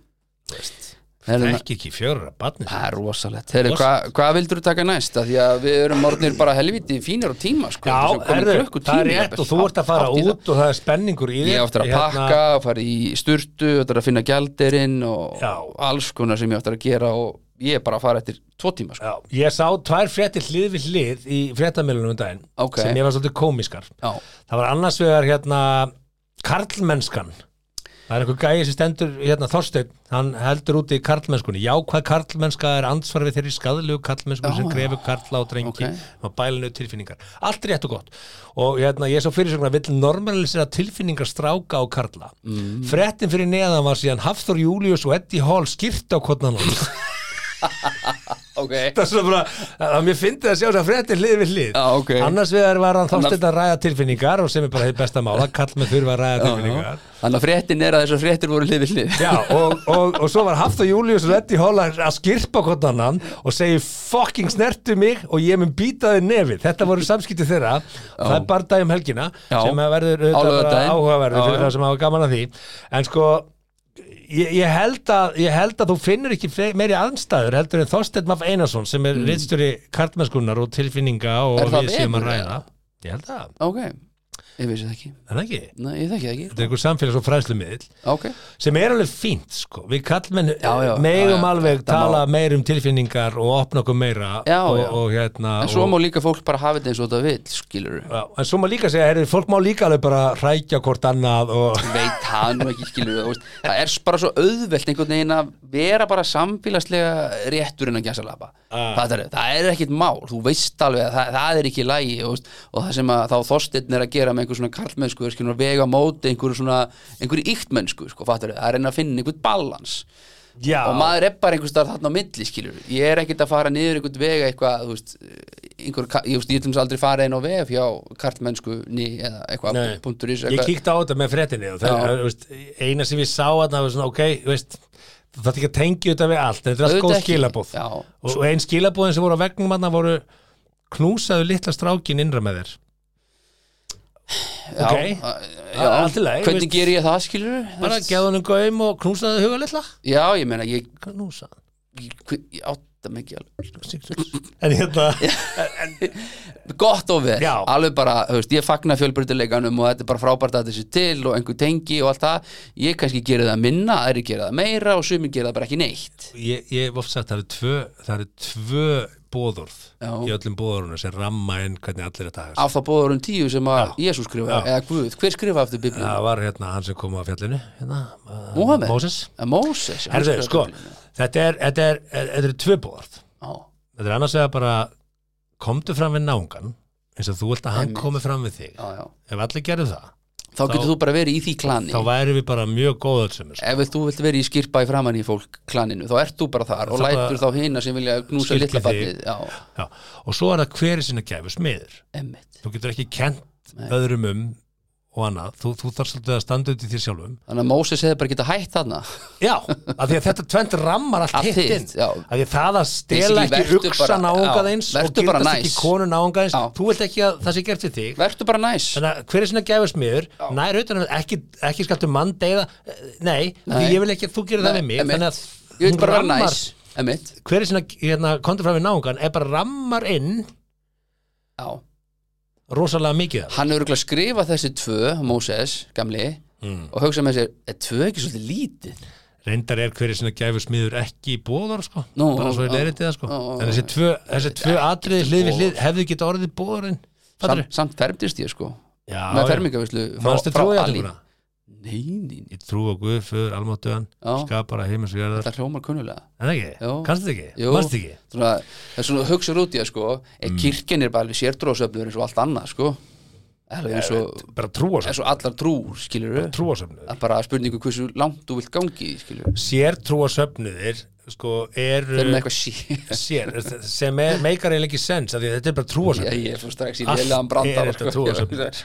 [SPEAKER 3] Það
[SPEAKER 2] Herðu,
[SPEAKER 3] er ekki fjóra barnið
[SPEAKER 2] Það er rosalegt. Heyrðu, hvað hva vildur þú taka næst? Af því að við erum orðnir bara helviti fínir á tíma, sko.
[SPEAKER 3] Já,
[SPEAKER 2] Þetta er svo
[SPEAKER 3] herðu,
[SPEAKER 2] komið klukkutími,
[SPEAKER 3] það er rétt
[SPEAKER 2] jafnvel.
[SPEAKER 3] og þú ert að fara
[SPEAKER 2] Hátt í það.
[SPEAKER 3] út og það er spenningur í
[SPEAKER 2] Ég áttur að
[SPEAKER 3] Hérna,
[SPEAKER 2] pakka, fara í sturtu, áttur að finna gjaldirinn og
[SPEAKER 3] Já.
[SPEAKER 2] alls konar sem ég áttur að gera og ég er bara að fara eftir tvo tíma, sko.
[SPEAKER 3] Já, ég sá tvær fréttir hlið við hlið í fréttamilunum um daginn
[SPEAKER 2] Ok.
[SPEAKER 3] sem ég var svolítið komiskar
[SPEAKER 2] Já,
[SPEAKER 3] það var annars vegar hérna karlmennskan það er einhver gæi sem stendur hérna Þorsteinn, hann heldur úti í karlmennskunni já hvað karlmennska er ansvar við þeirri skadalegu karlmennsku sem grefur karla og drengi
[SPEAKER 2] Ok.
[SPEAKER 3] og bælinu tilfinningar allt rétt og gott og hérna, ég svo fyrirsögn að vill normalisera tilfinningar stráka og karla mm. fréttin fyrir neðan var síðan Hafþór Július og Eddie Hall skýrt á kotnan hans
[SPEAKER 2] ok.
[SPEAKER 3] það er svona bara að mér fyndi að sjá þess að fréttir hlið við hlið
[SPEAKER 2] Já, ok.
[SPEAKER 3] annars vegar var hann þástinn að ræða tilfinningar og sem er bara hefði besta mála kall með þurfa að ræða tilfinningar
[SPEAKER 2] Þannig að fréttin er að þessar fréttir voru hlið við hlið.
[SPEAKER 3] Já, og, og, og svo var haft og Július Reddy Hall að að skirpa hvort annan og segi fucking snertu mig og ég mun býta þið nefið þetta voru samskipti þeirra það er bara dagum helgina
[SPEAKER 2] Já.
[SPEAKER 3] sem að verður auðvitað
[SPEAKER 2] Á
[SPEAKER 3] bara
[SPEAKER 2] laugardaginn.
[SPEAKER 3] áhugaverður
[SPEAKER 2] Já,
[SPEAKER 3] fyrir
[SPEAKER 2] já.
[SPEAKER 3] það sem hafa gaman að því en sko ég, ég, held að, ég held að þú finnur ekki fle- meiri aðstæður heldur en Þorsteinn Maff Einarsson sem er mm. rittstjóri kartmennskunnar og tilfinninga og
[SPEAKER 2] Er það
[SPEAKER 3] við séum að
[SPEAKER 2] vefur,
[SPEAKER 3] ræða
[SPEAKER 2] eða?
[SPEAKER 3] ég held að,
[SPEAKER 2] ok, ég vissi það ekki
[SPEAKER 3] er það ekki
[SPEAKER 2] Nei, ég þekki það
[SPEAKER 3] þetta er
[SPEAKER 2] ekki
[SPEAKER 3] einhver samfélags og fræðslumiðl
[SPEAKER 2] Ok,
[SPEAKER 3] sem er alveg fínt sko. við kallmenn
[SPEAKER 2] Já, já,
[SPEAKER 3] megum
[SPEAKER 2] já, já,
[SPEAKER 3] alveg
[SPEAKER 2] þetta
[SPEAKER 3] tala
[SPEAKER 2] má-
[SPEAKER 3] meir um tilfinningar og opna okkur meira
[SPEAKER 2] Já,
[SPEAKER 3] og,
[SPEAKER 2] já.
[SPEAKER 3] og hérna
[SPEAKER 2] en svo
[SPEAKER 3] og,
[SPEAKER 2] má líka fólk bara hafa þetta eins og þetta vil, skilur
[SPEAKER 3] já, en svo má líka segja, heyrðu, fólk má líka alveg bara rækja hvort annað og
[SPEAKER 2] veit það nú ekki skilur það, veist, það er bara svo auðvelt einhvern veginn að vera bara samfélagslega réttur innan gæsalapa
[SPEAKER 3] Ah.
[SPEAKER 2] það, er, það er ekkit mál, þú veist alveg að það, það er ekki lægi veist, og það sem að þá þorstinn er að gera með einhver svona karlmennsku er skilur að vega á móti einhverju svona einhverju íktmennsku, sko, fattar það er enn að finna einhvern balans
[SPEAKER 3] já,
[SPEAKER 2] og maður er bara einhvers staðar þarna á milli skilur ég er ekkert að fara niður einhvern vega eitthvað þú veist, einhver, ka- ég, þú veist, ég tlumis aldrei fara inn á vef hjá karlmennsku ný, eða eitthvað,
[SPEAKER 3] Nei.
[SPEAKER 2] punktur ís
[SPEAKER 3] ég
[SPEAKER 2] eitthvað.
[SPEAKER 3] kíkti á þetta með frettinni og það,
[SPEAKER 2] Já.
[SPEAKER 3] er, þú veist, eina sem ég sá að það var svona, ok, þú veist það er ekki að tengja þetta við allt, en þetta er allt
[SPEAKER 2] Auðvitað
[SPEAKER 3] góð
[SPEAKER 2] ekki.
[SPEAKER 3] skilabóð
[SPEAKER 2] Já.
[SPEAKER 3] og, og ein skilabóðin sem voru á vegnum hann voru knúsaðu litla strákin innra með þér
[SPEAKER 2] Já,
[SPEAKER 3] ok.
[SPEAKER 2] a-
[SPEAKER 3] Það er allt í
[SPEAKER 2] já,
[SPEAKER 3] lagi,
[SPEAKER 2] hvernig
[SPEAKER 3] veist.
[SPEAKER 2] ger ég það skilur
[SPEAKER 3] bara geða honum gaum og knúsaðu huga litla
[SPEAKER 2] já, ég meina, ég,
[SPEAKER 3] knúsaðu
[SPEAKER 2] ég, hve- ég átta mig ekki alveg
[SPEAKER 3] en hérna
[SPEAKER 2] gott og vel,
[SPEAKER 3] Já.
[SPEAKER 2] alveg bara þú veist, ég fagna fjölbrytileikanum og þetta er bara frábært að þessi til og einhver tengi og allt það ég kannski gera það minna, aðri gera það meira og sumir gera það bara ekki neitt
[SPEAKER 3] ég, ég hef oft sagt það eru tvö, það eru tvö bóðorð
[SPEAKER 2] Já.
[SPEAKER 3] í öllum bóðorðunum sem ramma inn hvernig allir þetta hefst
[SPEAKER 2] af þá bóðurinn tíu sem að Jésús skrifa,
[SPEAKER 3] Já.
[SPEAKER 2] eða Guð, hver skrifa eftir biblíu?
[SPEAKER 3] það var hérna hann sem kom á fjallinu hérna, uh,
[SPEAKER 2] Mohamed?
[SPEAKER 3] Moses
[SPEAKER 2] Að Moses já, hann
[SPEAKER 3] Herðu,
[SPEAKER 2] skrifaði
[SPEAKER 3] sko,
[SPEAKER 2] Biblíuna.
[SPEAKER 3] þetta er, þetta er, þetta er tvö bóðorð
[SPEAKER 2] Já,
[SPEAKER 3] þetta er annars vegar bara komdu fram við nángan eins og þú vilt að hann
[SPEAKER 2] Einmitt.
[SPEAKER 3] komi fram við þig
[SPEAKER 2] já, já.
[SPEAKER 3] ef allir gerðu það,
[SPEAKER 2] Þá getur
[SPEAKER 3] Þá-
[SPEAKER 2] þú bara verið í því klani
[SPEAKER 3] þá væri við bara mjög góðar sem
[SPEAKER 2] Ef þú vilt verið í skirpa í framann í fólk klaninu þá ert þú bara þar og
[SPEAKER 3] Það bara-
[SPEAKER 2] lætur þá hina sem vilja knúsa
[SPEAKER 3] Skildi
[SPEAKER 2] litla
[SPEAKER 3] þig.
[SPEAKER 2] barnið Já,
[SPEAKER 3] Já, og svo er það hver er sinna gæfu smiður
[SPEAKER 2] emmitt
[SPEAKER 3] þú getur ekki kent öðrum um og annað, þú, þú þarf svolítið að standa upp í þér sjálfum
[SPEAKER 2] Þannig að Moses hefði bara getað hætt þarna
[SPEAKER 3] já, af því að þetta tvent rammar allt
[SPEAKER 2] Allt
[SPEAKER 3] hitt
[SPEAKER 2] hitt,
[SPEAKER 3] inn
[SPEAKER 2] já.
[SPEAKER 3] af því að það að stela
[SPEAKER 2] Basically,
[SPEAKER 3] ekki
[SPEAKER 2] vertu
[SPEAKER 3] uksa
[SPEAKER 2] bara-
[SPEAKER 3] náungað
[SPEAKER 2] já,
[SPEAKER 3] eins og
[SPEAKER 2] vertu bara
[SPEAKER 3] giftast
[SPEAKER 2] næs.
[SPEAKER 3] ekki konu náungað eins
[SPEAKER 2] Já.
[SPEAKER 3] þú vilt ekki að það sé gert við þig
[SPEAKER 2] Vertu bara næs
[SPEAKER 3] Þannig að hver er svona gæfa smiður, nær utan að ekki, ekki skaptu mann deyða, eh, nei, nei,
[SPEAKER 2] Nei.
[SPEAKER 3] ég vil ekki að þú gerir það
[SPEAKER 2] Nei,
[SPEAKER 3] við mig,
[SPEAKER 2] einmitt.
[SPEAKER 3] þannig að
[SPEAKER 2] Ég vil
[SPEAKER 3] hún
[SPEAKER 2] bara vera
[SPEAKER 3] rammar-
[SPEAKER 2] næs Emmitt,
[SPEAKER 3] hver er svona, hérna, kontur fram við náungan, er bara rammar inn
[SPEAKER 2] já
[SPEAKER 3] rosalega mikið af.
[SPEAKER 2] Hann hefur örugglega skrifað þessi tvö, Moses, gamli og hugsa með sér, er tvö ekki svolítið lítið?
[SPEAKER 3] Reyndar er hver er svona gæfa smiður ekki í bóðar, sko,
[SPEAKER 2] Nú,
[SPEAKER 3] bara svo
[SPEAKER 2] ó,
[SPEAKER 3] er leirintið það, sko.
[SPEAKER 2] ó, ó,
[SPEAKER 3] en þessi tvö, þessi tvö atriði hlið við
[SPEAKER 2] boðorð.
[SPEAKER 3] hlið, hefðu geta orðið bóðarinn, fattur
[SPEAKER 2] Samt, samt fermdist ég sko
[SPEAKER 3] Já,
[SPEAKER 2] með
[SPEAKER 3] já.
[SPEAKER 2] fermingavislu
[SPEAKER 3] Manstu trúið að þetta?
[SPEAKER 2] Nei, nei, nei,
[SPEAKER 3] Ég trú á Guð, föður, almáttuðan,
[SPEAKER 2] Já.
[SPEAKER 3] skapara heimins og jörðar,
[SPEAKER 2] þetta hljómar kunnulega
[SPEAKER 3] en það ekki,
[SPEAKER 2] Jú.
[SPEAKER 3] kannst þetta ekki,
[SPEAKER 2] Jú.
[SPEAKER 3] manst ekki. Mm.
[SPEAKER 2] svona, það er svona hugsaður út í það sko er kirkjan er bara alveg sérdróðsöfnur eins og allt annað sko Alveg eins og,
[SPEAKER 3] bara trúa
[SPEAKER 2] eins og allar trúr skilur við
[SPEAKER 3] trúasöfnuður
[SPEAKER 2] að bara spurningu hversu langt þú vilt gangi skilur við
[SPEAKER 3] sér trúasöfnuðir sko
[SPEAKER 2] þeir eru með
[SPEAKER 3] eru
[SPEAKER 2] eitthvað sí
[SPEAKER 3] sér, sem er, meikar eiginlega ekki sens af því að þetta er bara
[SPEAKER 2] Já,
[SPEAKER 3] trúasöfnuður
[SPEAKER 2] ég fór strax í
[SPEAKER 3] Allt
[SPEAKER 2] lélegan sko. brandar
[SPEAKER 3] er þetta trúarsöfnuður.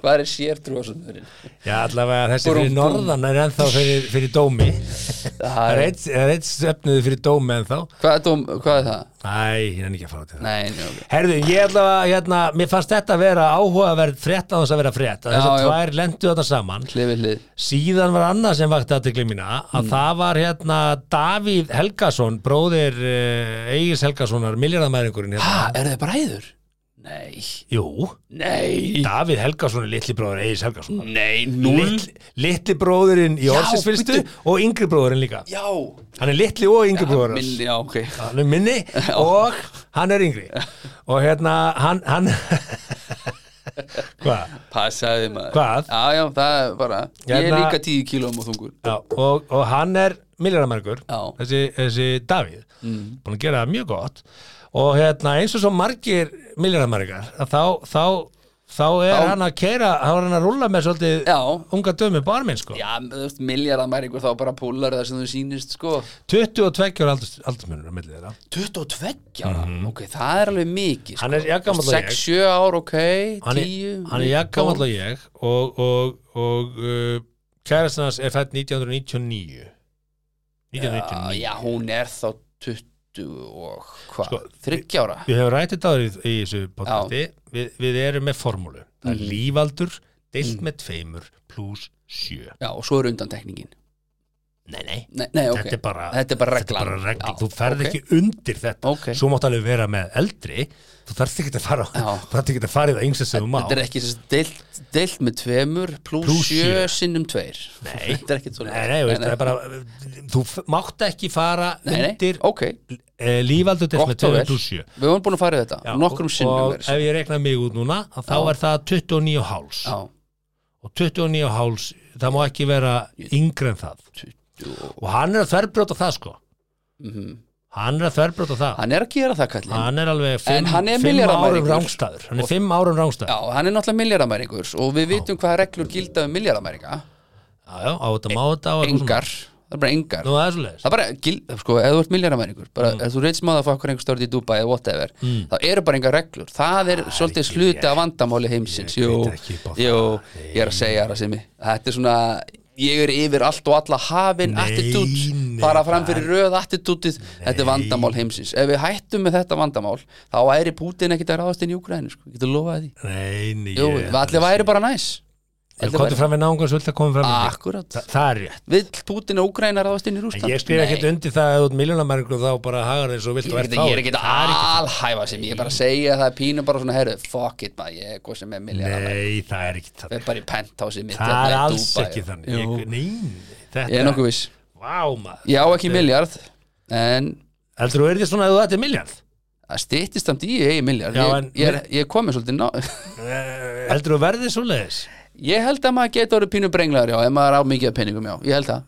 [SPEAKER 2] Hvað er sértrúasöfnurinn?
[SPEAKER 3] já allavega þessi
[SPEAKER 2] Búrum,
[SPEAKER 3] fyrir
[SPEAKER 2] búm.
[SPEAKER 3] norðan er ennþá fyrir, fyrir dómi það er eitt, það er eitt söfnuður fyrir dómi ennþá
[SPEAKER 2] Hvað er, dóm, hvað er það?
[SPEAKER 3] æ, ég er ekki að fara til það
[SPEAKER 2] Nei, nei, ok
[SPEAKER 3] Herðu, ég allavega, hérna, mér fannst þetta að vera áhugaverð frétt á þess að vera frétt að
[SPEAKER 2] Já,
[SPEAKER 3] þessar
[SPEAKER 2] já.
[SPEAKER 3] tvær lendu þetta saman
[SPEAKER 2] Hlið við hlið
[SPEAKER 3] síðan var annað sem vakti aðtekli mína að
[SPEAKER 2] Mm.
[SPEAKER 3] það var hérna Davíð Helgason, bróðir uh, Egis Helgasonar, miljardamæringurinn
[SPEAKER 2] Ha,
[SPEAKER 3] hérna.
[SPEAKER 2] er það bræður? Nei,
[SPEAKER 3] Jú,
[SPEAKER 2] nei
[SPEAKER 3] Davíð Helgason er litli bróður Egis Helgasonar
[SPEAKER 2] Nei,
[SPEAKER 3] Litli, litli bróðurinn í
[SPEAKER 2] Já,
[SPEAKER 3] orsinsfyrstu
[SPEAKER 2] bíddu.
[SPEAKER 3] og yngri bróðurinn líka
[SPEAKER 2] Já
[SPEAKER 3] hann er litli og yngri bróður hans.
[SPEAKER 2] Minni, já, ok
[SPEAKER 3] hann er minni og hann er yngri og hérna hann, hann hvað?
[SPEAKER 2] Passaði maður
[SPEAKER 3] Hvað?
[SPEAKER 2] Já, já, það er bara Ég er
[SPEAKER 3] Hérna-
[SPEAKER 2] líka tíu kílum og þungur
[SPEAKER 3] Já, og, og hann er miljardamærkur,
[SPEAKER 2] Já. Mm.
[SPEAKER 3] þessi, þessi Davíð, búin að gera það mjög gott og hérna, eins og svo margir miljardamærkar, þá, þá þá er
[SPEAKER 2] Þá-
[SPEAKER 3] hann að keira þá er hann að rúlla með svolítið
[SPEAKER 2] Já.
[SPEAKER 3] unga dömi barminn sko,
[SPEAKER 2] Já, þú veist, miljardar mæringur þá bara púlar það sem þú sýnist, sko
[SPEAKER 3] 22 ára aldurs, aldursmunur á milli þeirra,
[SPEAKER 2] 22 ára, ok, það er alveg mikið sko.
[SPEAKER 3] Mhm. Hann er jafngamall og ég.
[SPEAKER 2] 6, 7 ár, ok, 10
[SPEAKER 3] hann er,
[SPEAKER 2] Mm.
[SPEAKER 3] hann er jakkamall og ég og, og, og uh, kærastans er fætt 1999
[SPEAKER 2] Já,
[SPEAKER 3] 1999
[SPEAKER 2] já, hún er þá 20 og hvað,
[SPEAKER 3] Sko,
[SPEAKER 2] 30 ára Mhm.
[SPEAKER 3] Við hefum rætt þetta áður í, í þessu podcasti við, við erum með formúlu Það er lífaldur deilt með tveimur pluss sjö
[SPEAKER 2] Já, og svo er undantekningin
[SPEAKER 3] Nei, nei,
[SPEAKER 2] Nei, nei ok,
[SPEAKER 3] þetta er bara,
[SPEAKER 2] Þetta er bara reglan.
[SPEAKER 3] bara reglan.
[SPEAKER 2] Já,
[SPEAKER 3] Þú ferð
[SPEAKER 2] ok.
[SPEAKER 3] ekki undir þetta
[SPEAKER 2] Ok.
[SPEAKER 3] Svo mátt alveg vera með eldri Þú þarft ekki að fara
[SPEAKER 2] Já.
[SPEAKER 3] Þú þarft ekki að fara í það yngsta sem þú má
[SPEAKER 2] þetta er ekki sérst deilt, deilt með tveimur pluss
[SPEAKER 3] Plús
[SPEAKER 2] sjö
[SPEAKER 3] sjö.
[SPEAKER 2] sinnum tveir Nei Þetta er ekki
[SPEAKER 3] Nei,
[SPEAKER 2] svona
[SPEAKER 3] nei, veist, það er bara, þú f- mátt ekki fara
[SPEAKER 2] Nei, nei,
[SPEAKER 3] undir
[SPEAKER 2] ok,
[SPEAKER 3] eh, lífaldur deilt með
[SPEAKER 2] gott og vel
[SPEAKER 3] 2 pluss 7
[SPEAKER 2] Við vorum búin að fara í þetta, nokkrum sinnum
[SPEAKER 3] og
[SPEAKER 2] verið
[SPEAKER 3] ef ég regna mig út núna að þá
[SPEAKER 2] Já.
[SPEAKER 3] er það 29 háls
[SPEAKER 2] Já,
[SPEAKER 3] og 29 háls, það má ekki vera yngri en það og hann er að þverbrjóta það sko hann er að þverbrjóta það
[SPEAKER 2] Mhm. hann er að gera það kallinn
[SPEAKER 3] hann er alveg 5
[SPEAKER 2] hann er
[SPEAKER 3] árum
[SPEAKER 2] milljarðamæringur.
[SPEAKER 3] rángstæður hann er 5 árum rángstæður
[SPEAKER 2] Já, hann er náttúrulega miljardamæringur og við vitum hvaða reglur gilda um miljardamæringa
[SPEAKER 3] já, já, á þetta má þetta á eitthvað
[SPEAKER 2] Engar, það er bara engar
[SPEAKER 3] svona. Nú, það er svoleiðis.
[SPEAKER 2] Það er bara, gild, sko, ef þú ert miljardamæringur bara,
[SPEAKER 3] Mm.
[SPEAKER 2] ef þú reynst maður að fá okkur einhver störð í Dubai eða whatever, þá eru bara engar reglur það er svolítið
[SPEAKER 3] ekki
[SPEAKER 2] sluti
[SPEAKER 3] rétt.
[SPEAKER 2] af vandamáli heimsins
[SPEAKER 3] Ég
[SPEAKER 2] Jú,
[SPEAKER 3] veit ekki upp á það.
[SPEAKER 2] jú, ég er að segja það sem þetta er svona, ég er yfir allt og alla hafin
[SPEAKER 3] Nei,
[SPEAKER 2] attitút,
[SPEAKER 3] nei,
[SPEAKER 2] fara fram fyrir röð attitútið, þetta er vandamál heimsins ef við hættum með þetta vandamál þá æri Putin ekkit að ráðast inn í Ukraínu sko. getur lofað því,
[SPEAKER 3] nei, nei
[SPEAKER 2] jú,
[SPEAKER 3] ég-
[SPEAKER 2] allir væri bara næs
[SPEAKER 3] Ef komdu fram við náungan svolítið að koma fram við þig.
[SPEAKER 2] Akkurat,
[SPEAKER 3] Þa, það er rétt
[SPEAKER 2] vill Putin og Ukraina ráðast inn í Rúsland?
[SPEAKER 3] En ég skrif ekkert undir það að þú ert miljónamæringur þá bara hagar eins og vilt
[SPEAKER 2] Ég
[SPEAKER 3] og
[SPEAKER 2] er
[SPEAKER 3] ert
[SPEAKER 2] ekkert- ég er
[SPEAKER 3] fáir.
[SPEAKER 2] ekkert
[SPEAKER 3] Það er ekki-
[SPEAKER 2] alhæfa sem ég er bara að segja að það er pínu bara svona herru, fuck it maður, ég er hvað sem er milljara
[SPEAKER 3] Nei, það er ekki það
[SPEAKER 2] er bara í penthouse mitt
[SPEAKER 3] Það er
[SPEAKER 2] hérna í
[SPEAKER 3] alls
[SPEAKER 2] Dubai.
[SPEAKER 3] ekki þannig
[SPEAKER 2] Jú,
[SPEAKER 3] Ég- Nei, þetta
[SPEAKER 2] Ég er nokkuð viss
[SPEAKER 3] Vá, maður
[SPEAKER 2] Ég á ekki miljard en
[SPEAKER 3] Heldur þú er þið svona að þú þetta er miljard?
[SPEAKER 2] það stýttist samt í eigi miljard
[SPEAKER 3] Já,
[SPEAKER 2] ég,
[SPEAKER 3] en-
[SPEAKER 2] ég, er- ég er komið svolítið ná
[SPEAKER 3] Heldur þú verðið svoleiðis?
[SPEAKER 2] Ég held að maður getur orðið pínu brenglaður já, ef maður á mikið af peningum já, ég held það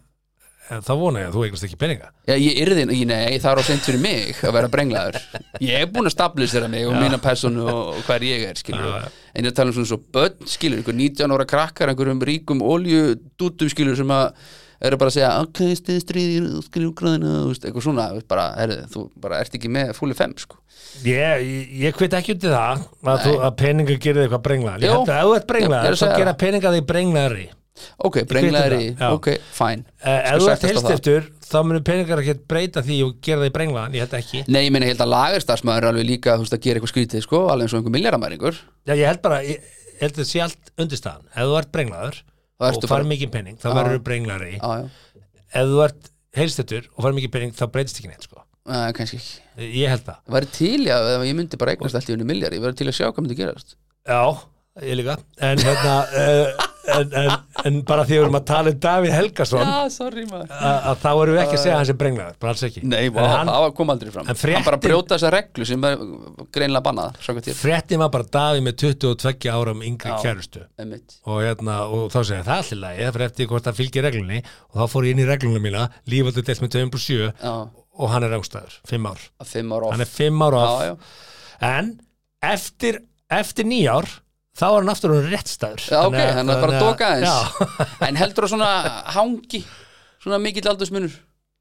[SPEAKER 3] En Þá vona ég að þú eignast ekki peninga
[SPEAKER 2] Já, ég yrði, ég- nei, það er á seint fyrir mig að vera brenglaður. Ég er búin að stabilisera mig og mína personu og og hver ég er, skilur. En ég er að tala um svona svo börn, skilur, einhver 19 ára krakkar, einhverjum ríkum oljudútum, skilur, sem að eru bara að segja, ok, stið stríðir, skilur, græna, þú veist, eitthvað svona, þú veist, bara, herri, þú bara ert ekki með fúli fem, sko.
[SPEAKER 3] Ég, ég- ég kvit ekki undir það að, þú, að peninga gerir þig eitthvað brenglaðar Ég
[SPEAKER 2] Jú.
[SPEAKER 3] held að ef þú ert
[SPEAKER 2] Ég er
[SPEAKER 3] brenglaðar
[SPEAKER 2] að
[SPEAKER 3] þá
[SPEAKER 2] segja
[SPEAKER 3] gera
[SPEAKER 2] það.
[SPEAKER 3] peninga þig brenglaðari
[SPEAKER 2] Ok,
[SPEAKER 3] veit um
[SPEAKER 2] brenglaður í,
[SPEAKER 3] það, já.
[SPEAKER 2] ok, fine.
[SPEAKER 3] Eh,
[SPEAKER 2] Skal
[SPEAKER 3] Ef þú
[SPEAKER 2] sættast
[SPEAKER 3] ert
[SPEAKER 2] á það.
[SPEAKER 3] heilstiftur þá munir peningar ekki breyta því og gera þig brenglaðan Ég held ekki
[SPEAKER 2] Nei, ég meina, ég held að lagerstarfsmaður er alveg líka, þú veist, að gera eitthvað skrítið, sko, alveg eins og einhver milljaramæringur.
[SPEAKER 3] Já, ég held bara, ég ég held að það sé allt undirstaðan ef þú ert brenglaður
[SPEAKER 2] Þá ertu
[SPEAKER 3] og far
[SPEAKER 2] bara-
[SPEAKER 3] mikið pening þá verður þú brenglari
[SPEAKER 2] Já, já,
[SPEAKER 3] ef þú ert heilstættur og far mikið pening þá breytist ekki neitt sko.
[SPEAKER 2] Nei, Eh, kannski ekki.
[SPEAKER 3] ég held það,
[SPEAKER 2] Það væri til í að ef ég myndi bara eignast allt í unni miljar Ég væri til að sjá hvað myndi gerast
[SPEAKER 3] já, ég líka en, hérna, uh, en, en, en bara því að við erum að tala um Davíð Helgason a-
[SPEAKER 2] sorry maður
[SPEAKER 3] að þá erum við ekki að segja að hann sé brenglaður bara alls ekki
[SPEAKER 2] Nei, vá,
[SPEAKER 3] En
[SPEAKER 2] hann,
[SPEAKER 3] hann,
[SPEAKER 2] það kom aldrei fram
[SPEAKER 3] en fréttin-
[SPEAKER 2] Hann bara brjóta þessa reglu sem er greinlega bannað Sjá hvað til
[SPEAKER 3] fréttin var bara Davíð með 22 árum um yngri kærustu
[SPEAKER 2] Einmitt.
[SPEAKER 3] og, hérna, og þá segja það allir lagi fyrir eftir hvort það fylgir reglunni og þá fór ég inn í reglunum mína lífaldur delt með 2.7
[SPEAKER 2] Já,
[SPEAKER 3] og hann er rángstæður, 5 ár
[SPEAKER 2] að fimm ára
[SPEAKER 3] hann er
[SPEAKER 2] off
[SPEAKER 3] 5 ára off
[SPEAKER 2] Já, já,
[SPEAKER 3] en eftir, eftir nýjár þá er hann aftur hún réttstæður
[SPEAKER 2] já, ok, hann er bara að doka
[SPEAKER 3] já,
[SPEAKER 2] aðeins En heldur það svona hangi Svona mikill aldursmunur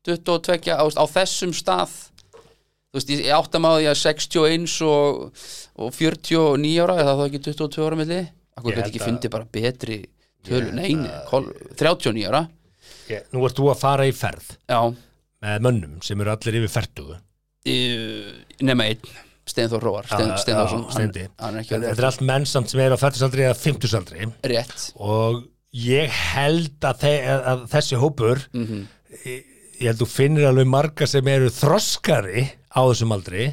[SPEAKER 2] 22 á, á þessum stað Þú veist, ég, ég áttam á því að 61 og, og 49 ára eða þá ekki 22 ára milli Akkur gæti
[SPEAKER 3] Ég held
[SPEAKER 2] ekki
[SPEAKER 3] að-
[SPEAKER 2] fundið bara betri tölu, neini, 39 ára
[SPEAKER 3] Ég- nú ert þú að fara í ferð
[SPEAKER 2] Já,
[SPEAKER 3] með mönnum sem eru allir yfir ferdugu
[SPEAKER 2] uh, nema einn Steinþór Róar, Stein,
[SPEAKER 3] Já,
[SPEAKER 2] Steinþórsson
[SPEAKER 3] já,
[SPEAKER 2] hann,
[SPEAKER 3] Steindi.
[SPEAKER 2] hann er ekki
[SPEAKER 3] þetta
[SPEAKER 2] orðið
[SPEAKER 3] er allt menn samt sem eru á ferðusaldri eða fimmtusaldri
[SPEAKER 2] rétt
[SPEAKER 3] og ég held að, þe að þessi hópur
[SPEAKER 2] Mhm.
[SPEAKER 3] ég, ég held þú finnir alveg marga sem eru þroskari á þessum aldri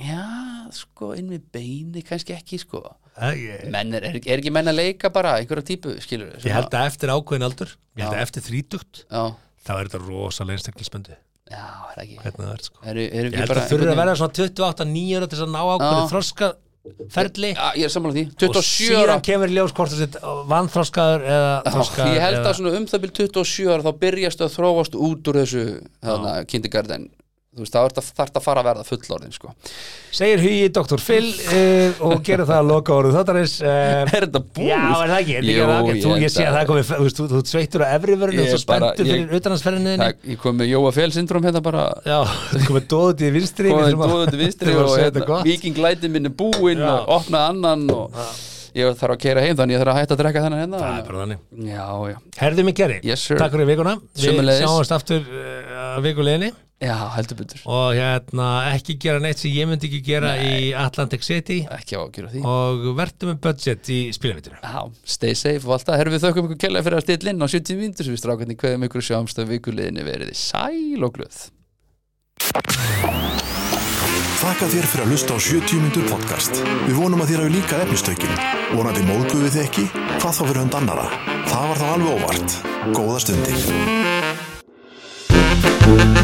[SPEAKER 2] Já, sko, inn við beini kannski ekki, sko
[SPEAKER 3] Eh, ég,
[SPEAKER 2] menn er, er, er ekki menn að leika bara einhverja típu, skilur
[SPEAKER 3] ég held að eftir ákveðin aldur ég held að eftir þrítugt
[SPEAKER 2] Já,
[SPEAKER 3] þá er þetta rosalega einstaklismöndi
[SPEAKER 2] já, er það ekki
[SPEAKER 3] hvernig það er sko
[SPEAKER 2] er, er
[SPEAKER 3] Ég held að þurfi að vera svona 28, 9 ára til þess að ná
[SPEAKER 2] Já.
[SPEAKER 3] ákveðin þroska ferli
[SPEAKER 2] Já, ég er sammála því,
[SPEAKER 3] og
[SPEAKER 2] 27 ára
[SPEAKER 3] síðan kemur í ljós hvort þessi vannþroskaður eða
[SPEAKER 2] Já,
[SPEAKER 3] þroskaður
[SPEAKER 2] Ég held
[SPEAKER 3] eða,
[SPEAKER 2] að svona um það byrjum 27 ára þá byrjast að þróast út úr þessu þarna, kindergarten þú veist, það þarf að fara að verða fullorðin, sko
[SPEAKER 3] segir hugi Dr. Phil uh, og gerir það að loka orðið þáttarins uh,
[SPEAKER 2] Er þetta búið?
[SPEAKER 3] Já, er það ekki, er ekki
[SPEAKER 2] Jú,
[SPEAKER 3] það ekki, þú
[SPEAKER 2] ég
[SPEAKER 3] ég sé að
[SPEAKER 2] held
[SPEAKER 3] það komið, þú veist, þú- þú ert sveittur á efri vörinu
[SPEAKER 2] Ég
[SPEAKER 3] og svo
[SPEAKER 2] bara-
[SPEAKER 3] spenntur
[SPEAKER 2] ég-
[SPEAKER 3] fyrir utanhansferðinni
[SPEAKER 2] Það- Ég kom með Jóa Fél syndrom hérna bara
[SPEAKER 3] Já, þú komið dóðut í vinstri við
[SPEAKER 2] komið
[SPEAKER 3] þurfum að-
[SPEAKER 2] dóðið vinstri
[SPEAKER 3] við þurfum að
[SPEAKER 2] og
[SPEAKER 3] segja þetta
[SPEAKER 2] hérna,
[SPEAKER 3] gott.
[SPEAKER 2] vikinglæti minn er búinn
[SPEAKER 3] Já.
[SPEAKER 2] og opnaði annan og ég þarf að keira heim þannig ég þarf að hætta að drekka þennan hérna
[SPEAKER 3] Það er bara þannig
[SPEAKER 2] Já, já,
[SPEAKER 3] Herðu mig Gerri,
[SPEAKER 2] Yes, sir.
[SPEAKER 3] takk fyrir vikuna Við
[SPEAKER 2] Sömuleiðis.
[SPEAKER 3] sjáumst aftur uh, að vikuleginni
[SPEAKER 2] já, heldur betur
[SPEAKER 3] og hérna, ekki gera neitt sem ég myndi ekki gera í Atlantic City
[SPEAKER 2] ekki á að gera því
[SPEAKER 3] og verðum með budget í spilavitinu
[SPEAKER 2] Já, stay safe og allt það. Herfum við þökkum ykkur kella fyrir að stilla inn á 70 vindur sem við strákarnir hverjum ykkur sjáumstöð vikuleginni veriði sæl og glöð.
[SPEAKER 1] Þakka þér fyrir að hlusta á 70 mínútur podcast. Við vonum að þér hafi líka efnistökin. Vonandi móðguðu þið ekki? Hvað þá fyrir hund annara? Það var þá alveg óvart. Góða stundir.